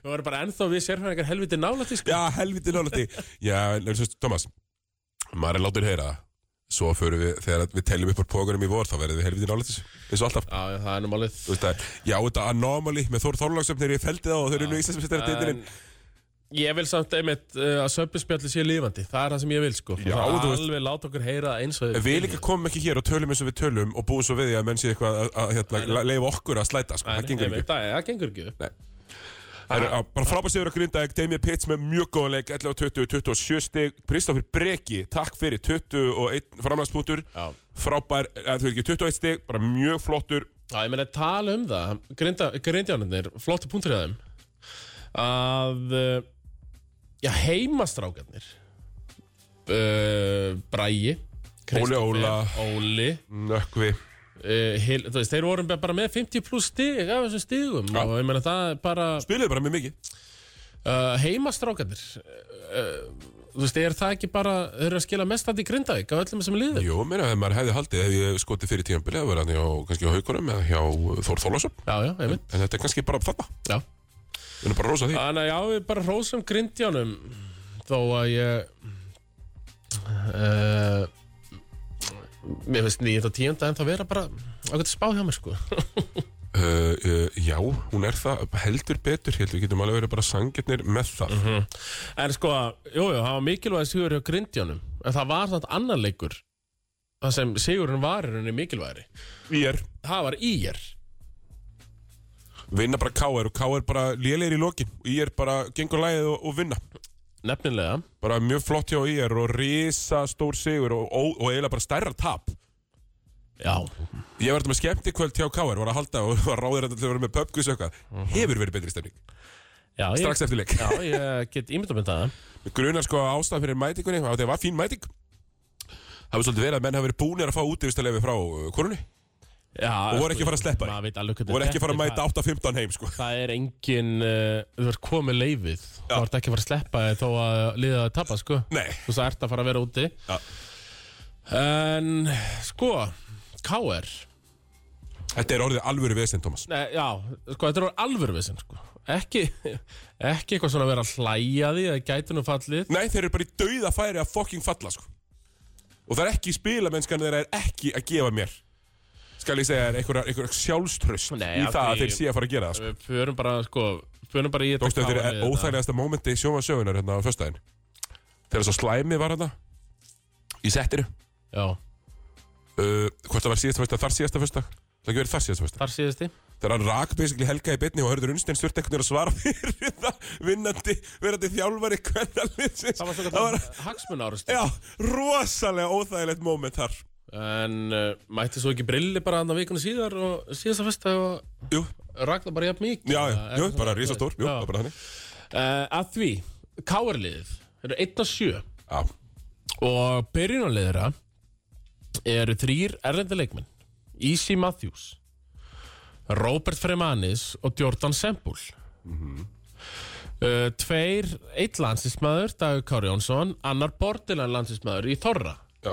S2: við varum bara ennþá við sérfræðingar helviti nálætti sko
S1: já, helviti nálætti. Já, en þú veist, Thomas, maður er látið að heyra það. Svo förum við, þegar við teljum upp á pókarum í vor Þá verðum við helviti nálægt þessu Eins og alltaf
S2: Já, já, það er nú málið
S1: Þú veist það er, já þetta anomaly Með Þór Þorláksöfn er ég feldið á Og þau eru nú íslensmestari
S2: En
S1: deildinni
S2: Ég vil samt einmitt uh, að söpinspjalli sé lífandi Það er það sem ég vil sko
S1: Já,
S2: Það
S1: þú
S2: er
S1: veist-
S2: alveg láta okkur heyra eins og
S1: En við líka komum ekki hér og tölum eins og við tölum Og búum svo við því að menn sé eitthvað að, að hérna, leifa okkur að slæta sko. Það gengur ekki
S2: einmitt, Það það gengur ekki upp.
S1: Nei. Það eru á- bara frábært sigur að grinda Damien Pitts með mjög góðan leik 11 20, 27 stig Kristoffer Breki, takk fyrir 21 framlagspunktur
S2: Já.
S1: Frábær, eða þú veit ekki, 21 stig Bara mjög flottur
S2: Já, ég meina, tala um það Grinda- Grindjánarnir, flottu punktur í þeim Að uh, Já, heimastrákarnir uh, Bræi Kristófer,
S1: Óla.
S2: Óli
S1: Nökkvi
S2: uh, hil, þú veist, Þeir voru bara með 50 pluss stig af þessum stigum
S1: Já.
S2: og ég meina það er bara
S1: Spiluðu bara mjög mikið
S2: uh, heimastrákarnir uh, þú veist, er það ekki bara þeir eru að skila mest að í Grindavík á öllum þessum liðum
S1: Jú, meina, ef maður hefði haldið Ef ég skotið fyrir tíðanbili Það verði hann hjá, kannski á haukunum Eða hjá uh, Þór Þólasum
S2: Já, já, einmitt
S1: En þetta er kannski bara þarna
S2: Já.
S1: Við erum bara að rosa því
S2: Þannig að já, við bara hrósum grindjánum þó að ég uh, mér finnst nýjönd og tíunda en það vera bara ákveðt spá hjá mér sko
S1: uh, uh, Já, hún er það Heldur betur, heldur Við getum alveg verið bara sangirnir með það
S2: en sko, jújú, jú, það var mikilvæg sigur hjá grindjánum en það var þannig annar leikur það sem sigurinn var í rauninni mikilvægri
S1: Við er
S2: það var ír
S1: vinna bara K.R. og K.R. bara lélegir í lokin Ég er bara gengur lægið og, og vinna
S2: nefnilega
S1: bara mjög flott hjá IR og risa stór sigur og, og, og eiginlega bara stærra tap
S2: já,
S1: Ég var þetta með skemmtikvöld hjá KR, var að halda og var ráðir að vera með pubquiz og eitthvað
S2: Mhm.
S1: Hefur verið betri stemning,
S2: já, ég,
S1: strax eftir leik
S2: já, ég get ímynda með það
S1: Mér grunar sko að ástæðan fyrir mætingunni, af því að það var fín mæting Það var svolítið verið að menn hafa verið búnir að fá útivistarlefi frá uh, konunni
S2: já,
S1: Og voru ekki að fara að sleppa því.
S2: því
S1: og voru ekki að fara að mæta 8-15 heim sko
S2: Það er engin, uh, þú ert komið leifið Þú ert ekki að fara að sleppa þið þó að liða að tapa sko
S1: Nei,
S2: Þú svo ert að fara að vera úti
S1: Já.
S2: En sko, KR
S1: þetta er orðið alvöru vesend, Thomas
S2: Nei, já, sko, þetta er alvöru vissin sko Ekki, ekki eitthvað svona að vera að hlæja því að gæti nú fallið
S1: Nei, þeir eru bara í dauða færi að fucking falla sko. Og það er ekki spilamennskan þeirra er ekki að gefa mér Skal ég segja þér einhverja einhver sjálfströst
S2: Nei,
S1: Í
S2: af
S1: það að
S2: því-
S1: þeir sé að fara að gera það sko.
S2: Við förum bara, sko, förum bara í þetta hérna.
S1: Dókstu
S2: KR
S1: þeir
S2: lið
S1: er
S2: þetta.
S1: óþægilegasta mómenti í sjómasögunar hérna á föstudaginn Þegar svo slæmi var hérna Í settinu
S2: Já,
S1: uh, Hvort það var síðasta föstudag, þar síðasta föstudag Það ekki verið þar síðasta föstudag
S2: þar síðusti
S1: Þegar hann rak basically helga í beinni og hörður unnstein stjórn einhvern veginn að svara fyrir það Vinnandi, verandi þjálfari kvennalinsins
S2: Það var svo
S1: Það var,
S2: gæti hagsmun árust
S1: já, rosalega óþægilegt móment þar
S2: En uh, mætti svo ekki brilli bara andan vikuna síðar og síðasta fyrsta og
S1: Jú,
S2: ragnar bara jafn mikið
S1: Já, já,
S2: Eða eitthvað
S1: jú,
S2: svona.
S1: bara risastór, jú,
S2: Já.
S1: það er bara þannig
S2: Eh, Að því, KR-liðið eru 1 og 7
S1: Já,
S2: og byrjunarliðra eru þrýr erlendi leikmenn Easy Matthews Robert Fremanis og Jordan Sembúl mm
S1: Mhm.
S2: Tveir, eitt landsismæður Dagur Kári Jónsson, annar bordilan landsismæður í Þorra
S1: já,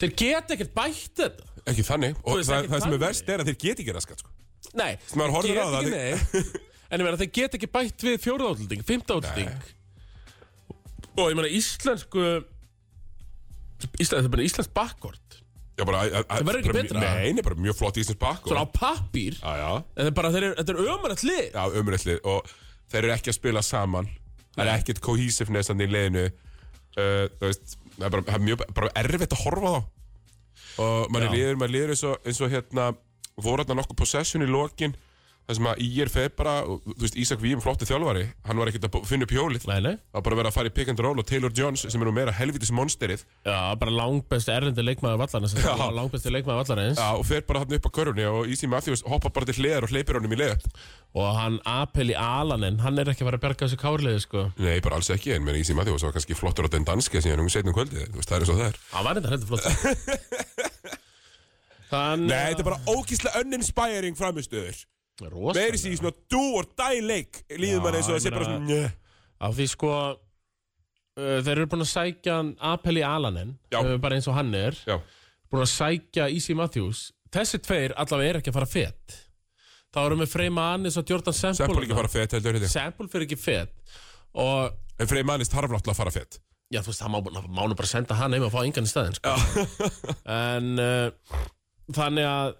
S2: Þeir geta ekkert bætt þetta
S1: ekki þannig
S2: Þú
S1: Og
S2: veist,
S1: það, það
S2: ekki
S1: sem er
S2: þannig.
S1: verst er að þeir geti ekki raskat sko.
S2: Nei,
S1: maður horfir
S2: geta
S1: á það,
S2: ekki neitt. En ég meina, þeir geta ekki bætt við fjóruðáttlending, fymtáttling Og ég meina, íslensku Ísland, það er bara íslensk bakkort
S1: Já, bara Það
S2: verður ekki betra.
S1: Nei, nei, bara mjög flott íslensk bakk
S2: Svona á pappír
S1: Já, já,
S2: En þeir bara, þeir eru, þetta er ömurlegt lið
S1: já, umræðslið Og þeir eru ekki að spila saman Það er ekkert cohesiveness hann í leiðinu uh, Það veist, það er bara, það er mjög, bara erfitt að horfa á þá Og mann
S2: Já.
S1: er liður, mann liður eins og, eins og hérna Voru hérna nokkuð possession í lokin Það sem að IR feð bara, og, þú veist, Ísak Vím, flotti þjálfari, hann var ekkert að bú- finna upp hjólið.
S2: Nei, nei
S1: að bara vera að fara í pick and roll og Taylor Jones sem er nú meira helvitis monsterið
S2: Já, bara langbest erlendi leikmaður vallarins
S1: Já.
S2: Langbesti leikmaður vallarins
S1: og fer bara hann upp á körfunni og Easy Matthews hoppar bara til hliðar og hleypir honum í leiðat
S2: Og hann Apeli Alanen, hann er ekki að fara að berga þessu kárliði, sko
S1: Nei, bara alls ekki, en menn Easy Matthews var kannski flottur á den danske síðan hún setnum kvöldið, þú veist, það er eins og það er
S2: Hann var þetta heldur flott Þannig
S1: Nei, þetta er bara ógíslega uninspiring framistuður
S2: er rosa
S1: Meiri síðan svona do or die leik líður
S2: Já,
S1: mann eins og það sé
S2: ég
S1: bara
S2: meina-
S1: svona njö.
S2: Af því sko uh, Þeir eru búin að sækja hann Apeli Alanen
S1: Já.
S2: uh, Bara eins og hann er
S1: Já,
S2: Búin að sækja Easy Matthews Þessi tveir allavega er ekki að fara fett Þá erum við Freyma Anis og Jordan Sempul
S1: Sempol ekki að fara fett heldur þetta
S2: Sempul fyrir ekki fett Og
S1: En Frey Manist harf náttúrulega að fara fett
S2: Já, þú veist, það má, má nú bara senda hann heim og fá engan í staðin sko. En uh, þannig að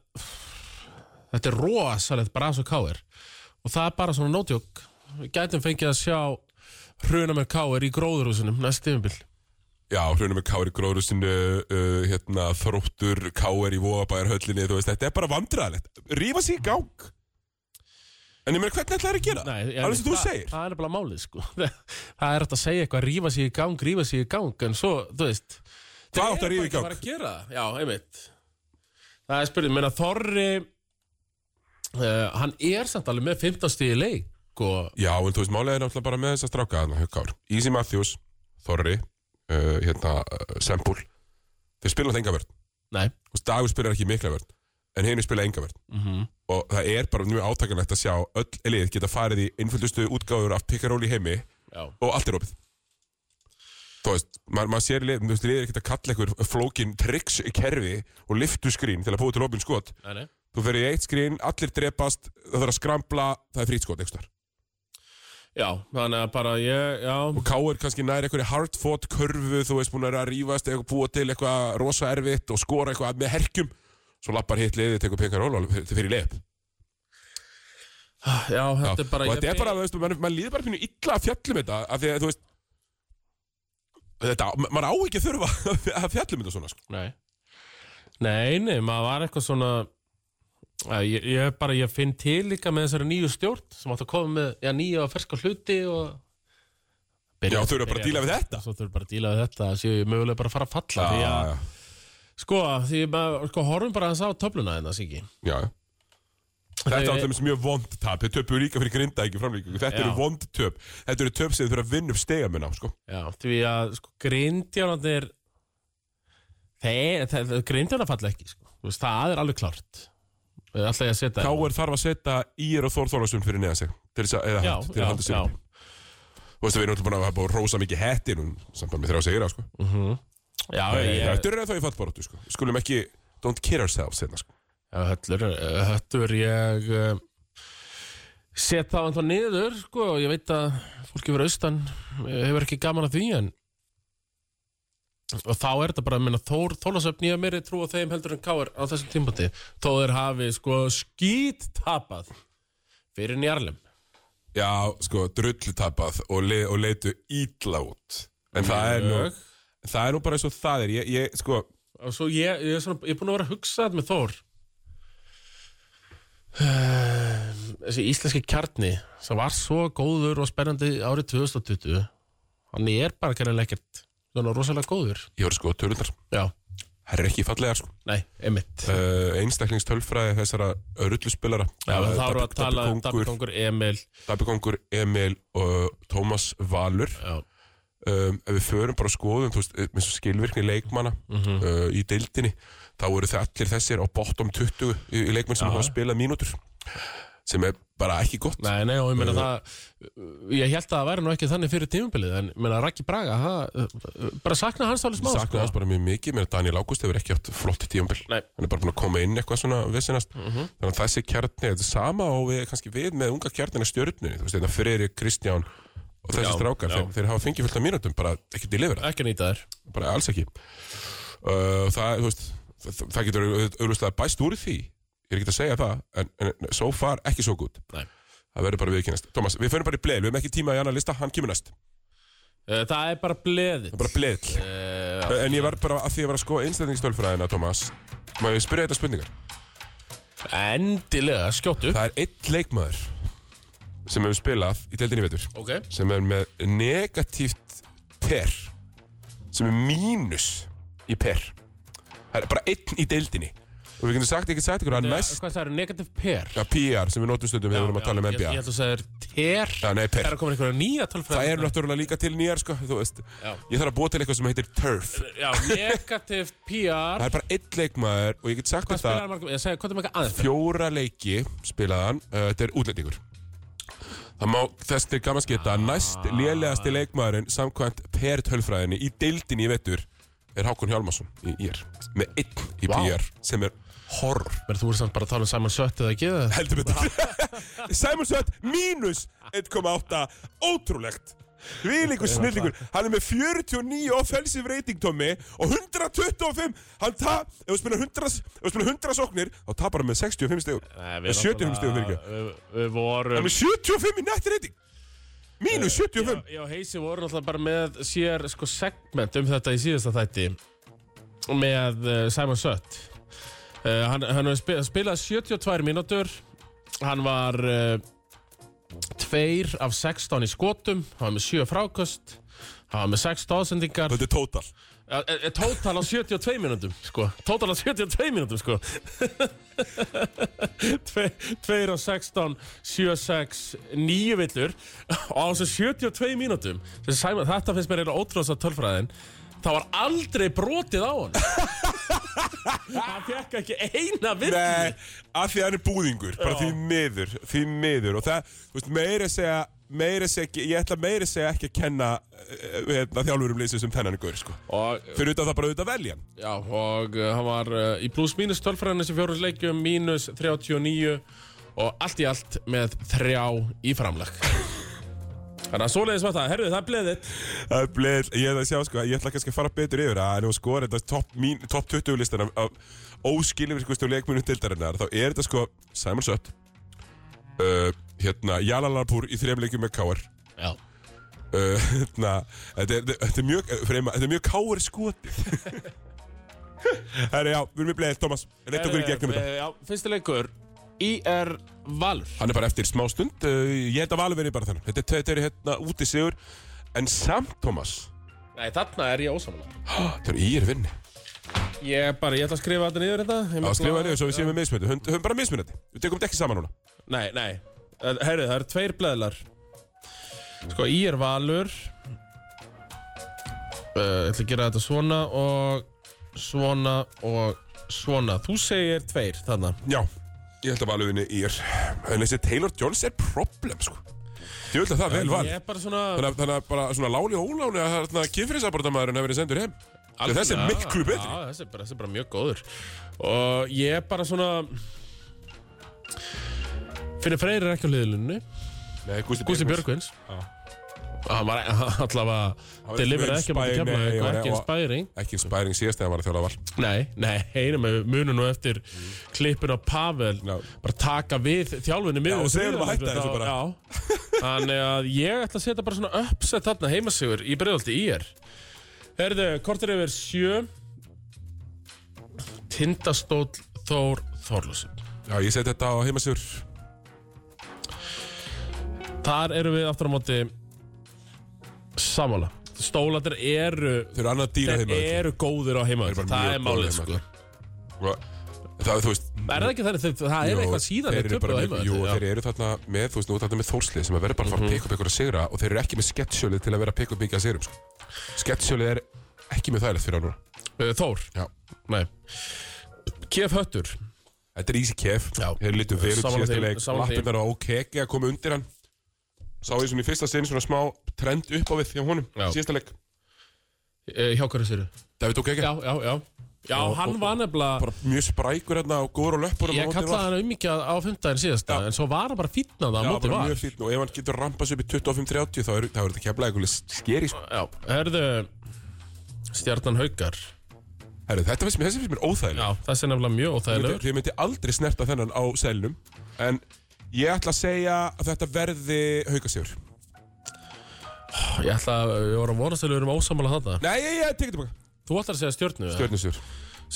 S2: Þetta er rosalegt bras og káir Og það er bara svona nótjók Við gætum fengið að sjá Hruna með káir í gróðurhúsunum Næst yfirbill
S1: Já, hrjónum með Kári Gróðrúsinu, uh, hérna, Þróttur, Kári í Vóabæjarhöllinni, þú veist, þetta er bara vandræðalegt. Rífa sig í gang. En ég meina, hvernig ætlaði að gera? Alveg sem þú segir.
S2: Það er bara málið sko Það er hægt að segja eitthvað, rífa sig í gang, rífa sig í gang En svo, þú veist
S1: Hvað
S2: þeir
S1: átti að
S2: eru
S1: rífa í
S2: bara ekki
S1: gang?
S2: að fara að gera það. Já, einmitt Það er spurning, menna Þorri uh, Hann er samt alveg með 15 stíði leik sko. og
S1: Já, en þú veist, málega er náttúrulega bara með þess að stráka þarna, Kári. Easy Matthews, Þorri, uh, hérna, uh, Sempul. Þeir spila alltaf enga vörn.
S2: Nei,
S1: Þú veist, Dagur spilar ekki mikla vörn, en henni spila enga vörn.
S2: Mhm.
S1: Og það er bara mjög átakanlegt að sjá öll lið geta farið í innfyldustu útgáður af pickaról í heimi
S2: já
S1: og allt er opið þú veist, maður mað sér lið, þú veist, liðir ekkert að kalla einhver flókin trikskerfi og liftu skrín til að búið til opin skot
S2: Nei, nei
S1: þú fyrir í eitt skrín, allir drepast það þarf að skrambla, það er frýtt skot einhvers staðar.
S2: Já, þannig að bara ég, já
S1: og Káur kannski nær einhverju hardfought körfu, þú veist, búin að vera að rífast eitthvað búa til eitthvað rosa erfitt og skora eitthvað með herkjum, svo lappar hitt liðið tekur pekar ról og þetta fyrir leip
S2: Já,
S1: Já,
S2: þetta er bara
S1: og
S2: ég
S1: þetta er
S2: be-
S1: bara, þú veist, mann, mann líður bara pínu illa að fjallum þetta af því að, þú veist þetta, mann á ekki að þurfa að fjallum þetta svona, sko
S2: Nei Nei, nei, maður var eitthvað svona að ég, ég bara, ég finn til líka með þessari nýju stjórn sem átt að koma með, já, nýju og ferska hluti og
S1: Já, þurfa bara að díla við þetta.
S2: Svo þurfa bara að díla við þetta séu ég mögulega bara að fara að falla
S1: Já,
S2: því
S1: já,
S2: að, sko, því maður, sko, horfum bara aðeins á töfluna þeirna, Siggi
S1: já, já. Þetta er alltaf mjög vond tap Þau töpu líka fyrir grinda ekki framlíkingu Þetta
S2: Já.
S1: eru vond töp Þetta eru töp sem þau þurfa að vinna upp stegamun á sko.
S2: Já, því að, sko, grindjánandir þeir, þeir, þeir grindjánar falla ekki, sko Þú veist, það er alveg klárt Alltaf ég að setja
S1: Káur þarf að setja Ír og Þór Þorlarsson fyrir neðan sig Til þess að, eða,
S2: Já,
S1: já, til að halda
S2: já,
S1: sig uppi. Þú veist að við erum alltaf búin að hafa búin að rósa mikið hettin Samt bara með þrjá sigra sko.
S2: Mhm. já,
S1: Nei,
S2: ég,
S1: Þetta eru þá í fallbaróttu sko. Skulum ekki Don't kid ourselves hérna, sko.
S2: Já, höllur, eh, höllur ég eh, set það andan niður, sko, og ég veit að fólki verið austan eh, hefur ekki gaman að því, en og þá er þetta bara, minna, Þór, Þólasöfn, ég meiri trú á þeim heldur en Káir á þessum tímpati, þó þeir hafi, sko, skýt tapað fyrir njarlum.
S1: Já, sko, drullu tapað Og, le, og leitu ítla út En það er, nú,
S2: Mjög.
S1: það er nú bara eins og það er Ég, ég sko,
S2: Og svo ég, ég er svona, ég er búin að vera að hugsa þetta með Þór. Eh, Þessi íslenski kjarni sem var svo góður og spennandi árið 2020 hann er bara kannan ekkert svona rosalega góður.
S1: ég voru sko törundar
S2: Já,
S1: Það er ekki fallega sko
S2: nei, einmitt.
S1: uh, einstaklingstölfræði þessara rulluspilara eh,
S2: Já, þá erum við að tala um
S1: Dabikongur,
S2: Dabikongur Emil.
S1: Dabikongur, Emil og Tómas Valur
S2: Já,
S1: um, ef við förum bara að skoðum þú veist, eh, eins og skilvirkni leikmanna
S2: Mhm.
S1: uh, í deildinni, þá eru það allir þessir á bottom 20 í, í leikmann sem
S2: Já.
S1: hafa spilað mínútur sem er bara ekki gott
S2: nei, nei, og ég meina það, ég held að það væri nú ekki þannig fyrir tímubilið, en ég meina Raki Braga, það, bara sakna hans alveg smá, sko.
S1: Saknaði hans bara mjög mikið, menn að Daniel Ágúst hefur ekki átt flott tíumbil,
S2: Nei. Mm.
S1: hann er bara búin að koma inn eitthvað svona vissinast,
S2: Mhm.
S1: þannig að þessi kjarni þetta er sama og við, kannski við með unga kjarnina stjörnunni, þú veist, þetta Freyri, Kristján og þessi
S2: Já,
S1: strákar,
S2: já.
S1: þeir, þeir hafa fengið fullt af mínútum, bara ekkert í lifra,
S2: ekki að nýta þær.
S1: bara alls ekki uh, það, þú veist það, það getur auðvitað bæst úr því ég er ekki að segja það, en, en so far ekki svo gútt,
S2: Nei.
S1: það verður bara viðkynast Thomas, við fyrir bara í bleil, við hefum ekki tíma í annan lista hann kemur næst,
S2: Eh, Það er bara bleðið.
S1: það er bara bleil
S2: Eh,
S1: En ég var bara að því að ég var að skoða einstaklingsstölfræðina, Tómas Má ég spyrja þetta spurningar?
S2: Endilega, skjóttu
S1: Það er einn leikmaður sem hefur spilað í deildinni í vetur
S2: Ok,
S1: sem er með negatíft per sem er mínus í per Það er bara einn í deildinni og við getum sagt, ég get sagt ykkur að næst
S2: Hvað það eru negativ per?
S1: ja, PR sem við notum stundum þegar við erum að tala um
S2: Ég,
S1: NBA
S2: ég held að það er ter
S1: Já, nei,
S2: Það
S1: per
S2: er að koma einhverja nýja tölfræði
S1: Það eru náttúrulega líka til nýjar, sko, þú veist
S2: Já.
S1: Ég þarf að búa til eitthvað sem heitir turf
S2: Já, negativ PR
S1: Það er bara einn leikmaður og ég get sagt
S2: Hvað
S1: ykkur það
S2: spilaði margum? Ég segi, hvað er margum aðeins?
S1: fjóra leiki spilaðan uh, Þetta er útlendingur Það má þess til gaman skita að næst lélegasti leikmaðurinn samkvæmt per tölfræðinni í deildinni í vetur er Hákon Hjálmarsson í IR með einn í
S2: Vá.
S1: PR sem er horror
S2: Menn, þú voru samt bara að tala um Simon Sött eða ekki það?
S1: heldur betur Simon Sött mínus 1,8 ótrúlegt Hvílíkur snillingur Hann er með 49 offensive rating, Tommy Og 125 Hann tap Ef þú spilar 100, ef þú spilar 100 sóknir Þá tapar hann með 65 stegum
S2: Nei,
S1: Með 75 stegum fyrir ekki
S2: Við, við vorum
S1: Hann er með 75 í net rating Mínus 75
S2: Já, Heisi voru náttúrulega bara með sér sko, segment um þetta í síðasta þætti með uh, Simon Sutt uh, hann, hann hefur spi- spilað 72 mínútur hann var uh, tveir af 16 í skotum hann var með 7 frákost hann var með 6 stóðsendingar
S1: Þetta er total
S2: Tótal á 72 mínútum sko. Tótal á 72 mínútum sko. Tve, Tveir á 16 7, 6, 9 villur og á þessum 72 mínútum sem Sæma, þetta finnst mér eiginlega ótrúðast að tölfræðin það var aldrei brotið á hann hann fekk ekki eina villu
S1: Nei, af því að hann er búðingur Bara því miður, því miður Og það, þú veist, meira að segja Meira að segja, ekki- ég ætla meira að segja ekki að kenna eh, hérna, Þjálfurum leysið sem þennan ykkur sko.
S2: og,
S1: Fyrir utan það bara auðvitað velja hann.
S2: já, og uh, hann var uh, í pluss mínus tölfræðinu sem fjórum leikjum mínus 39 og allt í allt með þrjá í framleg Þannig að svoleiðis var það, herruðu það er bleðið
S1: Það er bleið, Ég ætla að sjá sko, ég ætla kannski að fara betur yfir að nú skora þetta topp mín- topp 20 listan af, sko, af óskilvirkustu leikmunum dildarinnar þá er þetta sko Simon Sutt uh, hérna Jalalapur í þrejum leikjum með K.R.
S2: Já,
S1: Uh, hérna, þetta, er, þetta er mjög frema, þetta er mjög K.R. skotið Herri já, við erum í bleið Thomas, reitt okkur í gegnum þetta
S2: eh, Já, fyrsti leikur IR Valur
S1: Hann er bara eftir smá stund uh, ég held að valið verið bara þannig þetta, er- þetta er hérna úti sigur en samt Thomas,
S2: Nei, þarna er ég ósamlega
S1: þetta er í er vinni
S2: Ég bara, ég ætla að skrifa þetta niður þetta Ég
S1: Já,
S2: ætla-
S1: skrifa niður svo við séum með mismunandi. Höfum, höfum bara mismunandi. Við tekum þetta ekki saman núna.
S2: Nei, nei, herruðu það eru tveir bleðlar Sko, IR Valur uh, Ég ætla að gera þetta svona og svona og svona Þú segir tveir þarna
S1: Já. Ég held að valöfinni ír. En þessi Taylor Jones er problem, sko. Ég held að það er vel
S2: Ég
S1: valið.
S2: er bara svona
S1: Þannig að, þannig að bara svona láli og óláni að þarna kynfriðsabortamæðurinn hefur verið sendur heim. Allt, þessi er
S2: Já,
S1: miklu betri.
S2: Já, þessi er, bara, þessi er bara mjög góður Og ég er bara svona Fyrir Freyr er ekki á liðlunni
S1: Nei, Gústi,
S2: Gústi Björgvins Hann var alltaf
S1: var
S2: að Delivera
S1: ekki inspiring,
S2: ekki á móti kemla
S1: nei,
S2: Ekki
S1: nei,
S2: ekki
S1: og-
S2: inspiring
S1: Ekki spæring síðast þegar hann var að þjóla val.
S2: Nei, nei, einum með munum nú eftir Klippin á Pavel
S1: Já.
S2: Bara taka við þjálfunni
S1: Já,
S2: miður
S1: og segja honum að hætta þessu bara.
S2: Já Þannig að ég ætla að setja bara svona uppsett þarna heimasigur Í bregðaldi í er Herðu, kortir yfir sjö Tindastóll Þór Þórlúsin
S1: Já, ég seti þetta á heimasjör.
S2: Þar eru við aftur á móti Samála Stólandir eru
S1: Þau eru annað dýra
S2: Þeir
S1: heimaður.
S2: eru góðir á heimaður
S1: Þeir eru bara mjög
S2: Það er
S1: góðir
S2: málið
S1: á
S2: sko
S1: heimavelli. Og Það, þú veist,
S2: Er það ekki þannig, þeir- það er
S1: Jú,
S2: eitthvað síðan
S1: þeir
S2: þeir
S1: eru bara
S2: töpuðu á
S1: með-
S2: heimaður
S1: Jú, þeir eru þarna með, þú veist, nú er þarna með Þórslið sem að vera bara að fara
S2: Mhm.
S1: að pikka upp ykkur að sigra og þeir eru ekki með sketsjölið til að vera að pikka upp mikið að sigrum sko. Sketsjölið er ekki með þægilegt fyrir hann núna
S2: Uh, Þór
S1: Já.
S2: Nei Kef Höttur
S1: Þetta er easy kef,
S2: Já.
S1: þeir lítu vel út
S2: Sammála
S1: síðasta
S2: þeim,
S1: leik
S2: sammála þeim.
S1: Lappirnar á keki að koma undir hann Sá ég svona í fyrsta sinn svona smá trend upp á við hjá honum
S2: Já.
S1: Síðasta leik,
S2: uh, Hjá hverju sér
S1: David O'Keki
S2: Já, já, já Já, hann var nefnilega
S1: Bara mjög sprækur hérna og góður á löppurum
S2: Ég kallaði hann ummikið á fymtdæðin síðasta En svo var hann bara fínn að það á
S1: Já,
S2: móti
S1: bara
S2: var
S1: mjög fínt og ef hann getur rampast upp í 25-30 þá eru þá eru þetta keflaði eitthvað skeri sko.
S2: Já, herðu Stjarnan Haukar
S1: Herru, Þetta finnst mér, þessi finnst mér óþægileg
S2: Já, þessi er nefnilega mjög
S1: Ég
S2: óþægilegur
S1: myndi, ég myndi aldrei snerta þennan á selnum En ég ætla að segja að þetta verði haukasjör
S2: Ég ætla að, ég voru að vonast að við erum ósamála þarna
S1: Nei, ég, ég tekið tilbaka
S2: Þú ætlar að segja stjörnu eða?
S1: Stjörnusjör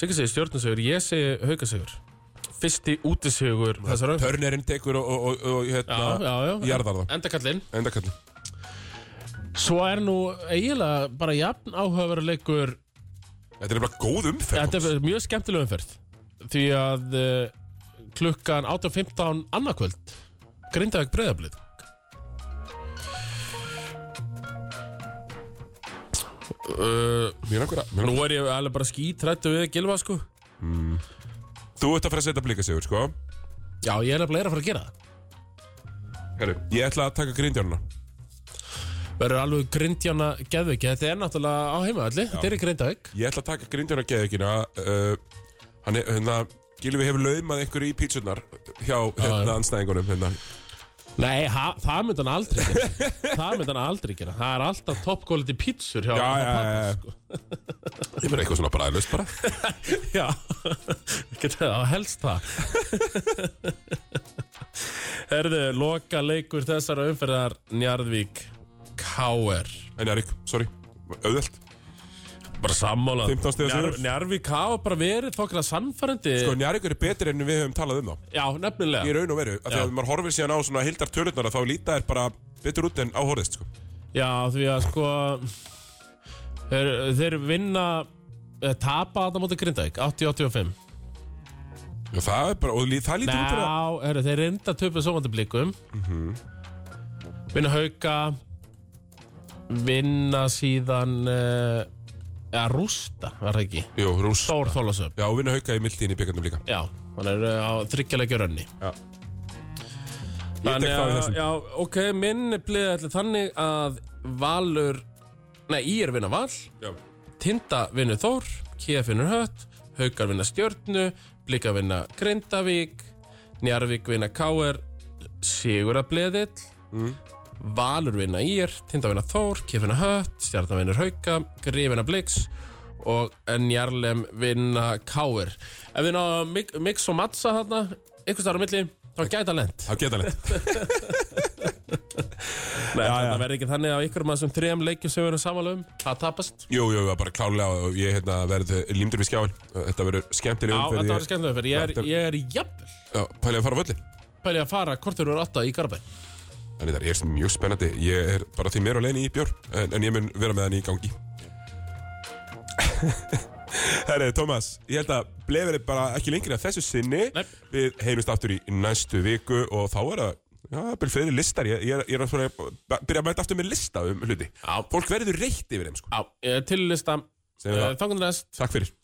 S2: Siggi segir stjörnusegur, ég segi haukasegur Fyrsti útisegur þessar auðvitað
S1: Törnerinn tekur og, og, og, og
S2: Já,
S1: hérna
S2: já, já
S1: Jarðar það.
S2: Endakallinn
S1: Endakall
S2: Svo er nú eiginlega bara jafn áhugaveru leikur
S1: Þetta er nefnilega góð umferð
S2: Þetta er mjög skemmtileg umferð Því að uh, klukkan 8.15 annarkvöld Grindavík breyðablið Uh,
S1: Mér langar að mér
S2: nú
S1: langar-
S2: er ég alveg bara skítrættu við Gilva sko
S1: Þú ert að fara að setja blíkasjör, sko
S2: Já, ég er nefnilega er að fara að gera það
S1: Herru, ég ætla að taka grindjörnuna
S2: Verður alveg grindjana geðviki Þetta er náttúrulega á heimavalli Þetta er í Grindavík
S1: Ég ætla að taka grindjörna geðvikina uh, Hann er, hérna Gilvi hefur laumað einhverju í pítsunar hjá hérna, anstæðingunum hérna.
S2: Nei, ha, það myndi hann aldrei gera Það myndi hann aldrei gera Það er alltaf top quality pítsur hjá
S1: Já, já,
S2: hjá
S1: já, já. Ég meina eitthvað svona bræðlust bara
S2: Já, geta það helst það Herðu, loka leikur þessara umferðar Njarðvík KR
S1: En Erik, sorry, auðvelt
S2: Bara sammála
S1: 15 stiga sigur.
S2: Njarðvík KR bara verið þokkar samfærandi
S1: Sko, Njarðvík eru betri en við höfum talað um þá
S2: Já, nefnilega
S1: Í raun og veru, af því
S2: Já.
S1: að maður horfir síðan á svona hildar tölurnar að þá líta er bara betur út en áhorðist sko.
S2: Já, því að sko Þeir, þeir vinna eh, Tapa þetta móti Grindavík 80-85
S1: Já, Það er bara, og lí, það Mhm. lítur út bara
S2: Ná, heru, þeir reynda töpu sómandi blikum Vinna hauka Vinna síðan uh, Eða rústa Var það ekki
S1: Jú, rúst
S2: Stór þólasöf
S1: Já, og vinna hauka í mildtíðin í byggandum líka
S2: Já, hann er eh, á þryggjalegjur önni
S1: Já. Ég tek það
S2: Þannig
S1: í
S2: að,
S1: þessum
S2: já, ok, minni bleið allir þannig að Valur Nei, í er vinna Val
S1: Já.
S2: Tinda vinnu Þór, Kia vinnur Hött, Haukar vinna Stjörnu, Blika vinna Grindavík, Njarvík vinna Káer, Sigurða Bleðill, Valur vinna Ír, Tinda vinna Þór, Kia vinna Hött, Stjarnan vinnur Hauka, Grif vinna Blix og Njarlem vinna Káer. Ef við náðum mik mix og matsa þarna, einhvers staðar á milli, þá gæta lent.
S1: Það geta lent
S2: Nei, þetta verður ekki þannig að ykkur maður sem þrejum leikjum sem við erum samanlega um, það tapast.
S1: Jú, jú, bara klálega og ég hérna, verð límdur við skjáin Þetta verður skemmtileg
S2: Já, þetta
S1: umferð.
S2: var skemmtilega fyrir, ég
S1: Þetta-
S2: er, ég er jafnvel.
S1: Já, Pælið að fara á völlin
S2: pælið að fara kortur úr 8 í Garabæ
S1: Þannig það er mjög spennandi Ég er bara því mér á leiðin í bjór en, en ég mun vera með hann í gangi Herri, Tómas, ég held að blefur bara ekki lengri að þessu sinni
S2: Nei.
S1: Við heimist aftur í næstu viku og þá er það Já, það byrja fleiri listar, ég, ég, er- ég er að svona byrja að mæta aftur með lista um hluti
S2: Já.
S1: Fólk verður reytt yfir þeim, sko
S2: á, eh, til lista
S1: Segðu það.
S2: þangunast
S1: Takk fyrir